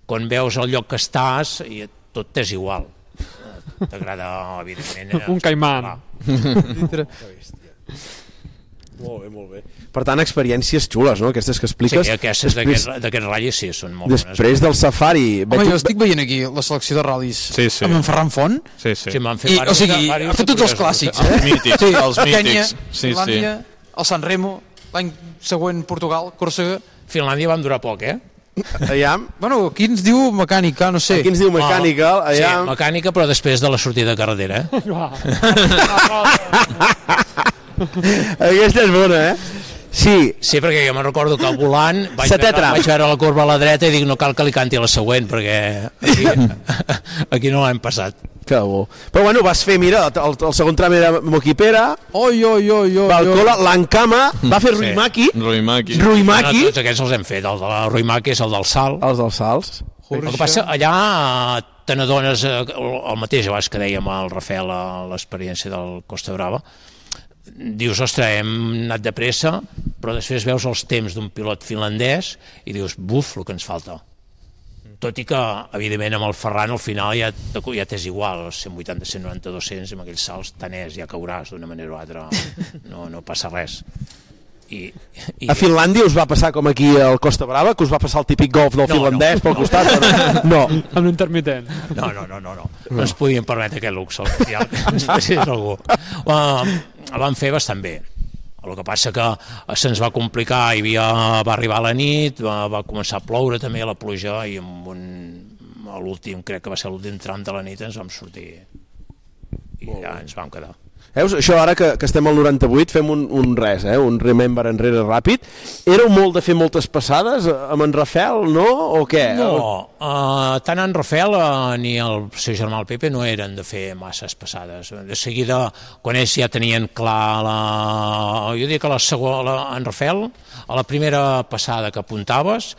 quan veus el lloc que estàs, i tot t'és igual. T'agrada, evidentment... eh, Un caimant. parlar. Molt bé, molt bé. Per tant, experiències xules, no? Aquestes que expliques. Sí, aquestes Després- d'aquest d'aquest ratll sí, són molt bones. eh? Després del safari... Home, jo estic veient aquí la selecció de ral·lis sí, sí. amb en Ferran Font. Sí, sí. Sí, m'han I, o sigui, ha fet tots els clàssics, eh? Els mítics, Sí, els Kenya, mítics. Sí, sí. Finlàndia, el San Remo, l'any següent Portugal, Còrsega... Finlàndia van durar poc, eh? Aviam. Bueno, aquí ens diu mecànica, no sé. Aquí ens diu mecànica, Ah, Sí, mecànica, però després de la sortida de carretera, eh? Aquesta és bona, eh? Sí. Sí, perquè jo me'n recordo que volant vaig Setè veure, tram. vaig veure la curva a la dreta i dic no cal que li canti la següent perquè aquí, aquí no l'hem passat. Que bo. Però bueno, vas fer, mira, el, el segon tram era Moquipera, oi, oi, oi, oi, Balcola, l'Ancama, va fer Sí. Ruimaki, Ruimaki. Ruimaki. No, tots aquests els hem fet, el de la Ruimaki és el del salt. Els dels salts. El que passa, allà eh, te n'adones, eh, el el mateix abans que dèiem al Rafael a l'experiència del Costa Brava, dius, ostres, hem anat de pressa, però després veus els temps d'un pilot finlandès i dius, buf, el que ens falta. Tot i que, evidentment, amb el Ferran al final ja, t'acu- ja t'és igual, els 180, 190, 200, amb aquells salts tant és, ja cauràs d'una manera o altra, no, no passa res. I, i A Finlàndia us va passar com aquí al Costa Brava, que us va passar el típic golf del No, finlandès no. pel costat? o No. no. Amb l'intermitent. No, no, no, no, no. No ens podíem permetre aquest luxe, al final, que ens passés algú. Uh, el van fer bastant bé. El que passa que se'ns va complicar, hi havia, va arribar la nit, va, va començar a ploure també la pluja i amb un, a l'últim, crec que va ser l'últim tram de la nit, ens vam sortir i ja ens vam quedar. Veus, això ara que, que estem al 98 fem un, un res, eh? un remember enrere ràpid. Éreu molt de fer moltes passades eh, amb en Rafel, no? O què? No, uh, tant en Rafael uh, ni el seu germà el Pepe no eren de fer masses passades. De seguida, quan ells ja tenien clar la... Jo diria que la segona, la, en Rafael, a la primera passada que apuntaves,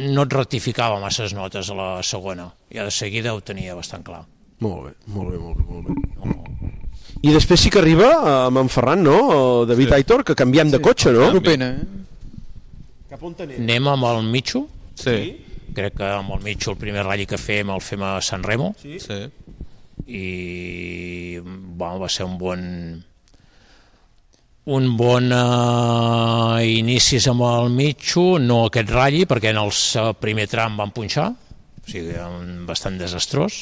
no et rectificava masses notes a la segona. Ja de seguida ho tenia bastant clar. Molt bé, molt bé, molt bé. Molt bé. I després sí que arriba eh, amb en Ferran, no? O David sí. Aitor, que canviem de cotxe, no? No pena, eh? Anem amb el Mitxo? Sí. Crec que amb el Mitxo el primer ratll que fem el fem a San Remo. Sí. sí. i bueno, va ser un bon un bon uh, inicis amb el Mitxo, no aquest ratll, perquè en el se- primer tram van punxar, o sigui, um, bastant desastrós,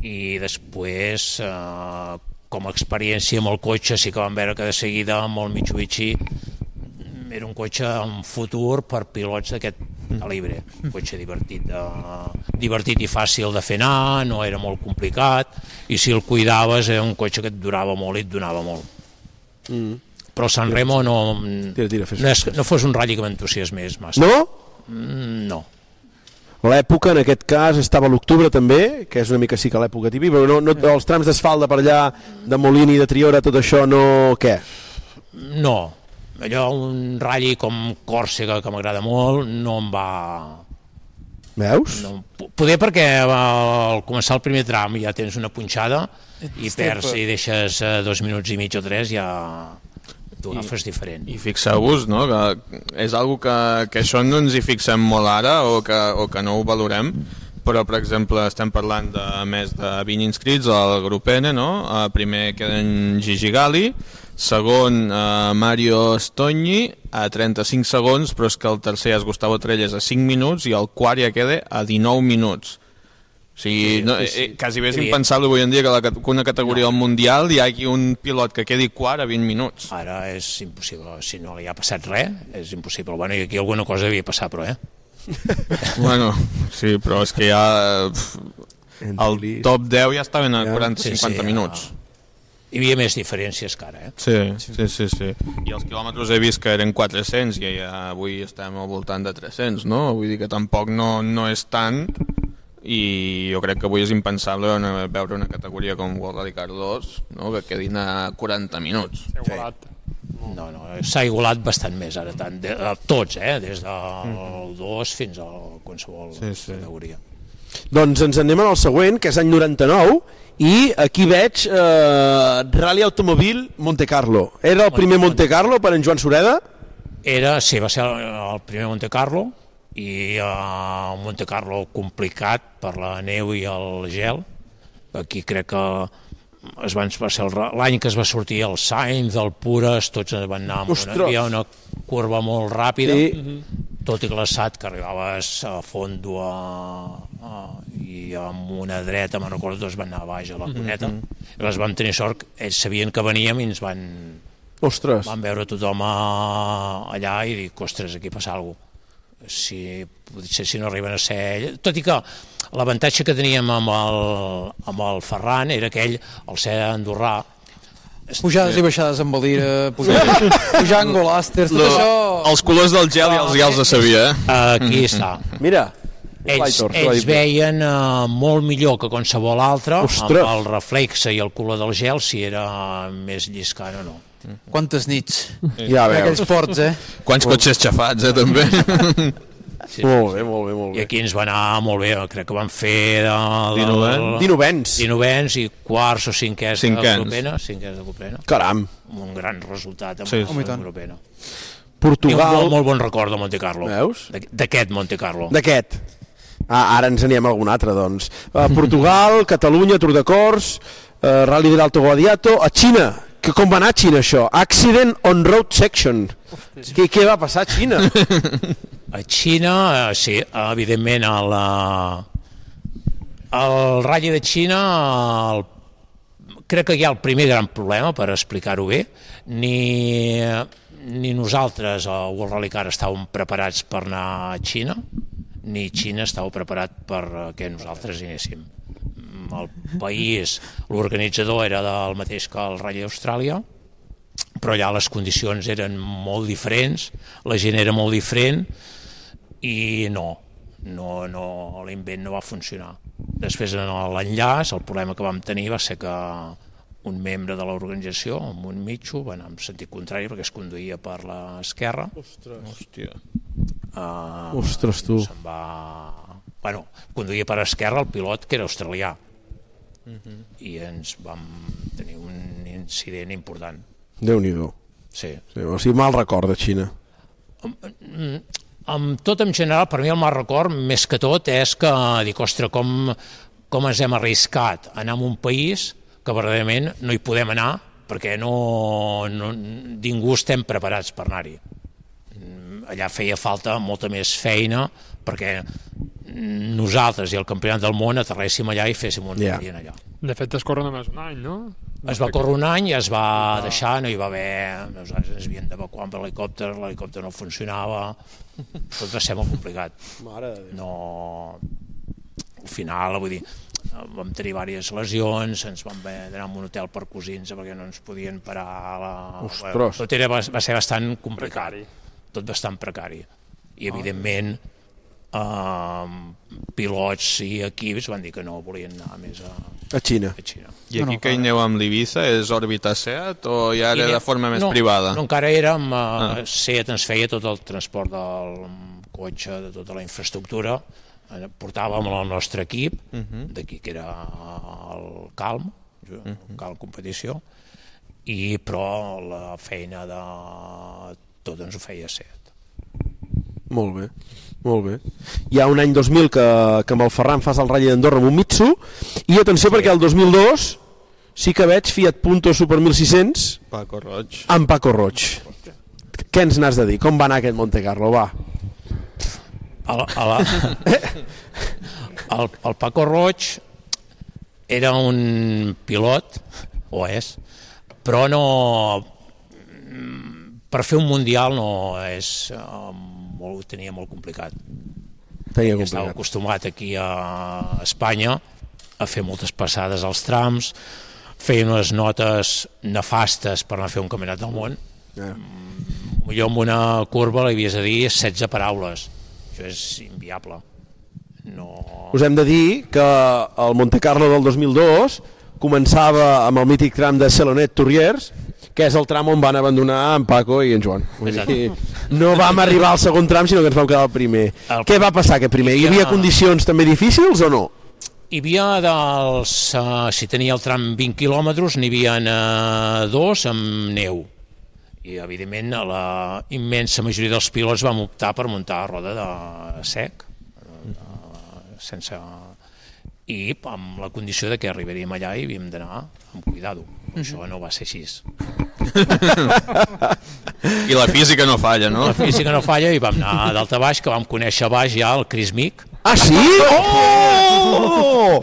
i després, uh, com a experiència amb el cotxe, sí que vam veure que de seguida amb el Mitsubishi mm, era un cotxe amb futur per pilots d'aquest calibre, un cotxe divertit, eh, de, divertit i fàcil de fer anar, no era molt complicat, i si el cuidaves era un cotxe que et durava molt i et donava molt Mm. però el San Remo no, Tira, tira, fes, no, és, no fos un ratll que m'entusiasmés massa. No? Mm, No. L'època, en aquest cas, estava a l'octubre també, que és una mica sí que l'època típica, però no, no, els trams d'asfalt de per allà, de Molini, de Triora, tot això, no... què? No. Allò, un ratll com Còrsega, que m'agrada molt, no em va... Veus? No, po- poder perquè eh, al començar el primer tram ja tens una punxada i Estepa. perds i deixes eh, dos minuts i mig o tres ja t'ho agafes diferent. I fixeu-vos, no?, que és algo que, que això no ens hi fixem molt ara o que, o que no ho valorem, però, per exemple, estem parlant de més de 20 inscrits al grup N, no? Eh, primer queden Gigi Gali, segon eh, Mario Stogni a 35 segons, però és que el tercer és Gustavo Trelles a 5 minuts i el quart ja queda a 19 minuts. O sigui, no, sí, sí. eh, quasi bé és Sí. impensable avui en dia que, la, cat- que una categoria no. mundial hi hagi un pilot que quedi quart a 20 minuts. Ara és impossible, si no li ha passat res, és impossible. Bueno, i aquí alguna cosa havia passat, però, eh? Bueno, sí, però és que ja... eh, pf, El top 10 ja estaven a 40-50 minuts. Hi havia més diferències que ara, eh? Sí, sí, sí, sí. I els quilòmetres he vist que eren 400 i ja avui estem al voltant de 300, no? Vull dir que tampoc no, no és tant i jo crec que avui és impensable una, veure una categoria com World Radical 2 no? que quedin a 40 minuts. Sí. No, no, s'ha igualat bastant més ara, tant de, a tots, eh? Des del 2 fins a qualsevol sí, sí. categoria. Doncs ens anem al següent, que és any 99, i aquí veig eh, Rally Automobil Monte Carlo. Era el primer Monte Carlo per en Joan Sureda? Era, sí, va ser el, el primer Monte Carlo i eh, un Monte Carlo complicat per la neu i el gel. Aquí crec que es van, va ser el ra- l'any que es va sortir el Sainz, el Pures, tots van anar amb una, Ostres! hi ha una curva molt ràpida, Sí. sí. tot i glaçat que arribaves a fondo a, a, i amb una dreta, me'n recordo, tots van anar baix a la Mhm. cuneta. Mm -hmm. Les vam tenir sort, ells sabien que veníem i ens van, Ostres. Van veure tothom a, allà i dic, ostres, aquí passa alguna cosa. Si, potser si no arriben a ser ell... Tot i que l'avantatge que teníem amb el, amb el Ferran era que ell, al ser andorrà... Pujades i baixades amb Valira, pujades, pujant golàsters, tot això... Els colors del gel i els gels de sabia, eh? Aquí està. Mira, Ells, Flytor, ells Flytor. veien uh, molt millor que qualsevol altre Ostres. amb el reflexe i el color del gel si era més lliscant o no. Quantes nits. Eh, Ja veus. Aquells ports, eh? Quants cotxes xafats, eh, també. Sí, Molt bé, molt bé, molt bé. I aquí ens va anar molt bé, crec que van fer... De, de, Dinovens. Dinovens. Dinovens i quarts o cinquers, de Cinquens. Copena. Cinquens de Copena. Caram. Un gran resultat amb Sí, sí, sí. Home, i la tant. Copena. Portugal. I un molt, molt bon record de Monte Carlo. Veus? D'aqu- D'aquest Monte Carlo. D'aquest. Ah, ara ens anem a algun altre, doncs. A Portugal, Catalunya, Tour de Cors, eh, Rally de l'Alto Guadiato, a Xina. Que com va anar a Xina, això? Accident on road section. Què, què va passar a Xina? A Xina, eh, sí, evidentment, a la... el Rally de Xina, el... crec que hi ha el primer gran problema, per explicar-ho bé, ni, ni nosaltres a World Rally Car estàvem preparats per anar a Xina, ni Xina estava preparat per eh, que nosaltres anéssim. Mm, El país, l'organitzador era del mateix que el Rally d'Austràlia, però allà les condicions eren molt diferents, la gent era molt diferent i no, no, no l'invent no va funcionar. Després en l'enllaç el problema que vam tenir va ser que un membre de l'organització, amb un mitjo, va anar en sentit contrari perquè es conduïa per l'esquerra. Ostres. Hòstia. Uh, Ostres, tu. Se'n va... Bueno, conduïa per esquerra el pilot que era australià Mhm. i ens vam tenir un incident important. Déu-n'hi-do. Sí. sí. O sigui, mal record de Xina. Mm, amb tot en general, per mi el mal record, més que tot, és que dic, ostres, com, com ens hem arriscat a anar a un país que verdaderament no hi podem anar perquè no, no, ningú estem preparats per anar-hi. Mm, Allà feia falta molta més feina perquè mm, nosaltres i el campionat del món aterréssim allà i féssim un yeah. dia allà. De fet, es corre només un any, no? Es va córrer un any i es Ah. va deixar, no hi va haver... Nosaltres ens havien d'evacuar amb l'helicòpter, l'helicòpter no funcionava, tot va ser molt complicat. Mare de No... Al final, vull dir, vam tenir diverses lesions, ens vam haver d'anar a un hotel per cosins perquè no ens podien parar... a La... Ostres. Ah, Bueno, Tot era, va, va ser bastant complicat. Precari. Tot bastant precari. I, evidentment, eh, pilots i equips van dir que no volien anar més a... A Xina. A Xina. I aquí que hi aneu amb l'Ibiza és òrbita SEAT o ja I era de anem- forma més no, privada? No, encara érem, eh, ah. Ah. SEAT ens feia tot el transport del cotxe, de tota la infraestructura, eh, portàvem el nostre equip, Mhm. d'aquí que era el Calm, el Mhm. Calm Competició, i però la feina de tot ens ho feia SEAT. Molt bé, molt bé. Hi ha un any 2000 que, que amb el Ferran fas el Rally d'Andorra amb un Mitsu, i atenció sí. perquè el 2002 sí que veig Fiat Punto Super 1600 Paco Roig. amb Paco Roig. Què ens n'has de dir? Com va anar aquest Monte Carlo? Va. A la, a la... el, el Paco Roig era un pilot, o és, però no... Per fer un mundial no és... eh, molt, ho tenia molt complicat. Tenia complicat. Estava acostumat aquí a Espanya a fer moltes passades als trams, feia unes notes nefastes per anar a fer un campionat del món. Ja. Millor amb una curva li havies de dir 16 paraules. Això és inviable. Us hem de dir que el Monte Carlo del 2002 començava amb el mític tram de Celonet Torriers, que és el tram on van abandonar en Paco i en Joan. Vull dir, no vam arribar al segon tram, sinó que ens vam quedar al primer. El... Què va passar aquest primer? Hi havia Ja. condicions també difícils o no? Hi havia dels... Uh, si tenia el tram 20 quilòmetres, n'hi havia uh, dos amb neu. I, evidentment, a la immensa majoria dels pilots vam optar per muntar a roda de sec, eh, de, sense... I amb la condició de que arribaríem allà i havíem d'anar amb cuidado. Això no va ser així. I la física no falla, no? La física no falla i vam anar d'alta a baix, que vam conèixer a baix ja el Chris Mick. Ah, sí? Oh!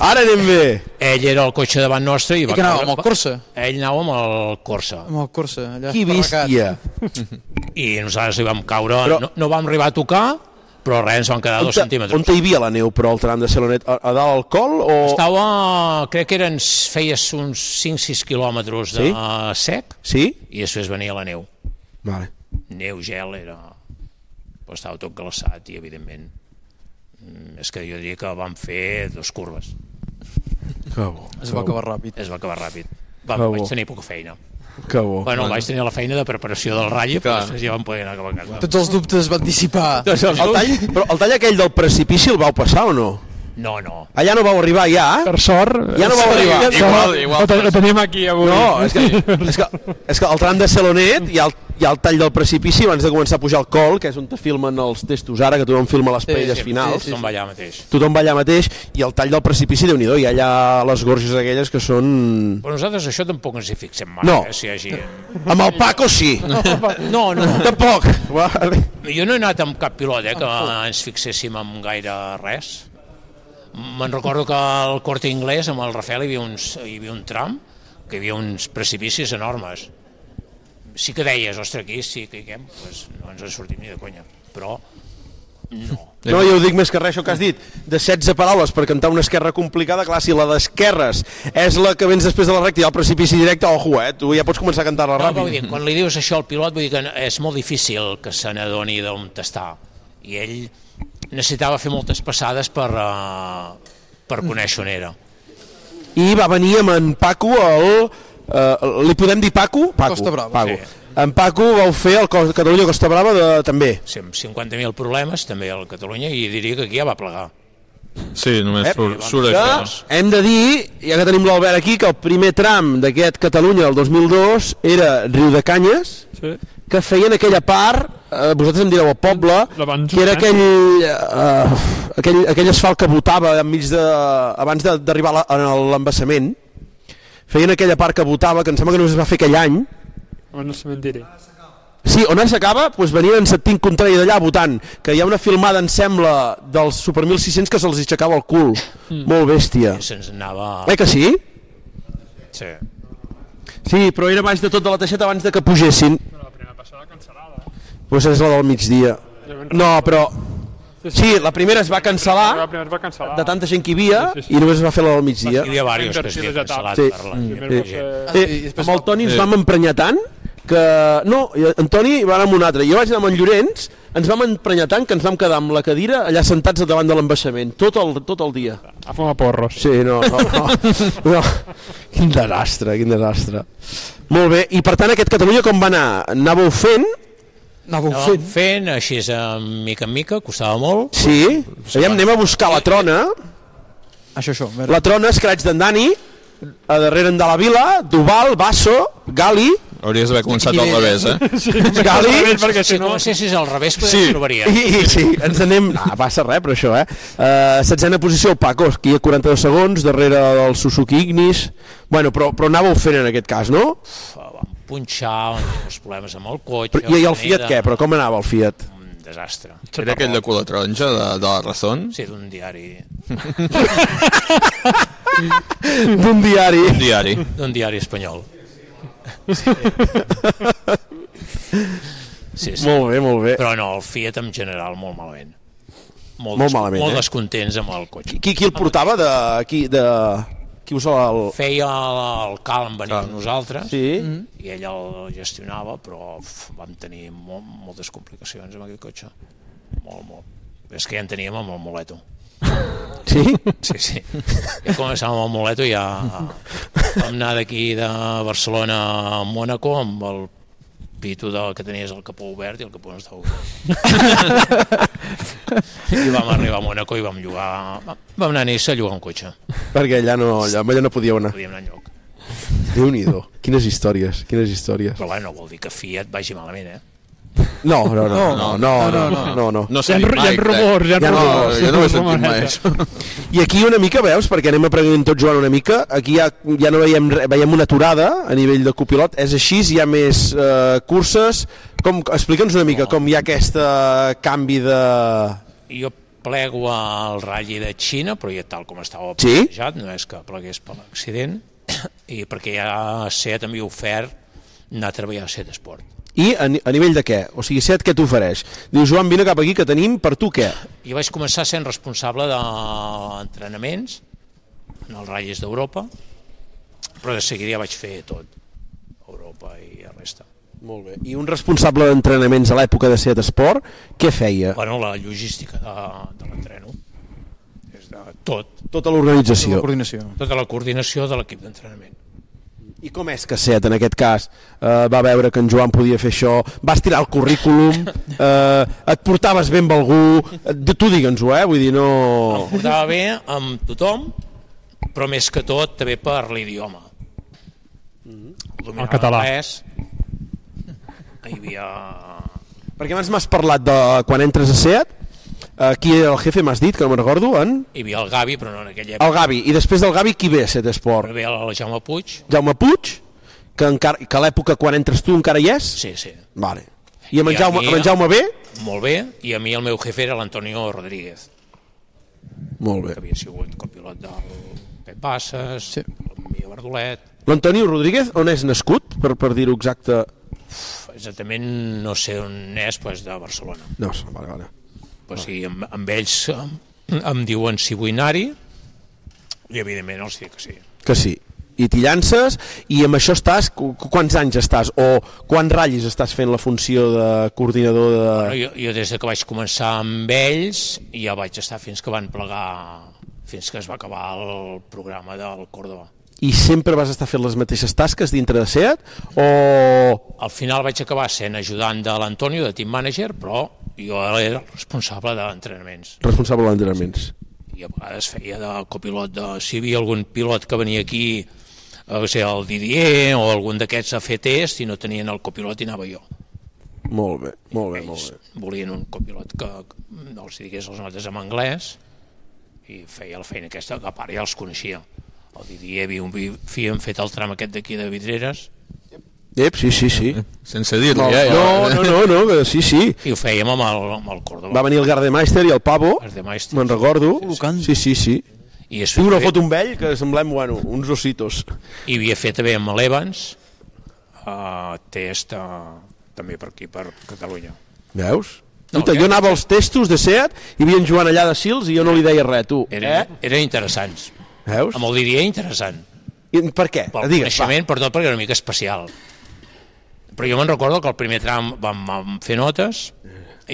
Ara anem bé. Ell era el cotxe davant nostre i va que anava amb el Corsa? Ell anava amb el Corsa. Amb el Corsa, allà. Qui esparracat. bèstia. I nosaltres hi vam caure, però... no, no vam arribar a tocar, però res, ens van quedar On, dos centímetres. on hi havia la neu, però, el tram de Celonet? A, a dalt al col o... Estava, crec que eren, feies uns 5-6 quilòmetres de Sí? sec Sí? i després venia la neu. Vale. Neu, gel, era... Però estava tot glaçat i, evidentment, mm, és que jo diria que vam fer dos curves. Que bo. Es va acabar ràpid. Es va acabar ràpid. Va, Que bo. vaig tenir poca feina. Que bo. Bueno, vaig tenir la feina de preparació del ratll, però després ja vam poder anar cap a casa. Tots els dubtes van dissipar. Tots els El tall, però el tall aquell del precipici el vau passar o no? No, no. Allà no vau arribar, ja? Per sort. eh, Ja no vau arribar. Ho, te- ho tenim aquí avui. No, és que, és que, és que el tram de Celonet hi ha, el, hi ha el tall del precipici abans de començar a pujar al col, que és on te filmen els testos ara, que tothom filma les parelles finals. Som allà mateix. Tothom va allà mateix i el tall del precipici, déu nhi hi ha allà les gorges aquelles que són... Però nosaltres això tampoc ens hi fixem mai, No. eh, si hi hagi... Amb el Paco sí. No, no. Tampoc. Jo no he anat amb cap pilot, eh, que ens fixéssim en gaire res. Me'n recordo que al Corte Inglés, amb el Rafael, hi havia, uns, hi havia un tram, que hi havia uns precipicis enormes. Sí que deies, ostres, aquí sí que hi caiguem, pues no ens en sortim ni de conya. Però no. No, jo ho dic més que res, això que has dit, de 16 paraules per cantar una esquerra complicada, clar, si la d'esquerres és la que vens després de la recta i al precipici directe, ojo, eh, tu ja pots començar a cantar-la No, però vull ràpid. dir, quan li dius això al pilot, vull dir que és molt difícil que se n'adoni d'on està. I ell necessitava fer moltes passades per, uh, per Mm. conèixer on era. I va venir amb en Paco el... Eh, li podem dir Paco? Paco Costa Brava. Paco. Sí. En Paco vau fer el Cos- Catalunya Costa Brava de, també. Sí, amb 50.000 problemes, també al Catalunya, i diria que aquí ja va plegar. Sí, només Eh, surt, surt que això. hem de dir, ja que tenim l'Albert aquí, que el primer tram d'aquest Catalunya del 2002 era Riu de Canyes, Sí. que feien aquella part, eh, vosaltres em direu el poble, que era eh? aquell, eh, aquell, aquell asfalt que botava enmig de, abans de- d'arribar a la- a l'embassament, feien aquella part que botava, que em sembla que només es va fer aquell any, On el cementiri. Sí, on ara s'acaba, doncs venia en Septín Contrari d'allà votant, que hi ha una filmada, em sembla, dels Super 1600 que se'ls aixecava el cul. Mm. Molt bèstia. I se'ns anava... Eh que sí? Sí. Sí, però era baix de tot de la teixeta abans de que pugessin. Però la primera passada eh? cancel·lada. Doncs és la del migdia. No, però... Sí, la primera es va cancel·lar La primera es va cancel·lar. de tanta gent que hi havia i només es va fer la del migdia. Hi havia diversos que s'havien cancel·lat Sí. per la Sí. gent. Sí. Amb el Toni ens vam emprenyar tant que... No, i en Toni va anar amb un altre. Jo vaig anar amb en Llorenç, ens vam emprenyar tant que ens vam quedar amb la cadira allà sentats al davant de l'embaixament, tot el, tot el dia. A fumar porros. Sí, no, no, no. no. Quin desastre, quin desastre. Molt bé, i per tant aquest Catalunya com va anar? Anàveu fent? Anàveu Anàvem fent, així és, eh, mica en mica, costava molt. Sí? Aviam, anem a buscar la trona. Això, això. La trona, Scratch d'en Dani, a darrere en de la Vila, Duval, Basso, Gali, Hauries d'haver començat al revés, eh? Gali... perquè si, no... Si al revés, potser Sí. sí. trobaria. I, i sí, ens anem... No, passa res, però això, eh? Uh, setzena posició, el Paco, aquí a 42 segons, darrere del Suzuki Ignis. Bueno, però, però anàveu fent en aquest cas, no? punxar, on hi havia els problemes amb el cotxe... Però, I, i la el Fiat manera- què? Però com anava el Fiat? desastre. Era aquell de color taronja de, de la Razón? Sí, d'un diari. D'un diari. D'un diari. D'un diari espanyol. Sí, sí. Molt bé, molt bé. Però no, el Fiat en general molt malament. Molt, Molt des- malament, Molt eh? descontents amb el cotxe. Qui, qui el portava de... Qui, de... Qui us el... Ah. Feia el, el Calm venir amb nosaltres Sí. Mm. i ell el gestionava, però uf, vam tenir molt, moltes complicacions amb aquell cotxe. Molt, molt. És que ja en teníem amb el Moleto. Sí? Sí, sí. Ja començàvem amb el Moleto i ja vam anar d'aquí de Barcelona a Mónaco amb el pito de, que tenies el capó obert i el capó no estava obert. I vam arribar a Mónaco i vam llogar... Vam anar a Nissa a llogar un cotxe. Perquè allà no, allà, allà no podíeu anar. Podíem anar enlloc. Déu-n'hi-do. Quines històries, quines històries. Però bueno, vol dir que Fiat vagi malament, eh? No, no, no, no, no, no, no, no, no, no. No s'ha Hi ha dit ru- mai, hi ha crec. rumors, hi ha rumors. jo no ho he sentit mai, Rumoreta. això. I aquí una mica, veus, perquè anem aprenent tot Joan una mica, aquí ja, ja no veiem, re- veiem una aturada a nivell de copilot, és així, hi ha més eh, curses, com, explica'ns una mica com hi ha aquest eh, canvi de... Jo plego al ratll de Xina, però ja tal com estava Sí? plantejat, no és que plegués per l'accident, i perquè ja SEAT m'havia ofert anar a treballar a SEAT Esport. I a, ni- a nivell de què? O sigui, Set, què t'ofereix? Diu, Joan, vine cap aquí, que tenim per tu què? Jo vaig començar sent responsable d'entrenaments en els ratllis d'Europa, però de seguida ja vaig fer tot, Europa i la resta. Molt bé. I un responsable d'entrenaments a l'època de Set Esport, què feia? Bueno, la logística de, de l'entreno, és de tot, Tota l'organització. tota la coordinació de l'equip d'entrenament. I com és que Seat, en aquest cas, eh, va veure que en Joan podia fer això, vas tirar el currículum, eh, et portaves ben amb algú, eh, tu digue'ns-ho, eh? vull dir, no... Em portava bé amb tothom, però més que tot també per l'idioma. El català. Anglès, hi havia... Perquè abans m'has parlat de quan entres a Seat, eh, qui era el jefe, m'has dit, que no me'n recordo, en... Hi havia el Gavi, però no en aquella època. El Gavi, i després del Gavi qui ve a Seat Esport? Hi havia el Jaume Puig, Jaume Puig, que, encara, que a l'època quan entres tu encara hi és? Sí, sí. Vale. I amb en I a Jaume, mi- amb en Jaume B? molt bé, i a mi el meu jefe era l'Antonio Rodríguez, Molt bé. que havia sigut copilot del Pep Basses, sí. el Mia Verdolet... L'Antoni Rodríguez, on és nascut, per, per dir-ho exacte? Pff, Exactament no sé on és, però és de Barcelona. No, vale, vale. Pues sí, amb, amb ells em, em diuen si vull anar-hi, i evidentment els dic que sí. Que sí. I t'hi llances i amb això estàs, qu- quants anys estàs o quants ratllis estàs fent la funció de coordinador de... Bueno, jo, jo des de que vaig començar amb ells ja vaig estar fins que van plegar fins que es va acabar el programa del Córdoba. I sempre vas estar fent les mateixes tasques dintre de SEAT o... Al final vaig acabar sent ajudant de l'Antonio, de team manager, però jo era el responsable d'entrenaments. Responsable d'entrenaments. I a vegades feia de copilot de... Si hi havia algun pilot que venia aquí, eh, o sigui, el Didier o algun d'aquests a fer test i no tenien el copilot i anava jo. Molt bé, molt bé, molt bé. volien un copilot que mm, els digués les notes en anglès i feia la feina aquesta, que a part ja els coneixia. El Didier havia, havien fet el tram aquest d'aquí de Vidreres. Ep, sí, sí, sí. Sense dir-li, No, eh? no, no, no, no, que sí, sí. I ho fèiem amb el, amb el Córdoba. Va venir el Gardemeister i el Pavo, Gardemeister. me'n recordo. Sí, sí, sí. I es Tinc una foto amb ell que semblem, bueno, uns ositos. I havia fet també amb l'Evans uh, test uh, també per aquí, per Catalunya. Veus? No, jo anava als testos de SEAT i havia en Joan allà de Sils i jo no li deia res, tu. Era, eh? Eren interessants. Veus? Amb el Didier interessant. I per què? Pel Digues, coneixement, per tot, perquè era una mica especial. Però jo me'n recordo que el primer tram vam, vam fer notes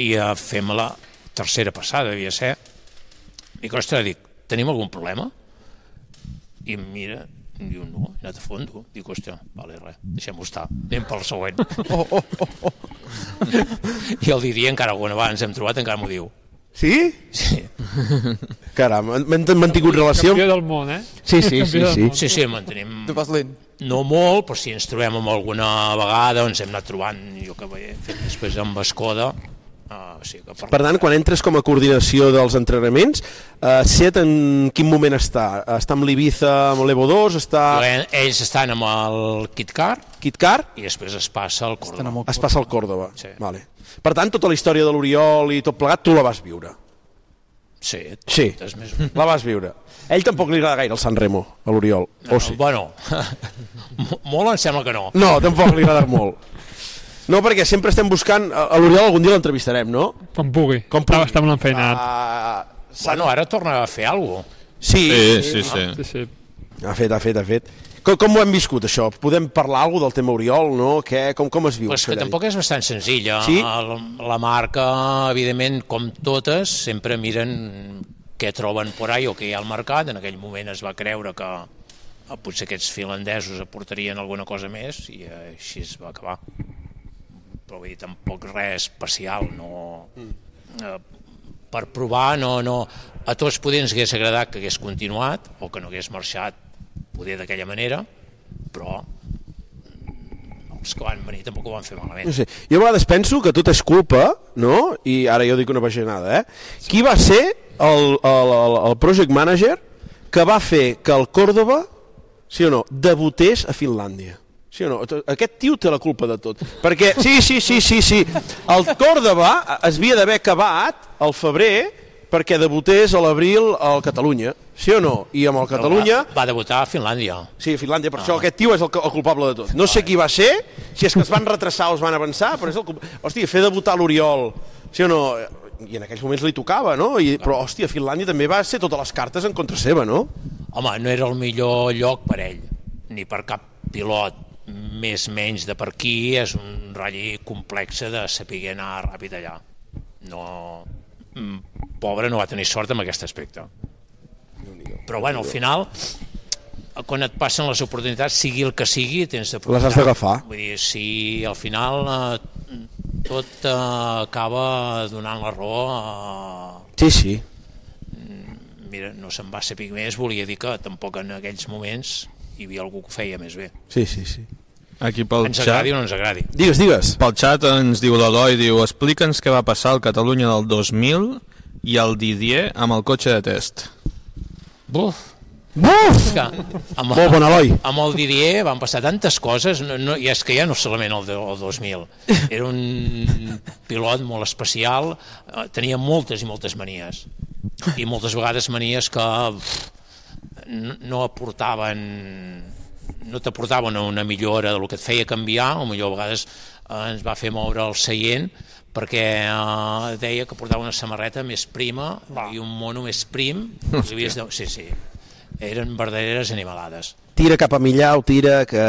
i a fem la tercera passada, devia ser. Dic, ostres, dic, tenim algun problema? I em mira, em diu, no, he anat a fondo. Dic, ostres, vale, res, deixem-ho estar, anem pel següent. Oh, oh, oh, oh. I el Didier, encara quan abans hem trobat, encara m'ho diu. Sí? Sí. Caram, han- han mantingut relació? Campió del món, eh? Sí, sí, sí, sí. Sí, sí, mantenim... No molt, però si ens trobem amb alguna vegada, ens hem anat trobant, jo que he fet després amb Escoda, Uh, o sigui que per, Per tant, quan entres com a coordinació dels entrenaments, eh, Set en quin moment està? Està amb l'Ibiza, amb l'Evo 2, està... ells estan amb el KitKar KitKar i després es passa al Córdoba. Es passa al Còrdoba. Sí. Vale. Per tant, tota la història de l'Oriol i tot plegat, tu la vas viure. Sí. Sí, És més... la vas viure. A ell tampoc li agrada gaire el Sant Remo, a l'Oriol. No, o sí? Bueno, mo- molt em sembla que no. No, tampoc li agrada molt. No, perquè sempre estem buscant... A a l'Oriol algun dia l'entrevistarem, no? Com pugui. Com pugui. Està molt enfeinat. Uh, Ah, bueno, ara torna a fer alguna Sí. Sí, sí, sí. sí, sí. Ha fet, ha fet, ha fet. Com, com ho hem viscut, això? Podem parlar alguna del tema Oriol, no? Què, com, com es viu? Però és que Xavier? tampoc és bastant senzilla. Sí? La, la marca, evidentment, com totes, sempre miren què troben por ahí o què hi ha al mercat. En aquell moment es va creure que eh, potser aquests finlandesos aportarien alguna cosa més i eh, així es va acabar. Però vull dir, tampoc res especial, no... Mm. Eh, per provar, no, no... A tots poder ens hagués agradat que hagués continuat o que no hagués marxat poder d'aquella manera, però mm, els que van venir tampoc ho van fer malament. No sé, jo a vegades penso que tot és culpa, no? I ara jo dic una paginada, eh? Qui va ser el, el, el, el project manager que va fer que el Córdoba, sí o no, debutés a Finlàndia? Sí o no? Aquest tio té la culpa de tot. Perquè, sí, sí, sí, sí, sí. El Còrdoba es havia d'haver acabat al febrer perquè debutés a l'abril al Catalunya. Sí o no? I amb el Catalunya Va, va debutar a Finlàndia. Sí, a Finlàndia, per ah. això aquest tio és el, co- el culpable de tot. No sé qui va ser, si és que es van retrasar o es van avançar, però és el culpable. Hòstia, fer debutar l'Oriol, sí o no? I en aquells moments li tocava, no? I, però, hòstia, Finlàndia també va ser totes les cartes en contra seva, no? Home, no era el millor lloc per ell, ni per cap pilot més menys de per aquí, és un ratll complex de saber anar ràpid allà. No... mm, Pobre no va tenir sort amb aquest aspecte. Però bueno, al final, quan et passen les oportunitats, sigui el que sigui, tens de Les has d'agafar. Vull dir, si al final eh, tot eh, acaba donant la raó eh, a, Sí, sí. mira, no se'n va saber més, volia dir que tampoc en aquells moments hi havia algú que ho feia més bé. Sí, sí, sí. Aquí pel Ens xat... agradi o no ens agradi. Digues, digues. Pel xat ens diu l'Eloi, diu, explica'ns què va passar al Catalunya del 2000 i al Didier amb el cotxe de test. Buf! Buf! Que, amb, Molt bon Eloi. Amb el Didier van passar tantes coses, no, no, i és que ja no solament el, de, el 2000. Era un pilot molt especial, eh, tenia moltes i moltes manies. I moltes vegades manies que pff, no, no aportaven no t'aportaven a una millora del que et feia canviar, o millor a vegades eh, ens va fer moure el seient perquè eh, deia que portava una samarreta més prima i un mono més prim. i li havies de... Sí, sí. Eren verdaderes animalades. Tira cap a Millau, tira, que...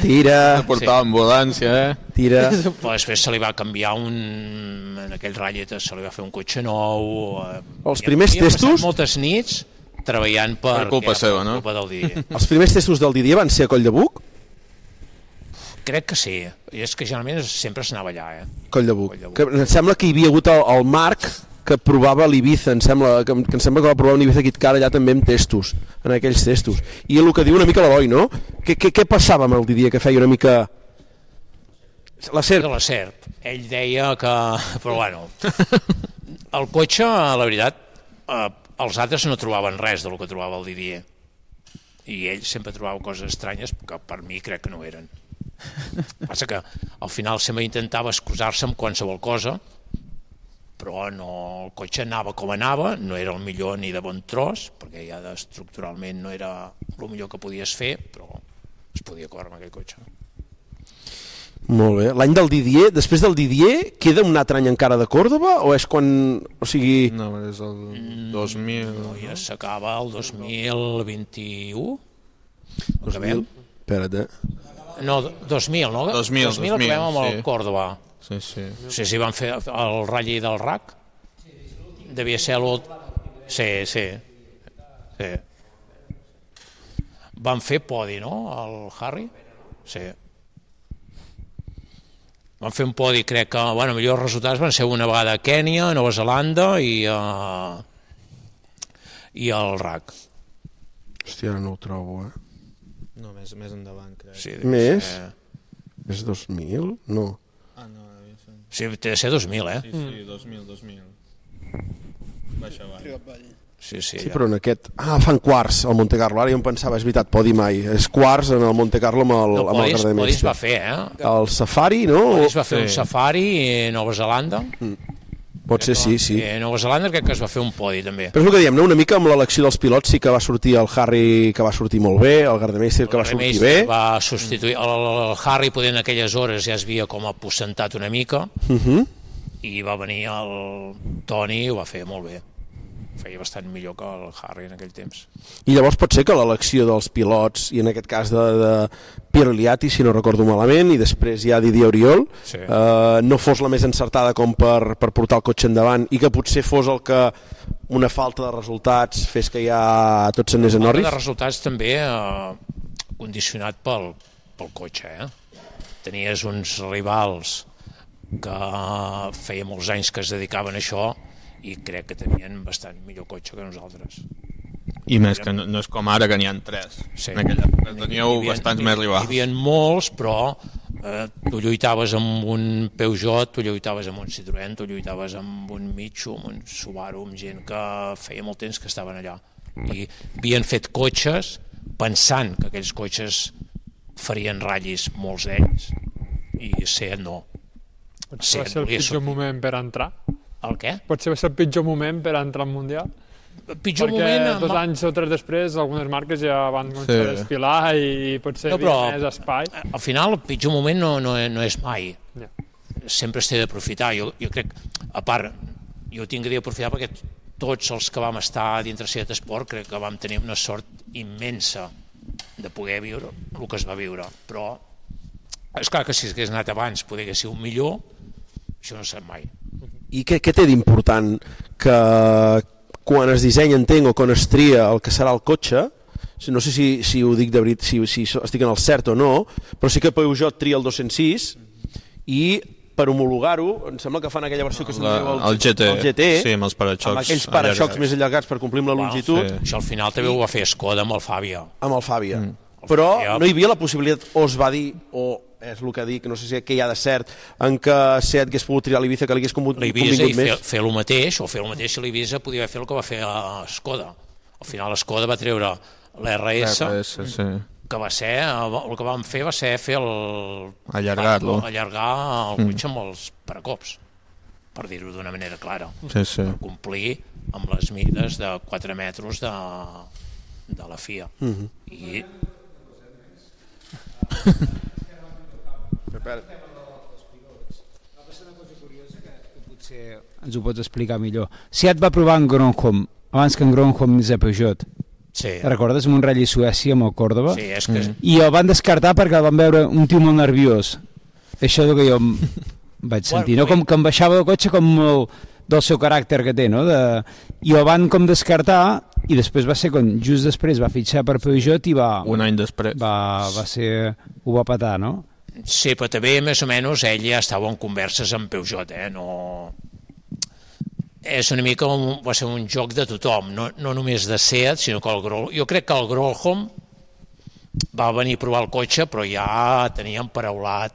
Tira... De portar Sí. ambulància, eh? Tira... Però després se li va canviar un... En aquell ratllet se li va fer un cotxe nou... Eh, Els i primers havia passat testos? moltes nits treballant per... Per culpa que- seva, per no? culpa del dia. Els primers testos del Didier van ser a Coll de Buc? Crec que sí. I és que generalment sempre s'anava allà, eh? Coll de Buc. Que, em sembla que hi havia hagut el, el Marc que provava l'Ibiza, em sembla, que, que em sembla que va provar un Ibiza Kit Car allà també amb testos, en aquells testos. I el que diu una mica l'Eloi, no? Què, què, què passava amb el Didier que feia una mica... La serp. La serp. Ell deia que... Però bueno, el cotxe, la veritat, eh, els altres no trobaven res del que trobava el Didier. I ell sempre trobava coses estranyes que per mi crec que no eren. Passa que al final sempre intentava excusar-se amb qualsevol cosa, però no, el cotxe anava com anava, no era el millor ni de bon tros, perquè ja estructuralment no era el millor que podies fer, però es podia córrer amb aquell cotxe. Molt bé. L'any del Didier, després del Didier, queda un altre any encara de Còrdoba o és quan... O sigui... No, és el 2000... Mm, No, ja s'acaba el 2021. Mm, Acabem? Espera't, eh? No, 2000, no? 2000, 2000 acabem amb el sí. Còrdoba. Sí, sí. Sí, sí, van fer el ratll del RAC. Devia ser l'últim... Sí, sí. Sí. Van fer podi, no?, el Harry? Sí. Van fer un podi, crec que, bueno, millors resultats van ser una vegada a Kènia, Nova Zelanda i, uh, i el RAC. Hòstia, ara no ho trobo, eh? No, més, més endavant, crec. Sí, Més? Més 2000? No. Ah, no, devia ser- Sí, té de ser 2000, eh? Sí, sí, 2000, 2000. Baixa avall. Sí, sí. Sí, però en aquest... Ah, fan quarts al Monte Carlo. Ara jo em pensava, és veritat, podi mai. És quarts en el Monte Carlo amb el, No, amb el podis, Gardner podis Mestre. va fer, eh? El safari, no? Podis va fer un safari a Nova Zelanda. Mm. Pot ser, sí, sí. I a Nova Zelanda crec que es va fer un podi, també. Però és el que diem, no? una mica amb l'elecció dels pilots sí que va sortir el Harry, que va sortir molt bé, el Gardemeister, que va sortir bé. Remeister va substituir... El, el Harry, poder en aquelles hores ja es havia com aposentat una mica Uh -huh. i va venir el Tony i ho va fer molt bé. Feia bastant millor que el Harry en aquell temps. I llavors pot ser que l'elecció dels pilots, i en aquest cas de, de Pierre Liati, si no recordo malament, i després ja Didier Oriol, Sí. eh, no fos la més encertada com per, per portar el cotxe endavant, i que potser fos el que una falta de resultats fes que ja tot se n'és a Falta Norris? de resultats també eh, condicionat pel, pel cotxe. Eh? Tenies uns rivals que feia molts anys que es dedicaven a això i crec que tenien bastant millor cotxe que nosaltres. I més que no, no és com ara, que n'hi ha tres. Sí. En aquella època teníeu bastants més Hi rivals. havia molts, però eh, tu lluitaves amb un Peugeot, tu lluitaves amb un Citroën, tu lluitaves amb un Mitsu, amb un Subaru, amb gent que feia molt temps que estaven allà. I havien fet cotxes pensant que aquells cotxes farien ratllis, molts d'ells, i Seat no. Potser va Seat ser el volia pitjor sortir. moment per entrar. El què? Potser va ser el pitjor moment per entrar al Mundial. Pitjor Perquè moment amb- dos anys o tres després algunes marques ja van començar sí. a desfilar i potser No, no, però... però- més espai. al final el pitjor moment no, no, no és mai yeah. sempre s'ha d'aprofitar jo, jo crec, a part jo tinc que aprofitar perquè tots els que vam estar dintre Seat Esport crec que vam tenir una sort immensa de poder viure el que es va viure però és clar que si hagués anat abans poder hagués sigut millor això no sap mai I què, què té d'important que quan es dissenya, entenc, o quan es tria el que serà el cotxe, si- no sé si, si ho dic de veritat, si, si so- estic en el cert o no, però sí que Peugeot tria el 206 i per homologar-ho, em sembla que fan aquella versió que se'n La- diu el GT, el GT sí, amb els para-xocs amb aquells allargats. para-xocs més allargats per complir amb la longitud, sí. això al final també ho va fer Skoda amb el Fàbia amb el Fàbia. Mm. Però no hi havia la possibilitat, o es va dir, o és el que dic, no sé si què hi ha de cert, en què Seat hagués pogut triar l'Ibiza, que li hagués convingut, l'Ibiza i convingut fer, més. fer el mateix, o fer el mateix si l'Ibiza podia fer el que va fer a Skoda. Al final Skoda va treure l'RS, RS, sí. que va ser, el que vam fer va ser fer el... Allargar-lo. Allargar el Mm. cotxe amb els paracops, per dir-ho d'una manera clara. Sí, sí. Per complir amb les mides de 4 metres de, de la FIA. Mhm. I potser ens ho pots explicar millor. Si et va provar en Gronholm, abans que en Gronholm anés a Peugeot, Sí. Te recordes amb un ratll a Suècia amb el Eh, Córdoba? Sí, és que- Mm. I el van descartar perquè el van veure un tio molt nerviós. Això és el que jo em vaig sentir, no? Com que em baixava del cotxe com molt del seu caràcter que té, no? De... I el van com descartar i després va ser quan just després va fitxar per Peugeot i va... Un any després. Va, va ser... Ho va patar, no? Sí, però també, més o menys, ell ja estava en converses amb Peugeot, eh? No... És una mica, un, va ser un joc de tothom, no, no només de Seat, sinó que el Grol... Jo crec que el Grolholm va venir a provar el cotxe, però ja teníem paraulat...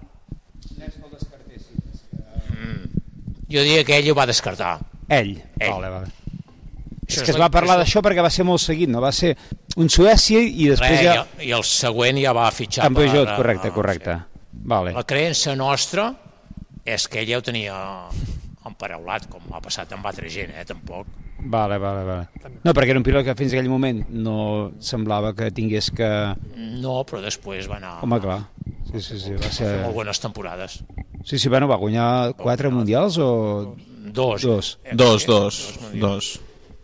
Mm. Jo diria que ell ho va descartar. Ell. Ell. Vale, vale. Això És és que es la- va parlar d'això perquè va ser molt seguit, no? Va ser un Suècia i després Res, ja... I, I el següent ja va fitxar Amb Peugeot, a- correcte, correcte. Vale. La creença nostra és que ell ja ho tenia emparaulat, com ha passat amb altra gent, eh, tampoc. Vale, vale, vale. No, perquè era un pilot que fins aquell moment no semblava que tingués que... No, però després va anar... Home, clar. Sí, sí, sí, va Ah, va fer molt ser... bones temporades. Sí, sí, bueno, va guanyar quatre mundials o... Dos. Eh, Dos, Dos. dos, dos.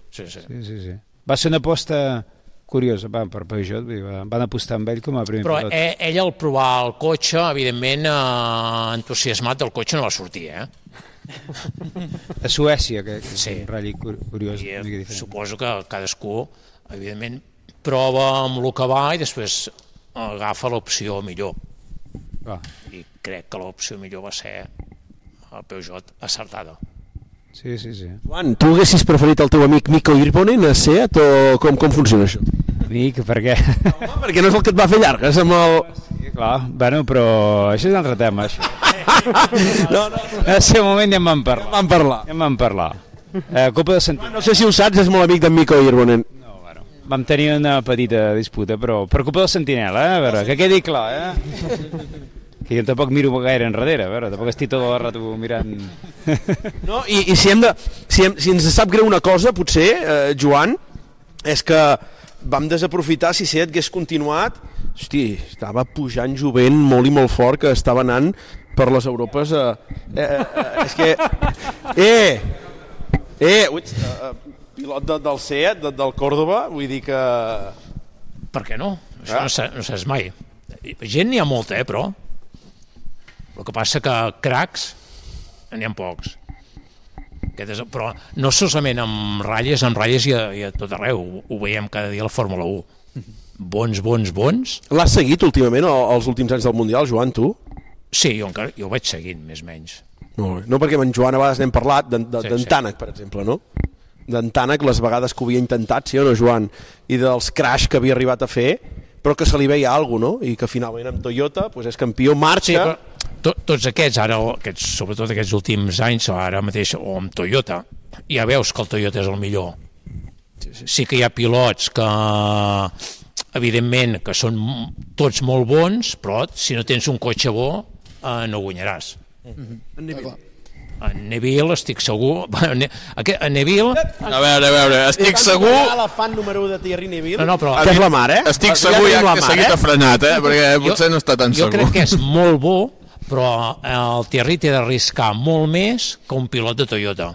Sí, sí. Sí, sí, sí. Va ser una aposta curiosa, va, per Peugeot, vull dir, va- van apostar amb ell com a primer Però pilot. eh, ell al provar el cotxe, evidentment, eh, entusiasmat del cotxe no va sortir, eh? A Suècia, que, que sí. és un ratll cur- curiós. una mica diferent. eh, Suposo que cadascú, evidentment, prova amb el que va i després agafa l'opció millor. Ah. I crec que l'opció millor va ser el Peugeot acertada. Sí, sí, sí. Joan, tu haguessis preferit el teu amic Mico Irponen a Seat o com, com funciona això? Mic, per què? Home, perquè no és el que et va fer llargues amb el... Sí, clar, bueno, però això és un altre tema, això. no, no. En el seu moment ja en vam parlar. Ja en vam parlar. Ja en vam parlar. Eh, Copa de Sentit. No sé si ho saps, és molt amic d'en Mico Irbonen. Vam tenir una petita disputa, però per culpa del Sentinel, eh? A veure, que quedi clar, eh? Que jo tampoc miro gaire enrere, a veure, tampoc estic tot el rato mirant... No, i, i si, hem de, si, hem, si ens sap greu una cosa, potser, eh, Joan, és que vam desaprofitar si Seat hagués continuat hosti, estava pujant jovent molt i molt fort que estava anant per les Europes eh, eh, eh, és que eh, eh, ui, eh, pilot de, del Seat de, del Córdoba, vull dir que per què no? Això no, sa- no saps mai. Gent n'hi ha molta, eh, però. El que passa que cracs n'hi ha pocs. Aquest és, el- però no solament amb ratlles, amb ratlles i a, i a tot arreu. Ho, ho veiem cada dia a la Fórmula 1. Bons, bons, bons. l'has seguit últimament o, els últims anys del Mundial, Joan, tu? Sí, jo, encara, jo ho vaig seguint, més o menys. Molt bé. No, perquè amb en Joan a vegades n'hem parlat, d'en de, Sí, sí, sí. Tànec, per exemple, no? D'en Tànec, les vegades que ho havia intentat, sí o no, Joan? I dels crash que havia arribat a fer, però que se li veia alguna cosa, no? I que finalment amb Toyota doncs és campió, marxa... Sí, però to, tots aquests, ara, aquests, sobretot aquests últims anys, o ara mateix, o amb Toyota, ja veus que el Toyota és el millor. Sí que hi ha pilots que, evidentment, que són m- tots molt bons, però si no tens un cotxe bo, eh, no guanyaràs. Mm-hmm. En Neville estic segur... Bueno, ne, aquest, en Neville... A veure, a veure, Eh, estic segur... La fan número 1 de Thierry Neville... No, no, però... Que és la mar, eh? Estic segur ja que seguit ha frenat, eh? Perquè potser no està tan jo segur. crec que és molt bo, però eh, el Thierry té d'arriscar molt més que un pilot de Toyota.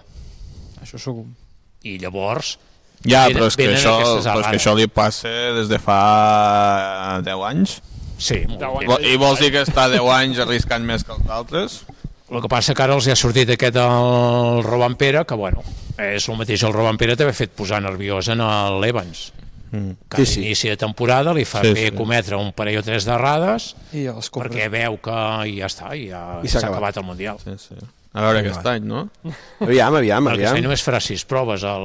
Això segur. I llavors... Ja, venen- però és, que venen això, aquestes però és que alades. això li passa des de fa 10 anys. Sí, Vol- I vols dir que està 10 anys arriscant més que els altres? El que passa que ara els hi ha sortit aquest el Roban Pere, que bueno, és el mateix el Roban Pere t'havia fet posar nerviós en l'Evans. Mm. Que sí, sí. a l'inici de temporada li fa Sí, sí, fer sí. sí. cometre un parell o tres d'errades I ja les compres. perquè veu que i ja està, i ja I s'ha s'ha acabat. acabat. el Mundial. Sí, sí. A veure aquest any, no? Aviam, aviam, Perquè aviam. si només farà sis proves el...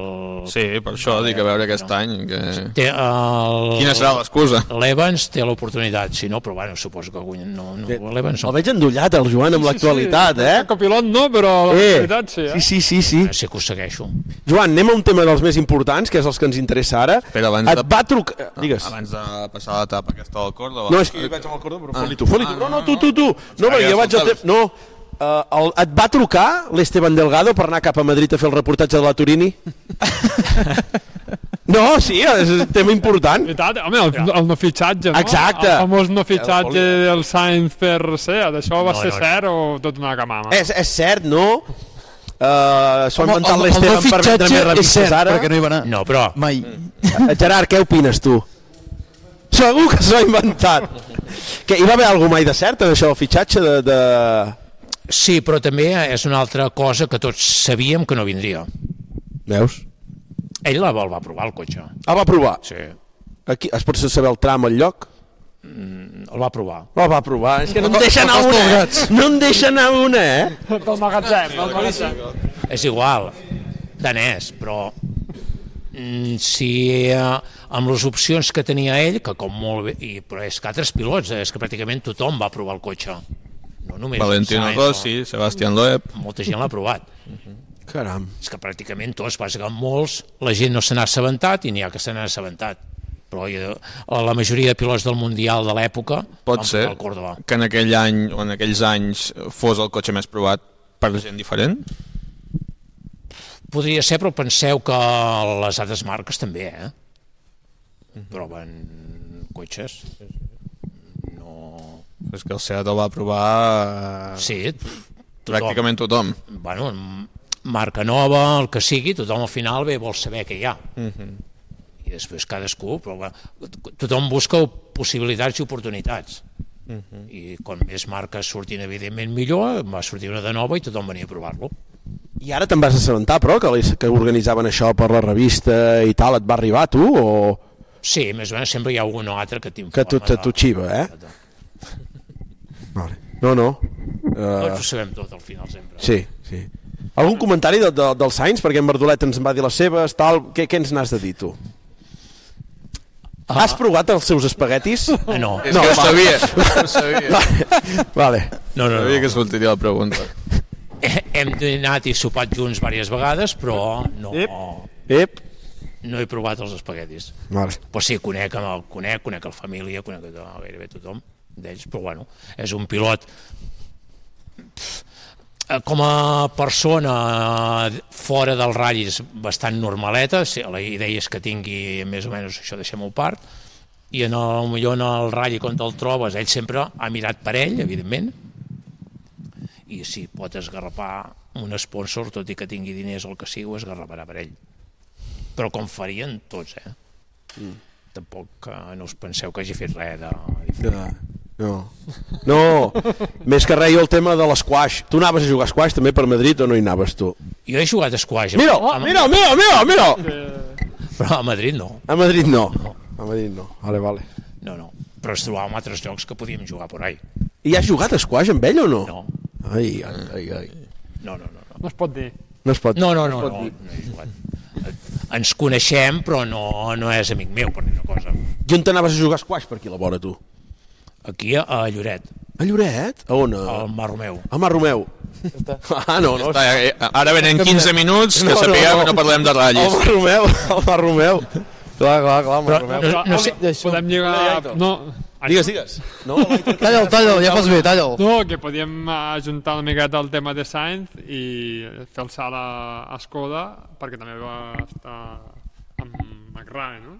Sí, per això dic a veure aquest any. Que... Té el... Quina serà l'excusa? L'Evans té l'oportunitat, si no, però bueno, suposo que guanyen. No, no, l'Evans no. El veig endollat, el Joan, amb l'actualitat, eh? Copilot no, però l'actualitat sí, eh? Sí, sí, sí, sí. Sí que ho segueixo. Joan, anem a un tema dels més importants, que és els que ens interessa ara. Espera, abans Et de- Ah. va eh, trucar... Digues. Abans de passar l'etapa aquesta del Córdoba. No, és que vaig amb el cordó, però ah, foli tu, foli tu. No, no, tu, tu, tu. No, Pensava perquè que jo vaig al temps... No, Uh, el, et va trucar l'Esteban Delgado per anar cap a Madrid a fer el reportatge de la Turini? no, sí, és un tema important. Veritat, home, el, el no fitxatge, no? Exacte. El famós no El fitxatge Poli. del Sainz per Seat, això va No, no, ser no, no, no. cert o tot una camama? És, és cert, no? Uh, S'ho ha Home, inventat el- el l'Esteban no per vendre fitxatge més és revistes cert, ara. perquè no hi va anar. No, però... Mai. Eh, Gerard, què opines tu? Segur que s'ho ha inventat. que hi va haver alguna mai de cert en això del fitxatge de... de... Sí, però també és una altra cosa que tots sabíem que no vindria. Veus? Ell la vol, va provar, el cotxe. Ah, va provar? Sí. Aquí, es pot saber el tram, el lloc? Mm, El va provar. El va provar. És que no em El- deixa anar el costa una, dels eh? gats. No em deixa anar una, eh? Pel magatzem, pel magatzem. És igual, danès, però mm, si eh, amb les opcions que tenia ell, que com molt bé, i, però és que altres pilots, eh, és que pràcticament tothom va provar el cotxe. No només Valentino Sainz, Rossi, Sebastián Loeb... Molta gent l'ha provat. Caram. És que pràcticament tots, bàsicament molts, la gent no se n'ha assabentat i n'hi ha que se n'ha assabentat. Però jo, la majoria de pilots del Mundial de l'època Pot van ser provar el Córdoba. que en aquell any o en aquells anys fos el cotxe més provat per gent diferent? Podria ser, però penseu que les altres marques també, eh? Proven cotxes. És que el Seat el va provar... eh, Sí, Pràcticament tothom. Bueno, m- marca nova, el que sigui, tothom al final bé vol saber què hi ha. I després cadascú, però va, tothom busca possibilitats i oportunitats. Mhm. I quan més marques sortint, evidentment, millor, va sortir una de nova i tothom venia a provar-lo. I ara te'n vas assabentar, però, que, li- que organitzaven això per la revista i tal, et va arribar a tu o Sí, més o menys sempre hi ha un o altre que t'informa. que tu te t'utxiva, eh? Vale. No, no. Uh, Tots ho sabem tot al final, sempre. Sí, sí. Algun comentari de, de, del Sainz? Perquè en Verdolet ens en va dir les seves, tal... Què, què ens n'has de dir, tu? Ah. Has provat els seus espaguetis? Eh, No. És que ho va. sabia, ho sabia. Vale. No, no, Sabia que sortiria la pregunta. Hem dinat i sopat junts diverses vegades, però no... Ep. No he provat els espaguetis. Vale. Però sí, conec, amb el, conec, conec la família, conec a gairebé tothom d'ells, però bueno, és un pilot Pff, eh, com a persona eh, fora del ratll és bastant normaleta, sí, la idea és que tingui més o menys això, deixem-ho a part, i en el, millor en el ratll quan te'l trobes, ell sempre ha mirat per ell, evidentment, i si pot esgarrapar un sponsor, tot i que tingui diners o el que sigui, ho esgarraparà per ell. Però com farien tots, eh? Mm. Tampoc eh, no us penseu que hagi fet res de... No. No. no, més que res jo el tema de l'esquash. Tu anaves a jugar a squash també per Madrid o no hi anaves tu? Jo he jugat a squash. Eh, Mira, mira, mira, mira, mira! Però a Madrid no. A Madrid no. A Madrid no. Vale, vale. No, no. Però es trobàvem a altres llocs que podíem jugar por ahí. I has jugat a squash amb ell o no? No. Ai, ai, ai, ai. No, no, no. no. No es pot dir. No es pot No, no, no, no es pot no, no he jugat. Ens coneixem, però no, no és amic meu, per dir una cosa. I on t'anaves a jugar a squash per aquí a la vora, tu? Aquí, a Lloret. A Lloret? A on? Al Mar Romeu. Al Mar Romeu. Ah, no, no. Està, eh, ara venen 15 minuts, que sapigueu que no parlem de ratllis. Al Mar Romeu, al Mar Romeu. Clar, clar, clar, al Mar Però, Romeu. no, no sé, podem lligar... No, Digues, digues. No, Talla'l, talla'l, ja fas bé, talla'l. No, que podíem eh, juntar una miqueta el tema de Sainz i fer el salt a, a Skoda, perquè també va estar amb McRae, no?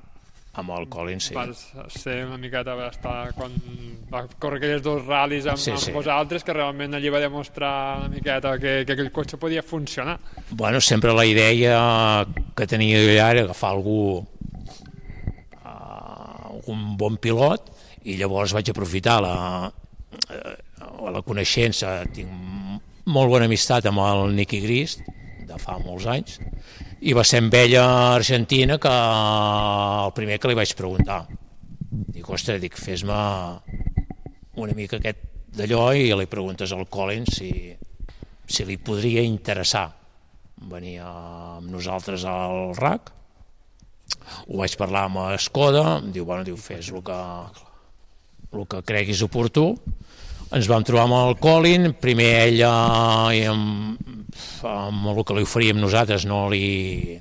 Amb el Colin, sí. Vas ser una miqueta, va estar quan va córrer aquelles dos ral·lis amb, Sí, sí, sí. sí. amb vosaltres, que realment allí va demostrar una miqueta que, que aquell cotxe podia funcionar. Bueno, sempre la idea que tenia jo era agafar algú, uh, algun bon pilot, i llavors vaig aprofitar la, uh, la coneixença, tinc molt bona amistat amb el Nicky Grist, de fa molts anys, i va ser amb ella a Argentina que el primer que li vaig preguntar. Dic, ostres, dic, fes-me una mica aquest d'allò i li preguntes al Collins si, si li podria interessar venir amb nosaltres al RAC ho vaig parlar amb Escoda em diu, bueno, diu, fes el que el que creguis oportú ens vam trobar amb el Colin primer ell eh, i amb, amb el que li oferíem nosaltres no li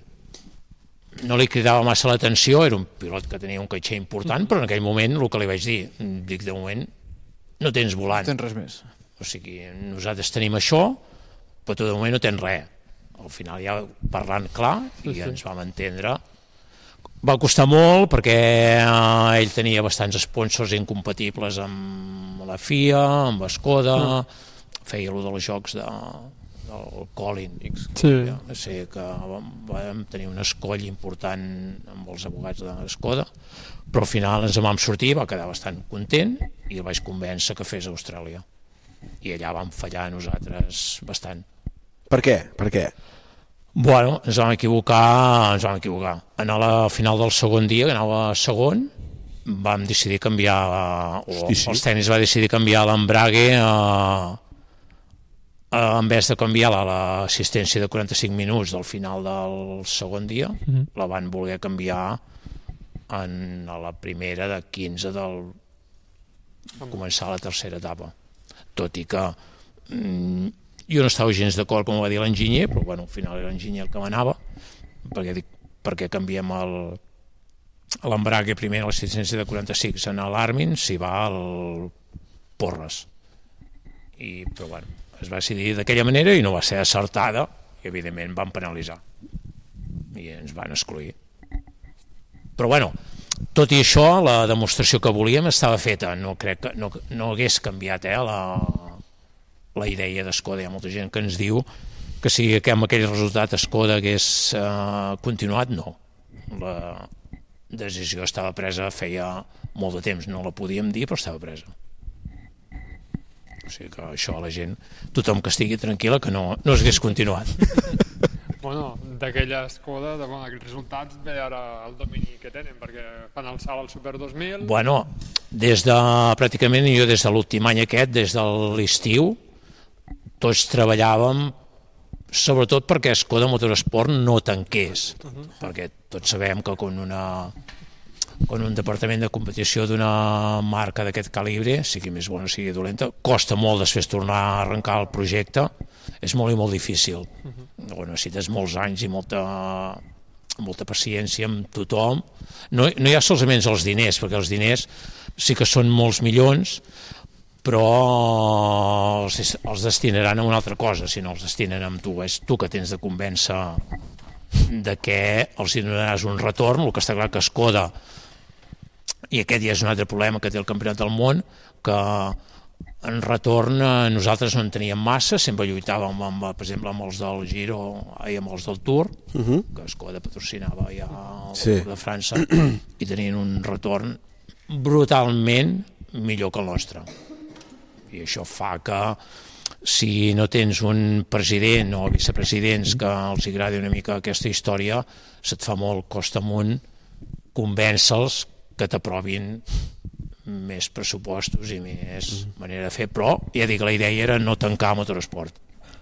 no li cridava massa l'atenció, era un pilot que tenia un caixer important, però en aquell moment el que li vaig dir, dic de moment, no tens volant. No tens res més. O sigui, nosaltres tenim això, però tu de moment no tens res. Al final ja parlant clar i Sí, sí. ens vam entendre. Va costar molt perquè eh, ell tenia bastants sponsors incompatibles amb la FIA, amb Escoda, Mm. feia allò dels jocs de, del Colin. Sí. Ja, sí que vam, vam tenir un escoll important amb els advocats de Skoda, però al final ens en vam sortir, va quedar bastant content i el vaig convèncer que fes a Austràlia. I allà vam fallar nosaltres bastant. Per què? Per què? Bueno, ens vam equivocar, ens vam equivocar. En la final del segon dia, que anava segon, vam decidir canviar, eh, o Hosti, sí. els tenis va decidir canviar l'embrague a, a, en vez de canviar la- l'assistència de 45 minuts del final del segon dia, Mhm. la van voler canviar en a la primera de 15 del començar la tercera etapa. Tot i que mm, jo no estava gens d'acord com ho va dir l'enginyer, però bueno, al final era l'enginyer el que manava, perquè dic, perquè canviem el l'embrague primer a l'assistència de 46 en l'Armin s'hi va el Porres i però bueno, es va decidir d'aquella manera i no va ser acertada i evidentment van penalitzar i ens van excluir però bueno, tot i això la demostració que volíem estava feta no, crec que, no, no hagués canviat eh, la, la idea d'Escoda. Hi ha molta gent que ens diu que si que amb aquell resultat Escoda hagués eh, continuat, no. La decisió estava presa feia molt de temps, no la podíem dir, però estava presa. O sigui que això la gent, tothom que estigui tranquil·la, que no, no s'hagués continuat. Bueno, d'aquella escoda, de, bueno, aquests resultats, ve ara el domini que tenen, perquè fan el salt al Super 2000. Bueno, des de, pràcticament jo des de l'últim any aquest, des de l'estiu, tots treballàvem sobretot perquè Skoda Motorsport no tanqués, perquè tots sabem que quan una quan un departament de competició d'una marca d'aquest calibre, sigui més bona sigui dolenta, costa molt després tornar a arrencar el projecte, és molt i molt difícil. Bueno, necessites molts anys i molta, molta paciència amb tothom. No, no hi ha solament els diners, perquè els diners sí que són molts milions, però els, els destinaran a una altra cosa, si no els destinen amb tu. És tu que tens de convèncer de que els hi donaràs un retorn, el que està clar que Skoda, i aquest ja és un altre problema que té el Campionat del Món, que en retorn eh, nosaltres no en teníem massa, sempre lluitàvem, amb, eh, per exemple, amb els del Giro i amb els del Tour, uh Mhm. -huh. que Skoda patrocinava ja el Sí. sí. de França, i tenien un retorn brutalment millor que el nostre. I això fa que si no tens un president o vicepresidents que els agradi una mica aquesta història, se't fa molt cost amunt convèncer-los que t'aprovin més pressupostos i més manera de fer, però ja dic, la idea era no tancar motoresport.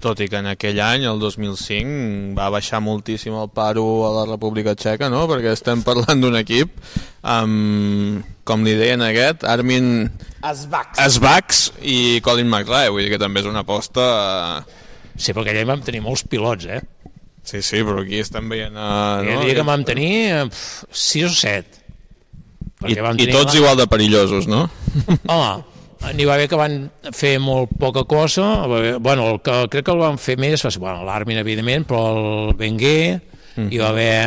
Tot i que en aquell any, el 2005, va baixar moltíssim el paro a la República Txeca, no? Perquè estem parlant d'un equip amb, com li deien aquest, Armin Esbacs. Esbacs i Colin McRae, vull dir que també és una aposta... eh, Sí, però aquell any vam tenir molts pilots, eh? Sí, sí, però aquí estem veient... Ah, Uh, no, no? dia que vam tenir 6 o 7. I, I tots igual de perillosos, no? Home, n'hi va haver que van fer molt poca cosa. va haver- Bueno, el que crec que el van fer més va ser bueno, l'Armin, evidentment, però el Benguer, mm. hi va haver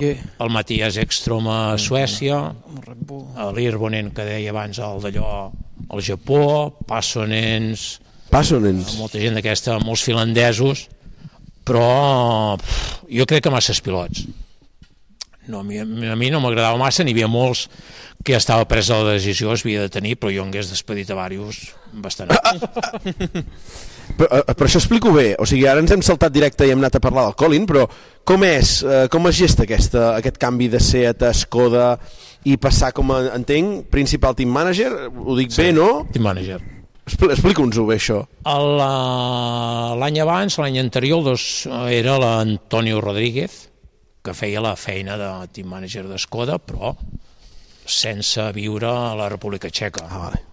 el, el Matías Ekstrom a Suècia, l'Irbonen, que deia abans, el d'allò al Japó, Passonens, Passonens. molta gent d'aquesta, molts finlandesos, però pff, jo crec que masses pilots. No, a, mi, a mi no m'agradava massa, n'hi havia molts que ja estava presa la decisió, es havia de tenir, però jo en hagués despedit a diversos bastant. Ah, Però, eh, però això explico bé, o sigui, ara ens hem saltat directe i hem anat a parlar del Colin, però com és, eh, com es gesta aquesta, aquest canvi de Seat a Skoda i passar, com a, entenc, principal team manager, ho dic sí, bé, no? Team manager. Expl Explica'ns-ho bé, això. El, eh, L'any abans, l'any anterior, el dos, eh, era l'Antonio Rodríguez, que feia la feina de team manager d'Escoda, però sense viure a la República Txeca. Ah, vale.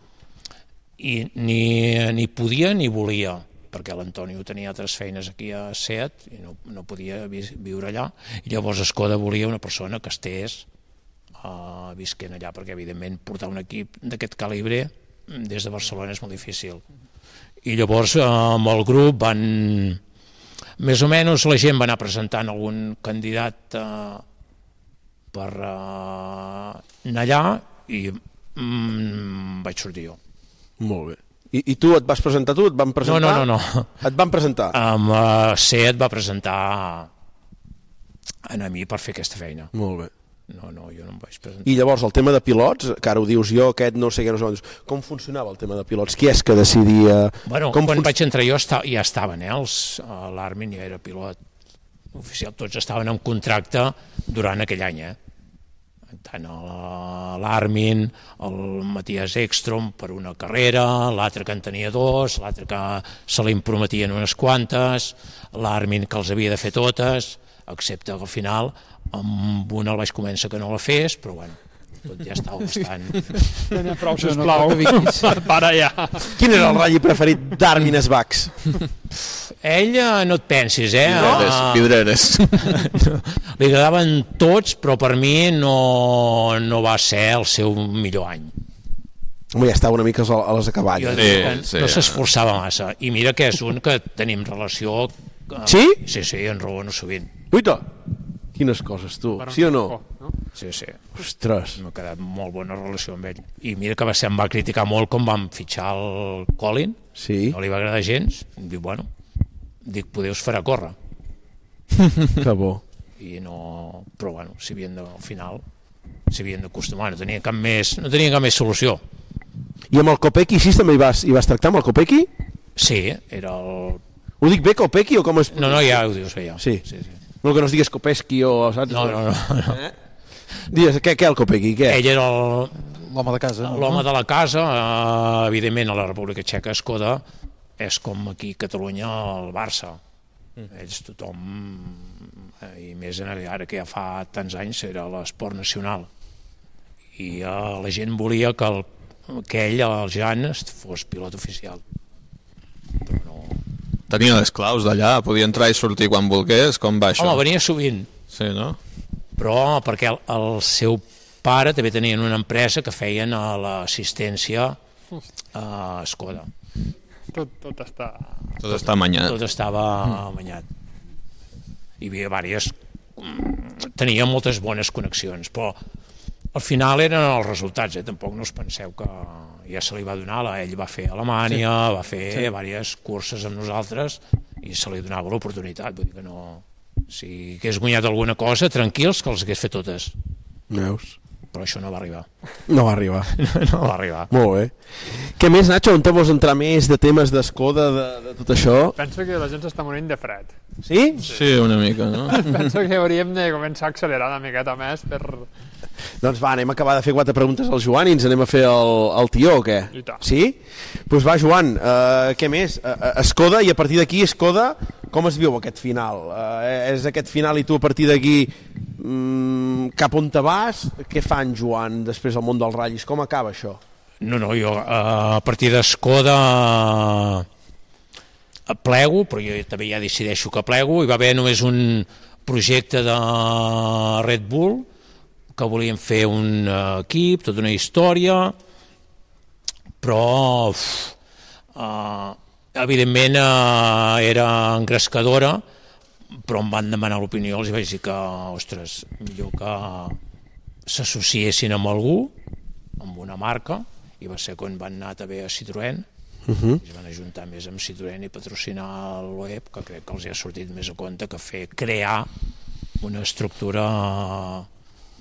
I ni, ni podia ni volia, perquè l'Antonio tenia altres feines aquí a Seat i no, no podia vi viure allà. I llavors Escoda volia una persona que estés uh, visquent allà, perquè evidentment portar un equip d'aquest calibre mm, des de Barcelona és molt difícil. I llavors eh, amb el grup van... Més o menys la gent va anar presentant algun candidat eh, per eh, anar allà Ah, i mm, vaig sortir jo. Molt bé. I, I tu et vas presentar tu? Et van presentar? No, no, no. no. Et van presentar? Amb uh, Seat va presentar en a mi per fer aquesta feina. Molt bé. No, no, jo no em vaig presentar. I llavors el tema de pilots, que ara ho dius jo, aquest no sé què, no sé què, com funcionava el tema de pilots? Qui és que decidia... Bueno, com Com quan fun- vaig entrar jo esta, ja estaven, eh? Els- eh, L'Armin ja era pilot oficial, tots estaven en contracte durant aquell any, eh? Tant el- eh, l'Armin, el Matías Ekstrom per una carrera, l'altre que en tenia dos, l'altre que se li en prometien unes quantes, l'Armin que els havia de fer totes, excepte que al final amb una el vaig convèncer que no la fes, però bueno, tot ja estava bastant... Ja n'hi ha prou, sisplau. Para ja. Quin era el ratll preferit d'Armin Esbax? Ell eh, no et pensis, eh? Vidreres, Ah, vidreres. Li agradaven tots, però per mi no, no va ser el seu millor any. Home, ja estava una mica a eh? les acaballes. Jo diria que no s'esforçava massa. I mira que és un que tenim relació... eh, Sí? Sí, sí, en raono sovint. Uita! Quines coses, tu. Sí o no? Sí, sí. Ostres. M'ha quedat molt bona relació amb ell. I mira que va ser, em va criticar molt com vam fitxar el Colin. Sí. No li va agradar gens. Em diu, bueno, dic, poder us farà córrer. Que bo. i no... però bueno, s'havien de, al final s'havien d'acostumar, no tenia cap més no tenia cap més solució I amb el Copeki, així també hi vas, hi vas tractar amb el Copeki? sí, era el... Ho dic bé, Copeki, o com es... no, no, ja ho dius bé ja. Sí. sí, sí. No que no es digués Kopeski o... Saps? No, no, no, no. Eh? Digues, què, què el Copeki? Què? ell era el... l'home de casa. l'home de la casa eh, evidentment a la República Txeca Escoda és com aquí a Catalunya el Barça Mm. ells tothom eh, i més en- ara que ja fa tants anys era l'esport nacional i eh, la gent volia que, el, que ell, el Jan, es- fos pilot oficial. Tenia les claus d'allà, podia entrar i sortir quan volgués, com va això? Home, venia sovint. Sí, no? Però perquè el, el seu pare també tenien una empresa que feien a l'assistència eh, a Skoda. Tot, tot està... Tot està amanyat. Tot estava Mm. amanyat. Hi havia diverses... mm, Tenia moltes bones connexions, però al final eren els resultats, eh? Tampoc no us penseu que ja se li va donar, la- ell va fer a Alemanya, Sí. va fer Sí. sí. diverses curses amb nosaltres i se li donava l'oportunitat, vull dir que no... Si hagués guanyat alguna cosa, tranquils, que els hagués fet totes. Veus? Però això no va arribar. No va arribar. no va arribar. Molt bé. Què més, Nacho? On te vols entrar més de temes d'Escoda, de, de tot això? Penso que la gent s'està morint de fred. Sí? Sí, una mica, no? Penso que hauríem de començar a accelerar una miqueta més per... doncs va, anem a acabar de fer quatre preguntes al Joan i ens anem a fer el, el tió, o què? I tant. Sí? Doncs pues va, Joan, uh, què més? Uh, Escoda, i a partir d'aquí, Escoda, com es viu aquest final? Uh, és aquest final i tu a partir d'aquí mm, cap on te vas? Què fan, Joan, després del món dels ratllis? Com acaba això? No, no, jo eh, a partir d'Escoda eh, plego, però jo també ja decideixo que plego. Hi va haver només un projecte de Red Bull que volien fer un eh, equip, tota una història, però uf, eh, evidentment eh, era engrescadora, però em van demanar l'opinió, els vaig dir que, ostres, millor que s'associessin amb algú, amb una marca, i va ser quan van anar també a Citroën, Mhm. es van ajuntar més amb Citroën i patrocinar l'OEP, que crec que els hi ha sortit més a compte que fer crear una estructura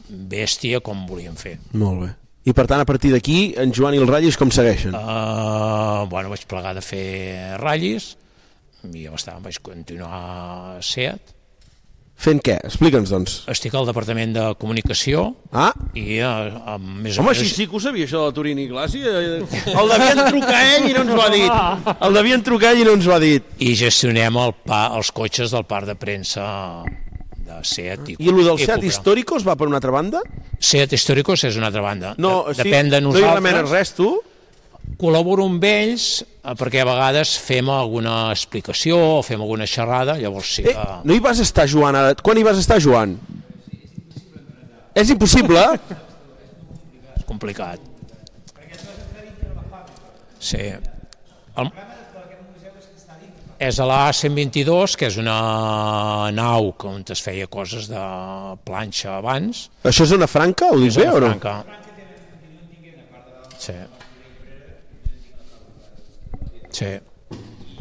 bèstia com volien fer. Molt bé. I per tant, a partir d'aquí, en Joan i el ratllis com segueixen? Ah. Uh, bueno, vaig plegar de fer ratllis, i ja estava, vaig continuar a SEAT, Fent què? Explica'ns, doncs. estic al departament de comunicació ah. i eh, amb més o Home, així menys... sí que ho sabia, això de la Turini Glaci. El devien trucar ell i no ens ho ha dit. El devien trucar ell i no ens ho ha dit. I gestionem el pa, els cotxes del parc de premsa de Seat. I, I el del Seat Cupra. Históricos va per una altra banda? Seat Históricos és una altra banda. No, De- sí, Depèn de no hi nosaltres. remenes res, tu? Col·laboro amb ells eh, perquè a vegades fem alguna explicació o fem alguna xerrada, llavors sí que... Eh, No hi vas estar, Joan, ara. Quan hi vas estar, Joan? És impossible? És complicat. Sí. El... És a la A122, que és una nau que on es feia coses de planxa abans. Això és una franca? Ho dic És a bé la o no? Franca. Sí. Sí.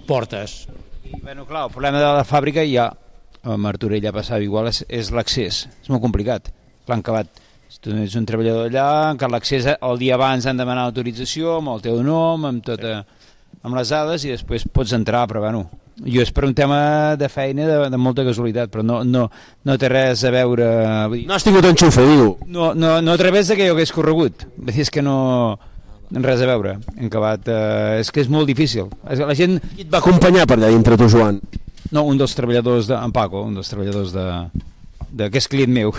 Portes. I, bueno, clar, el problema de la fàbrica ja a Martorell ja passava igual, és, és l'accés. És molt complicat. L'han acabat. Si tu ets un treballador allà, que l'accés eh, el dia abans han demanat autorització amb el teu nom, amb tota amb les dades i després pots entrar, però bueno, jo és per un tema de feina de, de molta casualitat, però no, no, no té res a veure... Vull dir, No has tingut enxufe, diu. no, no, no a través de que jo hagués corregut. Vull dir, és que no... Res a veure, hem acabat... Eh, és que és molt difícil. És que La gent... Qui et va acompanyar per allà dintre, tu, Joan? No, un dels treballadors de... En Paco, un dels treballadors de... de que és client meu.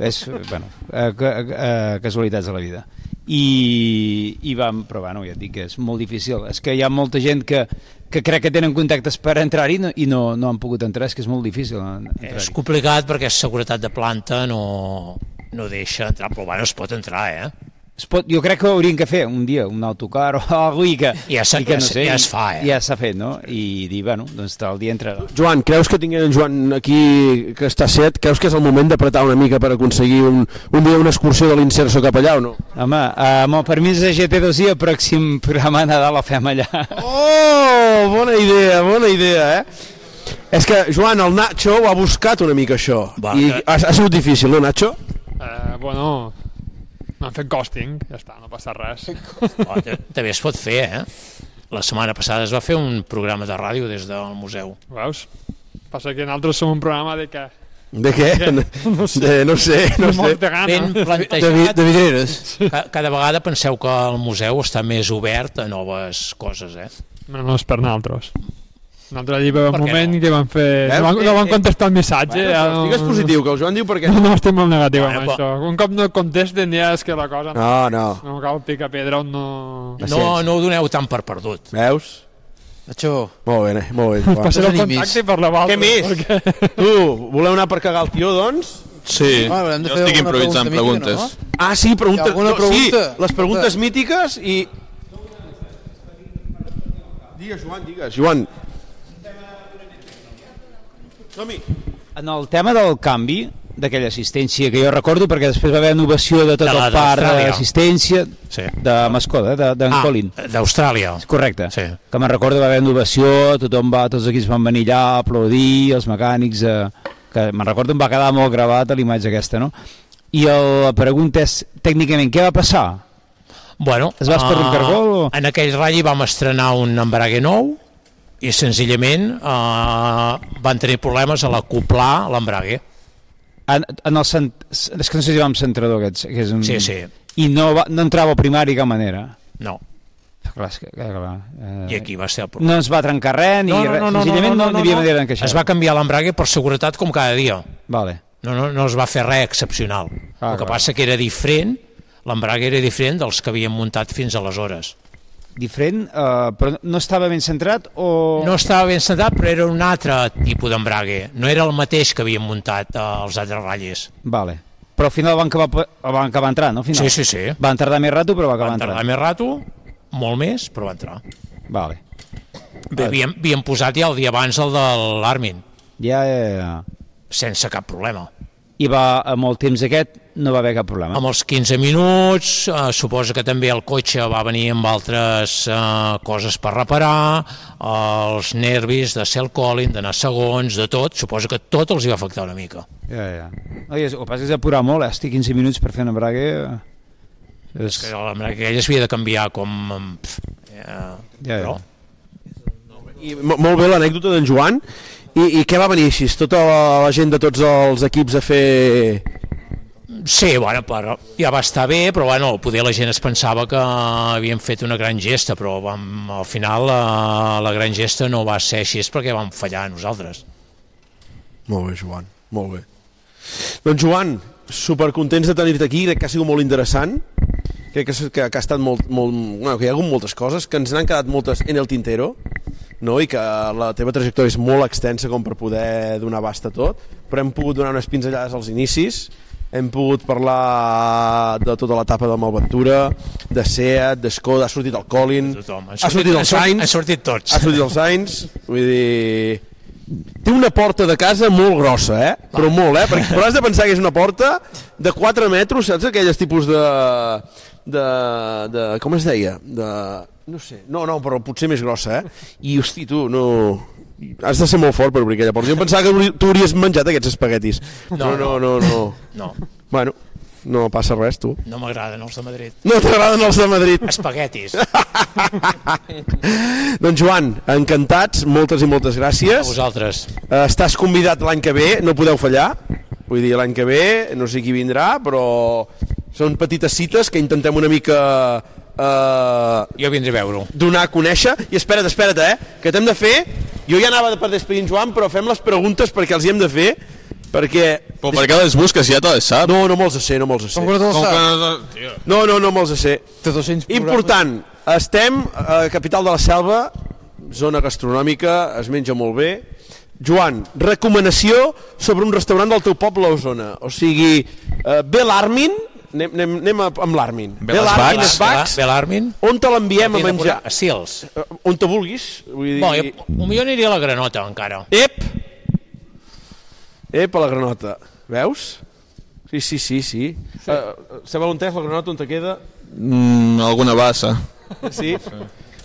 que és, bueno, eh, que, eh, casualitats de la vida. I, i vam, però bueno, ja et dic que és molt difícil. És que hi ha molta gent que, que crec que tenen contactes per entrar-hi no, i no, no han pogut entrar, és que és molt difícil en- entrar-hi. És complicat perquè és seguretat de planta, no, no deixa entrar, però bueno, es pot entrar, eh? Es pot, jo crec que ho hauríem que fer un dia, un autocar o alguna cosa i que, Ja s'ha- i que ja s'ha- ja es fa, eh? Ja s'ha fet, no? I dir, bueno, doncs tal dia entrarà. Joan, creus que tinguem en Joan aquí, que està set, creus que és el moment d'apretar una mica per aconseguir un, un dia una excursió de l'inserso cap allà o no? Home, eh, amb el permís de GT2 i el pròxim programa de Nadal el fem allà. Oh, bona idea, bona idea, eh? És que, Joan, el Nacho ho ha buscat una mica, això. Va, I que- ha, ha sigut difícil, no, Nacho? Eh, bueno, m'han fet ghosting, ja està, no passa res. Oh, Ah, ta- també es pot fer, eh? La setmana passada es va fer un programa de ràdio des del museu. Veus? Passa que nosaltres som un programa de que... De què? No sé. De, no sé, no sé. Molta gana. Ben plantejat. vi- de vidreres. Cada vegada penseu que el museu està més obert a noves coses, eh? No, no és per naltros. Un altre llibre un moment que van fer... Eh? No van, eh, no van contestar el missatge. Bueno, ja doncs digues positiu, que el Joan diu perquè- No, no, estic molt negatiu Bueno, amb però- això. Un cop no contesten ja és que la cosa... No, no. No cal picar pedra on no... No, no ho doneu tant per perdut. Veus? Això... Molt bé, eh? molt bé. Us passaré el Tenim contacte més. per la valta. Què més? Tu, voleu anar per cagar el tio, doncs? Sí, Ah, haurem de jo fer estic alguna improvisant pregunta mítica, preguntes. no? Ah, sí, pregunta, Hi ha alguna no, pregunta? Sí, les preguntes mítiques i... Digues, Joan, digues, Joan. Som-hi. En el tema del canvi, d'aquella assistència que jo recordo, perquè després va haver innovació de tot De la el part d'Austràlia. d'assistència sí. de Mascoda, d'en de, ah, Ah, Colin. d'Austràlia. Correcte. Sí. Que me'n recordo va haver innovació, tothom va, tots els equips van venir allà a aplaudir, els mecànics... Eh, que me'n recordo em va quedar molt gravat la imatge aquesta, no? I el, la pregunta és, tècnicament, què va passar? Bueno, Es va esparrir un ah, cargol o...? En aquell ratll vam estrenar un embrague nou i senzillament eh, van tenir problemes a l'acoplar l'embrague. En, en el cent... És que no sé si va amb centrador, aquest, que és un... Sí, sí. I no, va, no entrava al primari de cap manera. No. Ah, Clar, és que, clar, clar, eh... I aquí va ser el problema. No es va trencar res, ni res. Senzillament no, hi havia manera d'encaixar. Es va canviar l'embrague per seguretat com cada dia. Vale. No, no, no es va fer res excepcional. Ah, el que clar. passa que era diferent, l'embrague era diferent dels que havíem muntat fins aleshores. Diferent, eh, però no estava ben centrat o... No estava ben centrat, però era un altre tipus d'embrague. No era el mateix que havíem muntat eh, els altres ratlles. Vale. Però al final van acabar, el van acabar entrant, no? Al Final. Sí, sí, sí. Van tardar més rato, però va acabar Van tardar entrant. més rato, molt més, però va entrar. Vale. Bé, havíem, havíem posat ja el dia abans el de l'Armin. Ja, ja, ja. Sense cap problema. I va, amb el temps aquest, no va haver cap problema. Amb els 15 minuts, eh, suposa que també el cotxe va venir amb altres eh, coses per reparar, els nervis de ser el Colin, d'anar segons, de tot, suposa que tot els hi va afectar una mica. Ja, ja. Oi, és, el que passa és apurar molt, eh? Estic 15 minuts per fer un embrague... eh, És... Que la manera que ella s'havia de canviar com... Pff, eh, Ja, ja. Però, I mo- molt bé l'anècdota d'en Joan. I, I què va venir així? Tota la, la gent de tots els equips a fer... Sí, bueno, però ja va estar bé, però bueno, poder la gent es pensava que havíem fet una gran gesta, però vam, al final eh, la, la gran gesta no va ser així, és perquè vam fallar nosaltres. Molt bé, Joan, molt bé. Doncs Joan, supercontents de tenir-te aquí, crec que ha sigut molt interessant. Crec que, s- que, que ha estat molt, molt... Bueno, que hi ha hagut moltes coses, que ens n'han quedat moltes en el tintero, no? i que la teva trajectòria és molt extensa com per poder donar abast a tot, però hem pogut donar unes pinzellades als inicis, hem pogut parlar de tota l'etapa del Malventura, de Seat, d'Escoda, ha sortit el Colin, Tothom. ha sortit el han sortit- Sainz, Han sortit tots. ha sortit els anys, vull dir... Té una porta de casa molt grossa, eh? Però molt, eh? Perquè, però has de pensar que és una porta de 4 metres, saps? Aquelles tipus de... de, de com es deia? De, no sé. No, no, però potser més grossa, eh? I, hosti, tu, no... Has de ser molt fort per obrir aquella porta. Jo em pensava que hauria- tu hauries menjat aquests espaguetis. No, no, no, no. No, Bueno, no passa res, tu. no m'agraden els de Madrid. No t'agraden els de Madrid. Espaguetis. Doncs Joan, encantats, moltes i moltes gràcies. A vosaltres. Eh, Estàs convidat l'any que ve, no podeu fallar. Vull dir, l'any que ve, no sé qui vindrà, però són petites cites que intentem una mica... Eh, jo vindré a veure-ho. Donar a conèixer. I espera't, espera't, eh? Que t'hem de fer... Jo ja anava per despedir en Joan, però fem les preguntes perquè els hi hem de fer, perquè... Però per què les busques? Ja te les saps. No, no me'ls sé, no me'ls sé. Com que no te'ls Com que saps? no te'ls- No, no, no me'ls sé. Important, estem a Capital de la Selva, zona gastronòmica, es menja molt bé. Joan, recomanació sobre un restaurant del teu poble a Osona. O sigui, eh, ve l'Armin, anem, anem, anem a- amb l'Armin. Ve les Bacs, les Bacs, ve l'Armin. On te l'enviem a Martina menjar? Eh, Pura- A Sils. On te vulguis. Vull dir... Eh, Bon, jo, potser aniria a la Granota, encara. Ep! Ep, a la granota. Veus? Sí, sí, sí, sí. sí. Uh, sabeu on és la granota, on te queda? Mm, alguna bassa. Sí?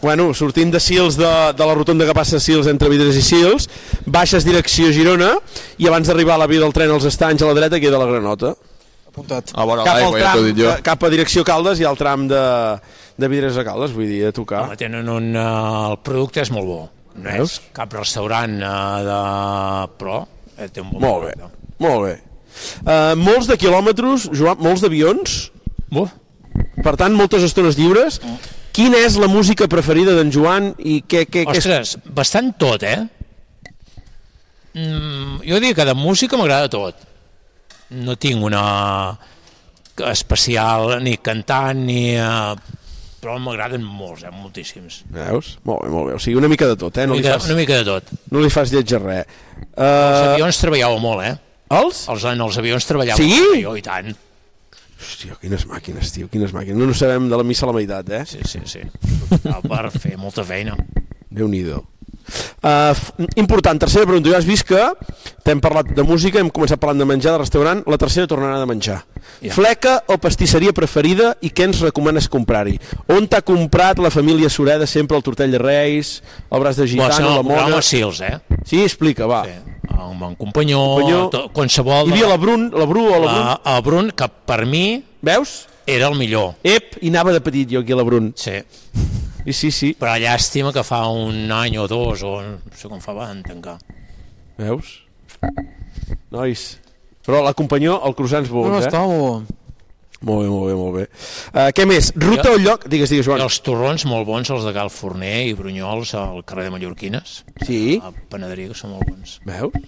Bueno, sortint de Sils, de, de la rotonda que passa a Sils entre Vidres i Sils, baixes direcció Girona i abans d'arribar a la via del tren als estanys a la dreta queda la granota. Apuntat. A vora Cap, al l'aigua, Ah, ja t'ho tram, he dit jo. ca- cap a direcció Caldes i al tram de, de Vidres a Caldes, vull dir, a tocar. Home, tenen un... eh, el producte és molt bo. No és cap restaurant eh, de... Però eh, té un bon Molt bé, molt bé. Uh, molts de quilòmetres, Joan, molts d'avions. Uh. Per tant, moltes estones Mm. lliures. Quina és la música preferida d'en Joan i què, què, què és... Ostres, bastant tot, eh? Mm, jo diria que de música m'agrada tot. No tinc una especial ni cantant ni... Eh, però m'agraden molts, eh, moltíssims. Veus? Molt bé, molt bé. O sigui, una mica de tot, eh? No Una li mica- fas, una mica de tot. No li fas lleig a res. Uh... Els avions treballava molt, eh? Els? els en els avions treballava Sí? molt, jo, i tant. Hòstia, quines màquines, tio, quines màquines. No, no sabem de la missa a la meitat, eh? Sí, sí, sí. per fer molta feina. Déu-n'hi-do. Uh, f- important, tercera pregunta. Ja has vist que t'hem parlat de música, hem començat parlant de menjar, de restaurant, la tercera tornarà de menjar. Ja. Fleca o pastisseria preferida i què ens recomanes comprar-hi? On t'ha comprat la família Sureda sempre el tortell de Reis, el braç de Bueno, gitano, això la mona... comprava a Sils, eh? Sí, explica, va. Sí. Un bon companyó, to- qualsevol... Hi havia la Brun, la Bru o la Brun? La, el Brun, que per mi... Veus? Era el millor. Ep, i anava de petit jo aquí a la Brun. Sí. I sí, sí. Però llàstima que fa un any o dos, o no sé com fa, van tancar. Veus? Nois. Però l'acompanyó al croissants bons, No, no, eh? estava molt Molt bé, molt bé, molt bé. Uh, què més? Ruta o lloc? Digues, digues, Joan. I els torrons molt bons, els de Cal Forner i Brunyols, al carrer de Mallorquines. Sí. A Panaderia, que són molt bons. Veus?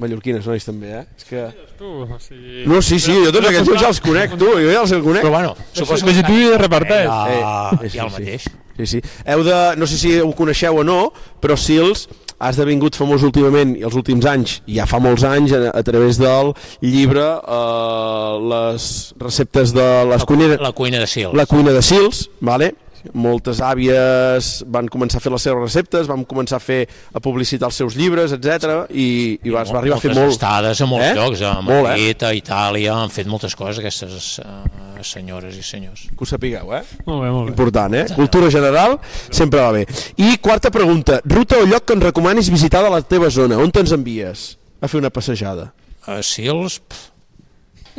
Mallorquines, nois, també, eh? És que... Tu, o sigui... No, sí, sí, jo tots aquests jocs els conec, tu, jo ja els conec. Però bueno, suposo que... tu i reparteix. Eh, eh, sí, i el sí. mateix. Sí, sí. Heu de, no sé si ho coneixeu o no, però Sils ha esdevingut famós últimament i els últims anys, i ja fa molts anys, a, a través del llibre eh, Les receptes de les cuineres... La cuina de Sils. la cuina de Sils, vale? moltes àvies van començar a fer les seves receptes, van començar a fer a publicitar els seus llibres, etc. i, i vas, va arribar a fer molt. Moltes estades a molts eh? llocs, a Molt, eh? Madrid, a Itàlia, han fet moltes coses aquestes eh, senyores i senyors. Que ho sapigueu, eh? Molt bé, molt bé. Important, eh? Cultura general sempre va bé. I quarta pregunta, ruta o lloc que ens recomanis visitar de la teva zona? On te'ns envies a fer una passejada? A Sils...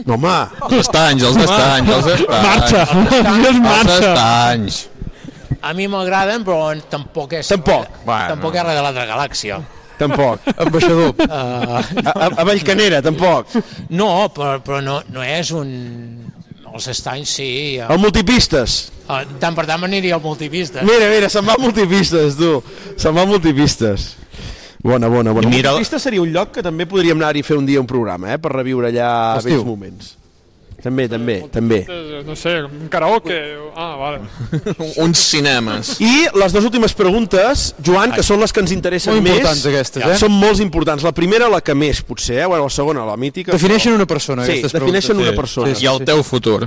No, home! Els estanys, els estanys, els estanys. Marxa. Els Marxa. estanys. A mi m'agraden, però tampoc és... Tampoc. Bueno. Tampoc és res de l'altra galàxia. Tampoc. Ambaixador. A, a, a Vallcanera, tampoc. No, però, però no, no és un... Els estanys sí... eh, El multipistes. eh, tant per tant m'aniria al multivista. Mira, mira, se'n va a multipistes, tu. Se'n va a multipistes. Bona, bona, bona. Mira- Multipistes seria un lloc que també podríem anar-hi a fer un dia un programa, eh? Per reviure allà Estiu. vells moments. També, també, també. No sé, un karaoke... o- Ah, vale. Uns cinemes. I les dues últimes preguntes, Joan, que són les que ens interessen Molt més. importants, aquestes, eh? Són molt importants. La primera, la que més, potser, eh? Bueno, la segona, la mítica. Defineixen una persona, sí, aquestes defineixen preguntes. una persona. I el teu futur.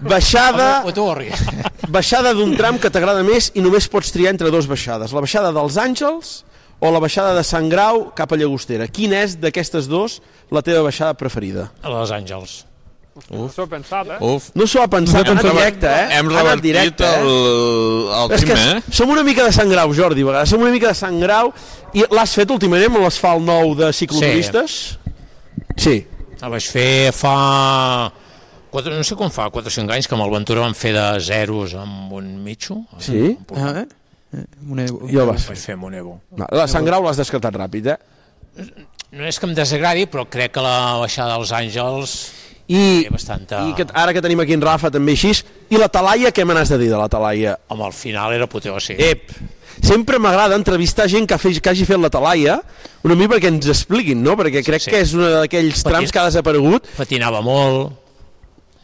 Baixada... O tu, Orri. Baixada d'un tram que t'agrada més i només pots triar entre dues baixades. La baixada dels Àngels o la baixada de Sant Grau cap a Llagostera. Quina és d'aquestes dos la teva baixada preferida? A Los Àngels. Uf. S'ho he pensat, eh? Uf. No s'ho ha pensat, Hem ha anat rever- directe, eh? Hem Ha anat revertit directe, eh? el, el és que primer, eh? som una mica de Sant Grau, Jordi, a vegades. Som una mica de Sant Grau. I l'has fet últimament amb l'asfalt nou de cicloturistes? Sí. La vaig fer fa... Quatre, no sé quan fa, 4 o 5 anys, que amb el Ventura vam fer de zeros amb un mitjo. Sí? Ah, eh? Un euro. Jo vas Vaig fer amb un Evo. No, la Sant Grau l'has descartat ràpid, eh? No és que em desagradi, però crec que la baixada dels Àngels I, bastanta... I que, ara que tenim aquí en Rafa també així, i la talaia, què me n'has de dir de la talaia? Home, al final era poteosi. Ep! Sempre m'agrada entrevistar gent que, ha fet, que hagi fet la talaia, una mica perquè ens expliquin, no? Perquè crec sí, sí. que és un d'aquells trams que ha desaparegut. Patinava molt,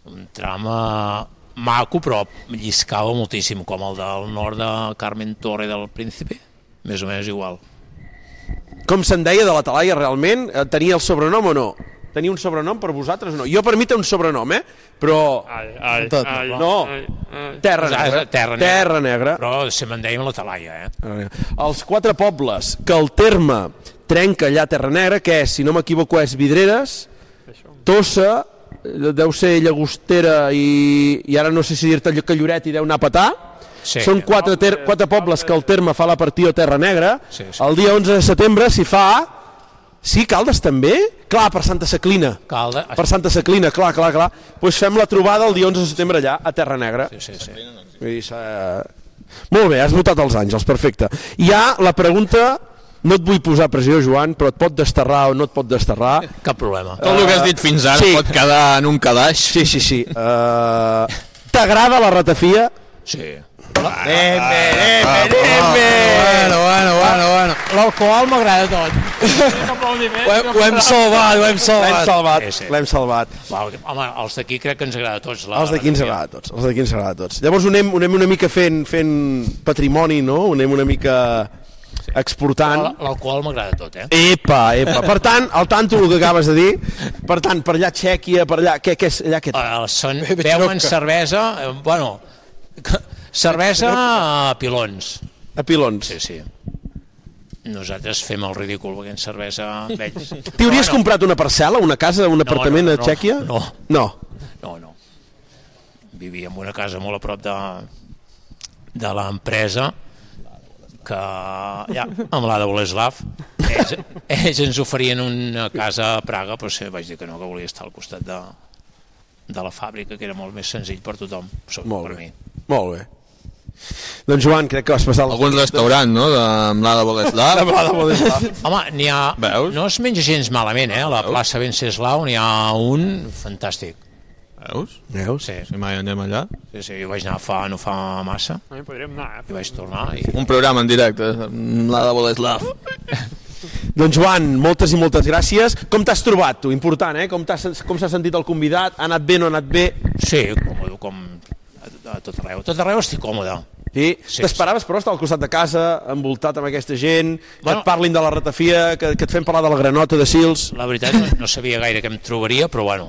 un tram eh, maco, però lliscava moltíssim, com el del nord de Carmen Torre del Príncipe, més o menys igual. Com se'n deia de la talaia realment? Eh, Tenia el sobrenom o no? Tenia un sobrenom per vosaltres o no? Jo per mi té un sobrenom, eh? Però... Ai, ai, Tot. ai, no. ai, ai. Terra Posava- negra. Ah, Terra negra. Terra negra. Però se me'n deia la talaia, eh? Els quatre pobles que el terme trenca allà a Terra Negra, que és, si no m'equivoco, és Vidreres, Tossa, eh, deu ser Llagostera i, i ara no sé si dir-te que Lloret i deu anar a petar. Sí. Són quatre, ter quatre pobles que el terme fa la partida a Terra Negra. Sí, sí. El dia 11 de setembre s'hi fa... Sí, Caldes també? Clar, per Santa Saclina. Calde... Per Santa Saclina, clar, clar, clar. Doncs pues fem la trobada el dia 11 de setembre allà, a Terra Negra. Sí, sí, sí. Vull dir, s'ha- Molt bé, has votat els àngels, perfecte. Hi ha la pregunta, no et vull posar pressió, Joan, però et pot desterrar o no et pot desterrar. Cap problema. Tot el que has dit fins ara pot quedar en un calaix. Sí, sí, sí. Eh, Uh, T'agrada la ratafia? Sí. Eh, Bueno, bueno, bueno, bueno. L'alcohol m'agrada tot. Aplaudiment. Ho hem- ho hem salvat, ho hem salvat. L'hem salvat, Sí, sí. l'hem salvat. Va, home, els d'aquí crec que ens agrada a tots. La, Els d'aquí ens la- agrada a tots, els d'aquí ens agrada a tots. Llavors ho anem, ho anem una mica fent, fent patrimoni, no? Ho anem una mica exportant. L'alcohol m'agrada tot, eh? Epa, epa. Per tant, el tanto el que acabes de dir, per tant, per allà Txèquia, per allà, què, què és allà? Què Uh, són, beuen cervesa, eh, bueno, cervesa a pilons. A pilons? Sí, sí. Nosaltres fem el ridícul perquè en cervesa amb ells... T'hi hauries comprat una parcel·la, una casa, un apartament no, a Txèquia? no, No. No, no. Vivia en una casa molt a prop de, de l'empresa que ja, amb l'Ada Boleslav ells, ells ens oferien una casa a Praga però sí, vaig dir que no, que volia estar al costat de, de la fàbrica que era molt més senzill per tothom sobretot Molt per bé. mi Molt bé. Doncs Joan, crec que vas passar... Algun restaurant, no?, de, amb l'Ada Boleslav. Amb l'Ada Boleslav. Home, n'hi ha... Veus? No es menja gens malament, eh? A la plaça Venceslau n'hi ha un fantàstic. Veus? Veus? Sí. Si mai anem allà. Sí, sí, jo vaig anar fa, no fa massa, No hi podríem anar, eh? i vaig tornar i... Un programa en directe, amb l'Ada Boleslav. Doncs Joan, moltes i moltes gràcies. Com t'has trobat, tu? Important, eh? Com t'has- com s'ha sentit el convidat? Ha anat bé, no ha anat bé? Sí, còmode, com a, a tot arreu. A tot arreu estic còmode. Sí? sí T'esperaves, però, estar al costat de casa, envoltat amb aquesta gent, que Bueno. et parlin de la ratafia, que, que et fem parlar de la granota de Sils... La veritat, no, no sabia gaire què em trobaria, però bueno,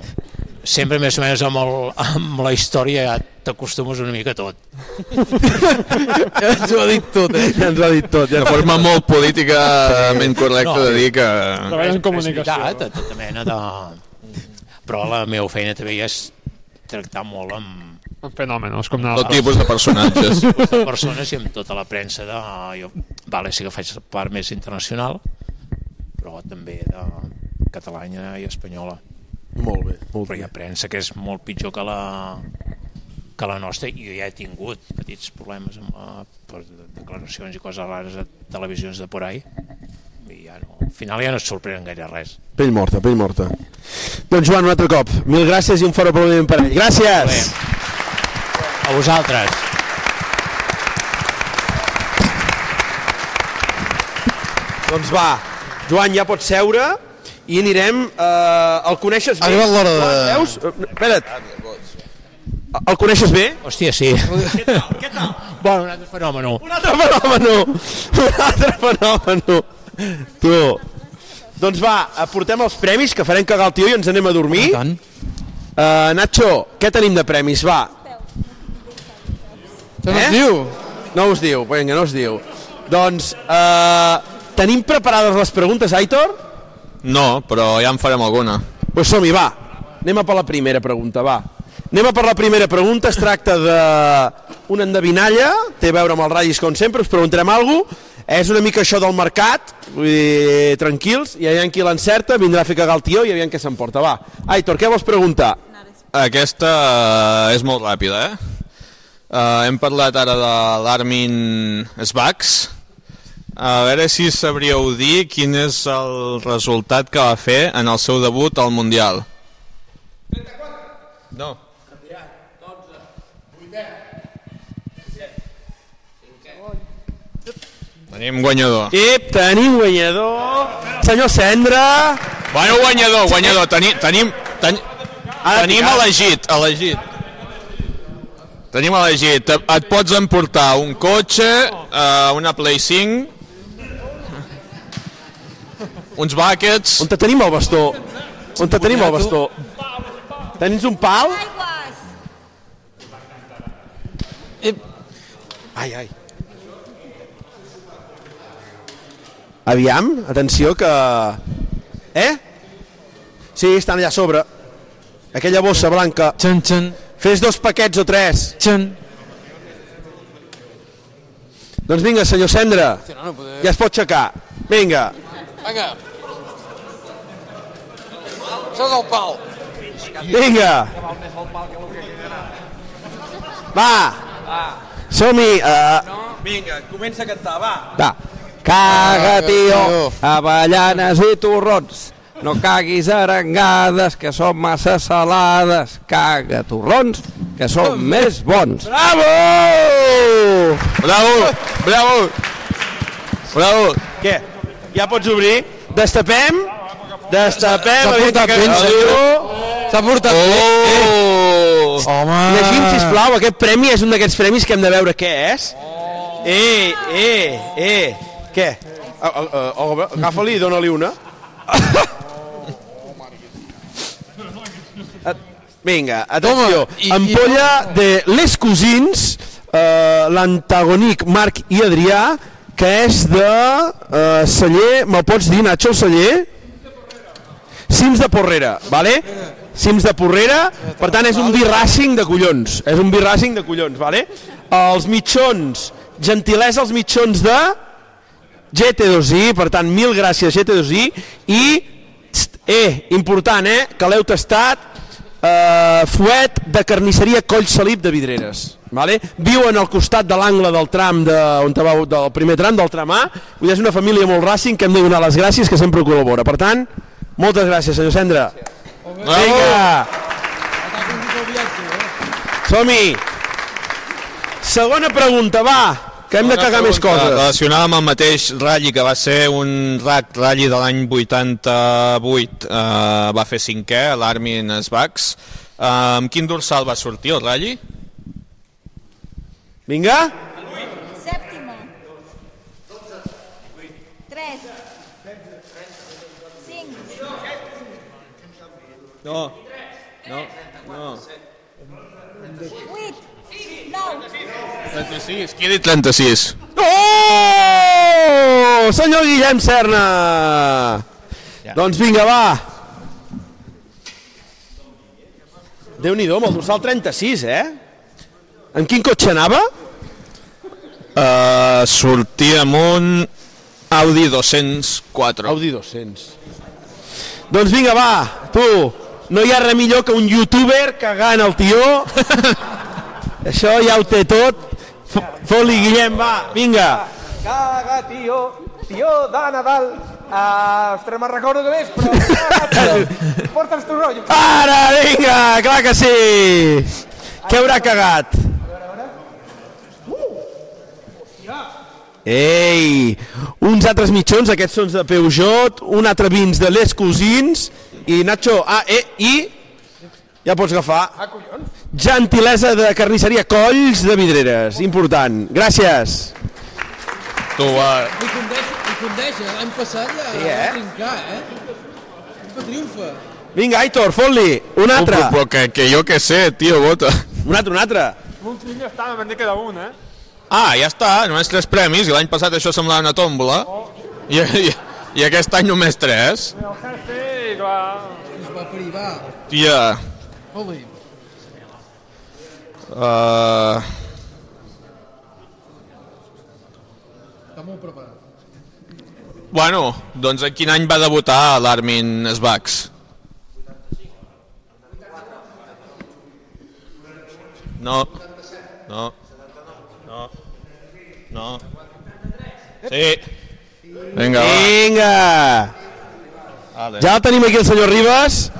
sempre més o menys amb, el, amb la història ja t'acostumes una mica a tot. ja ens ho ha dit tot, eh? Ja ens ho ha dit tot. Ja de forma molt políticament correcta Eh, de dir que... És- És veritat, a tota mena de... Però la meva feina també ja és tractar molt amb... Amb fenòmenos, com Tot tipus de personatges. Tot tipus de persones i amb tota la premsa de... Jo, vale, sí que faig la part més internacional, però també de catalana i espanyola. Molt bé. Molt però hi ha premsa que és molt pitjor que la, que la nostra i jo ja he tingut petits problemes amb la, per declaracions i coses rares a televisions de por ahí i ja no, al final ja no es sorprenen gaire res Pell morta, pell morta. Doncs Joan, un altre cop. Mil gràcies i un fort aplaudiment per ell. Gràcies! a vosaltres Doncs va, Joan, ja pots seure i anirem... Eh, el coneixes bé? Ha arribat l'hora de- Joan, Veus? Eh, Espera't. El coneixes bé? Hòstia, sí. Què tal? Què tal? Bueno, un altre fenomen. Un altre fenomen. Un altre fenomen. Tu. Doncs va, eh, portem els premis, que farem cagar el tio i ens anem a dormir. Ah, Tant. Uh, Nacho, què tenim de premis? Va. Això no eh? us diu? No us diu, vinga, no us diu. Doncs, uh, tenim preparades les preguntes, Aitor? No, però ja en farem alguna. Pues som-hi, va. Anem a per la primera pregunta, va. Anem a per la primera pregunta. Es tracta de una endevinalla, té a veure amb els ratllis com sempre, us preguntarem alguna cosa. És una mica això del mercat, vull dir, tranquils, i aviam qui l'encerta, vindrà a fer cagar el tio i aviam què s'emporta, va. Aitor, què vols preguntar? Aquesta eh, és molt ràpida, eh? Eh, hem parlat ara de l'Armin Svax. A veure si sabríeu dir quin és el resultat que va fer en el seu debut al Mundial. No. Tenim guanyador. Ep, tenim guanyador. Senyor Cendra. Bueno, guanyador, guanyador. Teni, tenim, ten, Ara tenim picat. elegit, elegit. Tenim elegit. Et, et pots emportar un cotxe, eh, una Play 5, uns buckets... On te tenim el bastó? On te tenim el bastó? Tenins un pal? Eh, Ai, ai. Aviam, atenció que... Eh? Sí, estan allà a sobre. Aquella bossa blanca. Txan, txan. Fes dos paquets o tres. Txan. Doncs vinga, senyor Cendra. Ja es pot aixecar. Vinga. Vinga. Això és el pal. Vinga. Va, som-hi. eh, Vinga, comença a cantar, va. Va, caga, tio, avellanes i torrons. No caguis arengades, que són massa salades. Caga torrons, que són més bons. Bravo! Bravo! Bravo! Bravo! Què? ja pots obrir. Destapem, destapem, S'ha a veure portat què bé, ens senyor. diu. S'ha portat oh! Home! Eh. Llegim, sisplau, aquest premi és un d'aquests premis que hem de veure què és. Eh, eh, eh, què? Ah, ah, ah, oh, Agafa-li i dona-li una. Vinga, atenció. i- Ampolla de Les Cousins, eh, l'antagonic Marc i Adrià, que és de eh, celler, me'l pots dir, Nacho, el celler? Cims de Porrera, vale? Cims de Porrera, per tant és un birracing de collons, és un birracing de collons, vale? Els mitjons, gentilesa els mitjons de GT2i, per tant mil gràcies GT2i i, tst, eh, important, eh, que l'heu tastat, eh, fuet de carnisseria Coll Salip de Vidreres. Vale? Viuen al costat de l'angle del tram de, on te va, del primer tram, del tram A. Vull dir, és una família molt racing que hem de donar les gràcies, que sempre col·labora. Per tant, moltes gràcies, senyor Cendra. Vinga! Som-hi! Segona pregunta, va, que hem de cagar més pregunta coses. Relacionada amb el mateix ratll, que va ser un rac ratll de l'any 88, eh, va fer cinquè, a l'Armin Svax. Eh, amb quin dorsal va sortir el ratll? Vinga. Sèptima. 3. 5. No. No. No. 8. 9. 36, qui ha dit 36? Oh! Senyor Guillem Serna! Ja. Doncs vinga, va. Déu-n'hi-do, amb el dorsal 36, eh? En quin cotxe anava? Eh, sortia amb un Audi 204. Audi 200. Doncs vinga, va, tu. No hi ha res millor que un youtuber cagant el tió. Això ja ho té tot. Fo- Fot-li, Guillem, va, vinga. Caga, tio, tio de Nadal. Uh, ostres, me'n recordo que més, però... Porta'ns tu rotllo. Ara, vinga, clar que sí. Què haurà cagat? Ei, uns altres mitjons, aquests són de Peugeot, un altre vins de Les Cousins, i Nacho, ah, eh, i... Ja pots agafar. Ah, Gentilesa de carnisseria Colls de Vidreres, important. Gràcies. Tu, va, I condeix, i condeix, eh? l'any passat la Sí, eh? trincar, eh? Triomfa, triomfa. Vinga, Aitor, fot-li, un altre. Però, però que, que jo què Eh, sé, tio, bota. Un altre, un altre. Un trillo està, me'n queda un, eh? Ah, ja està, només tres premis, i l'any passat això semblava una tòmbola. I, i, I aquest any només tres. El jefe, va... Es va parir, va. Tia... Oli. Uh, Està molt preparat. bueno, doncs en quin any va debutar l'Armin Svax? No. No. No. No. Sí. Vinga, va. Vinga. Vale. Ja el tenim aquí el senyor Ribas.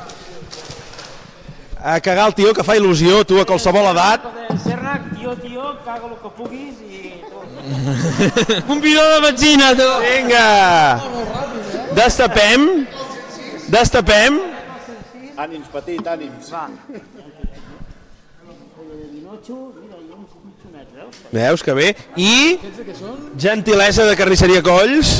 A cagar el tio, que fa il·lusió, tu, a qualsevol edat. Serra, tio, tio, caga lo que puguis i... Un bidó de benzina, tu. Vinga. Destapem. Destapem. Ànims, petit, ànims. Va. Veus que bé. I gentilesa de carnisseria Colls.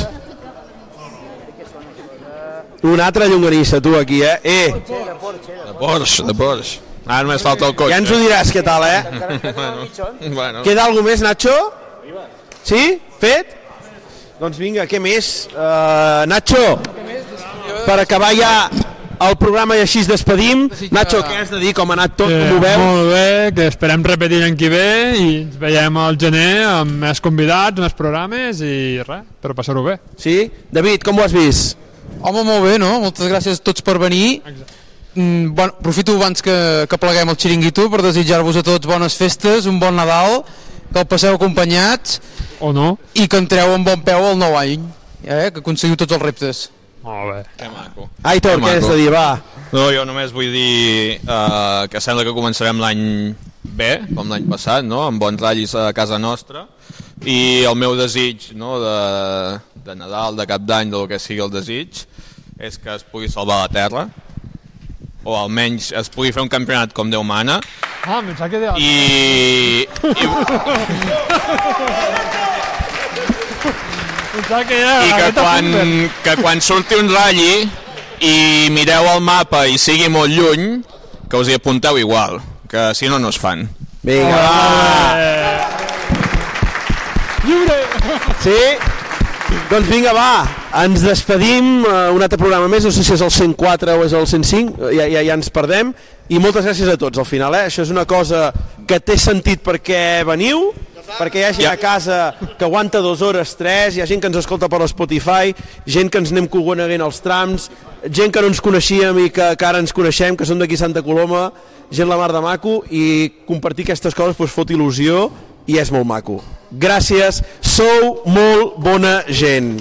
Un altre llonganissa, tu, aquí, eh? Eh, De Porsche, de Porsche. Ara només falta el cotxe. Ja ens ho diràs, què tal, eh? bueno. bueno. Queda alguna més, Nacho? Sí? Fet? Doncs vinga, què més? Uh, Nacho, per acabar ja el programa i així es despedim. Nacho, què has de dir? Com ha anat tot? Com ho veus? Eh, Molt bé, que esperem repetir l'any que ve i ens veiem al gener amb més convidats, més programes i res, per passar-ho bé. Sí? David, com ho has vist? Home, molt bé, no? Moltes gràcies a tots per venir. Mm, bueno, aprofito abans que, que pleguem el xiringuito per desitjar-vos a tots bones festes, un bon Nadal, que el passeu acompanyats o no i que entreu amb bon peu al nou any, eh? que aconseguiu tots els reptes. Molt bé. Que maco. Aitor, què has de dir? Va. No, jo només vull dir eh, que sembla que començarem l'any bé, com l'any passat, no? amb bons ratllis a casa nostra. i el meu desig no, de, de Nadal, de cap d'any, del que sigui el desig, és que es pugui salvar la Terra, o almenys es pugui fer un campionat com Déu mana, Ah, em pensava que deia... i, i, Pensava que ja... i que quan, que quan surti un ratlli i mireu el mapa i sigui molt lluny, que us hi apunteu igual, que si no, no es fan. Vinga. Lliure! Sí? Doncs vinga, va, ens despedim, eh, un altre programa més, no sé si és el 104 o és el 105, ja, ja, ja ens perdem, i moltes gràcies a tots al final, eh? això és una cosa que té sentit perquè veniu, perquè hi ha gent a casa que aguanta dues hores, tres, hi ha gent que ens escolta per Spotify, gent que ens anem cogoneguent als trams, gent que no ens coneixíem i que, que ara ens coneixem, que som d'aquí Santa Coloma, gent la mar de maco, i compartir aquestes coses doncs, fot il·lusió i és molt maco. Gràcies, sou molt bona gent.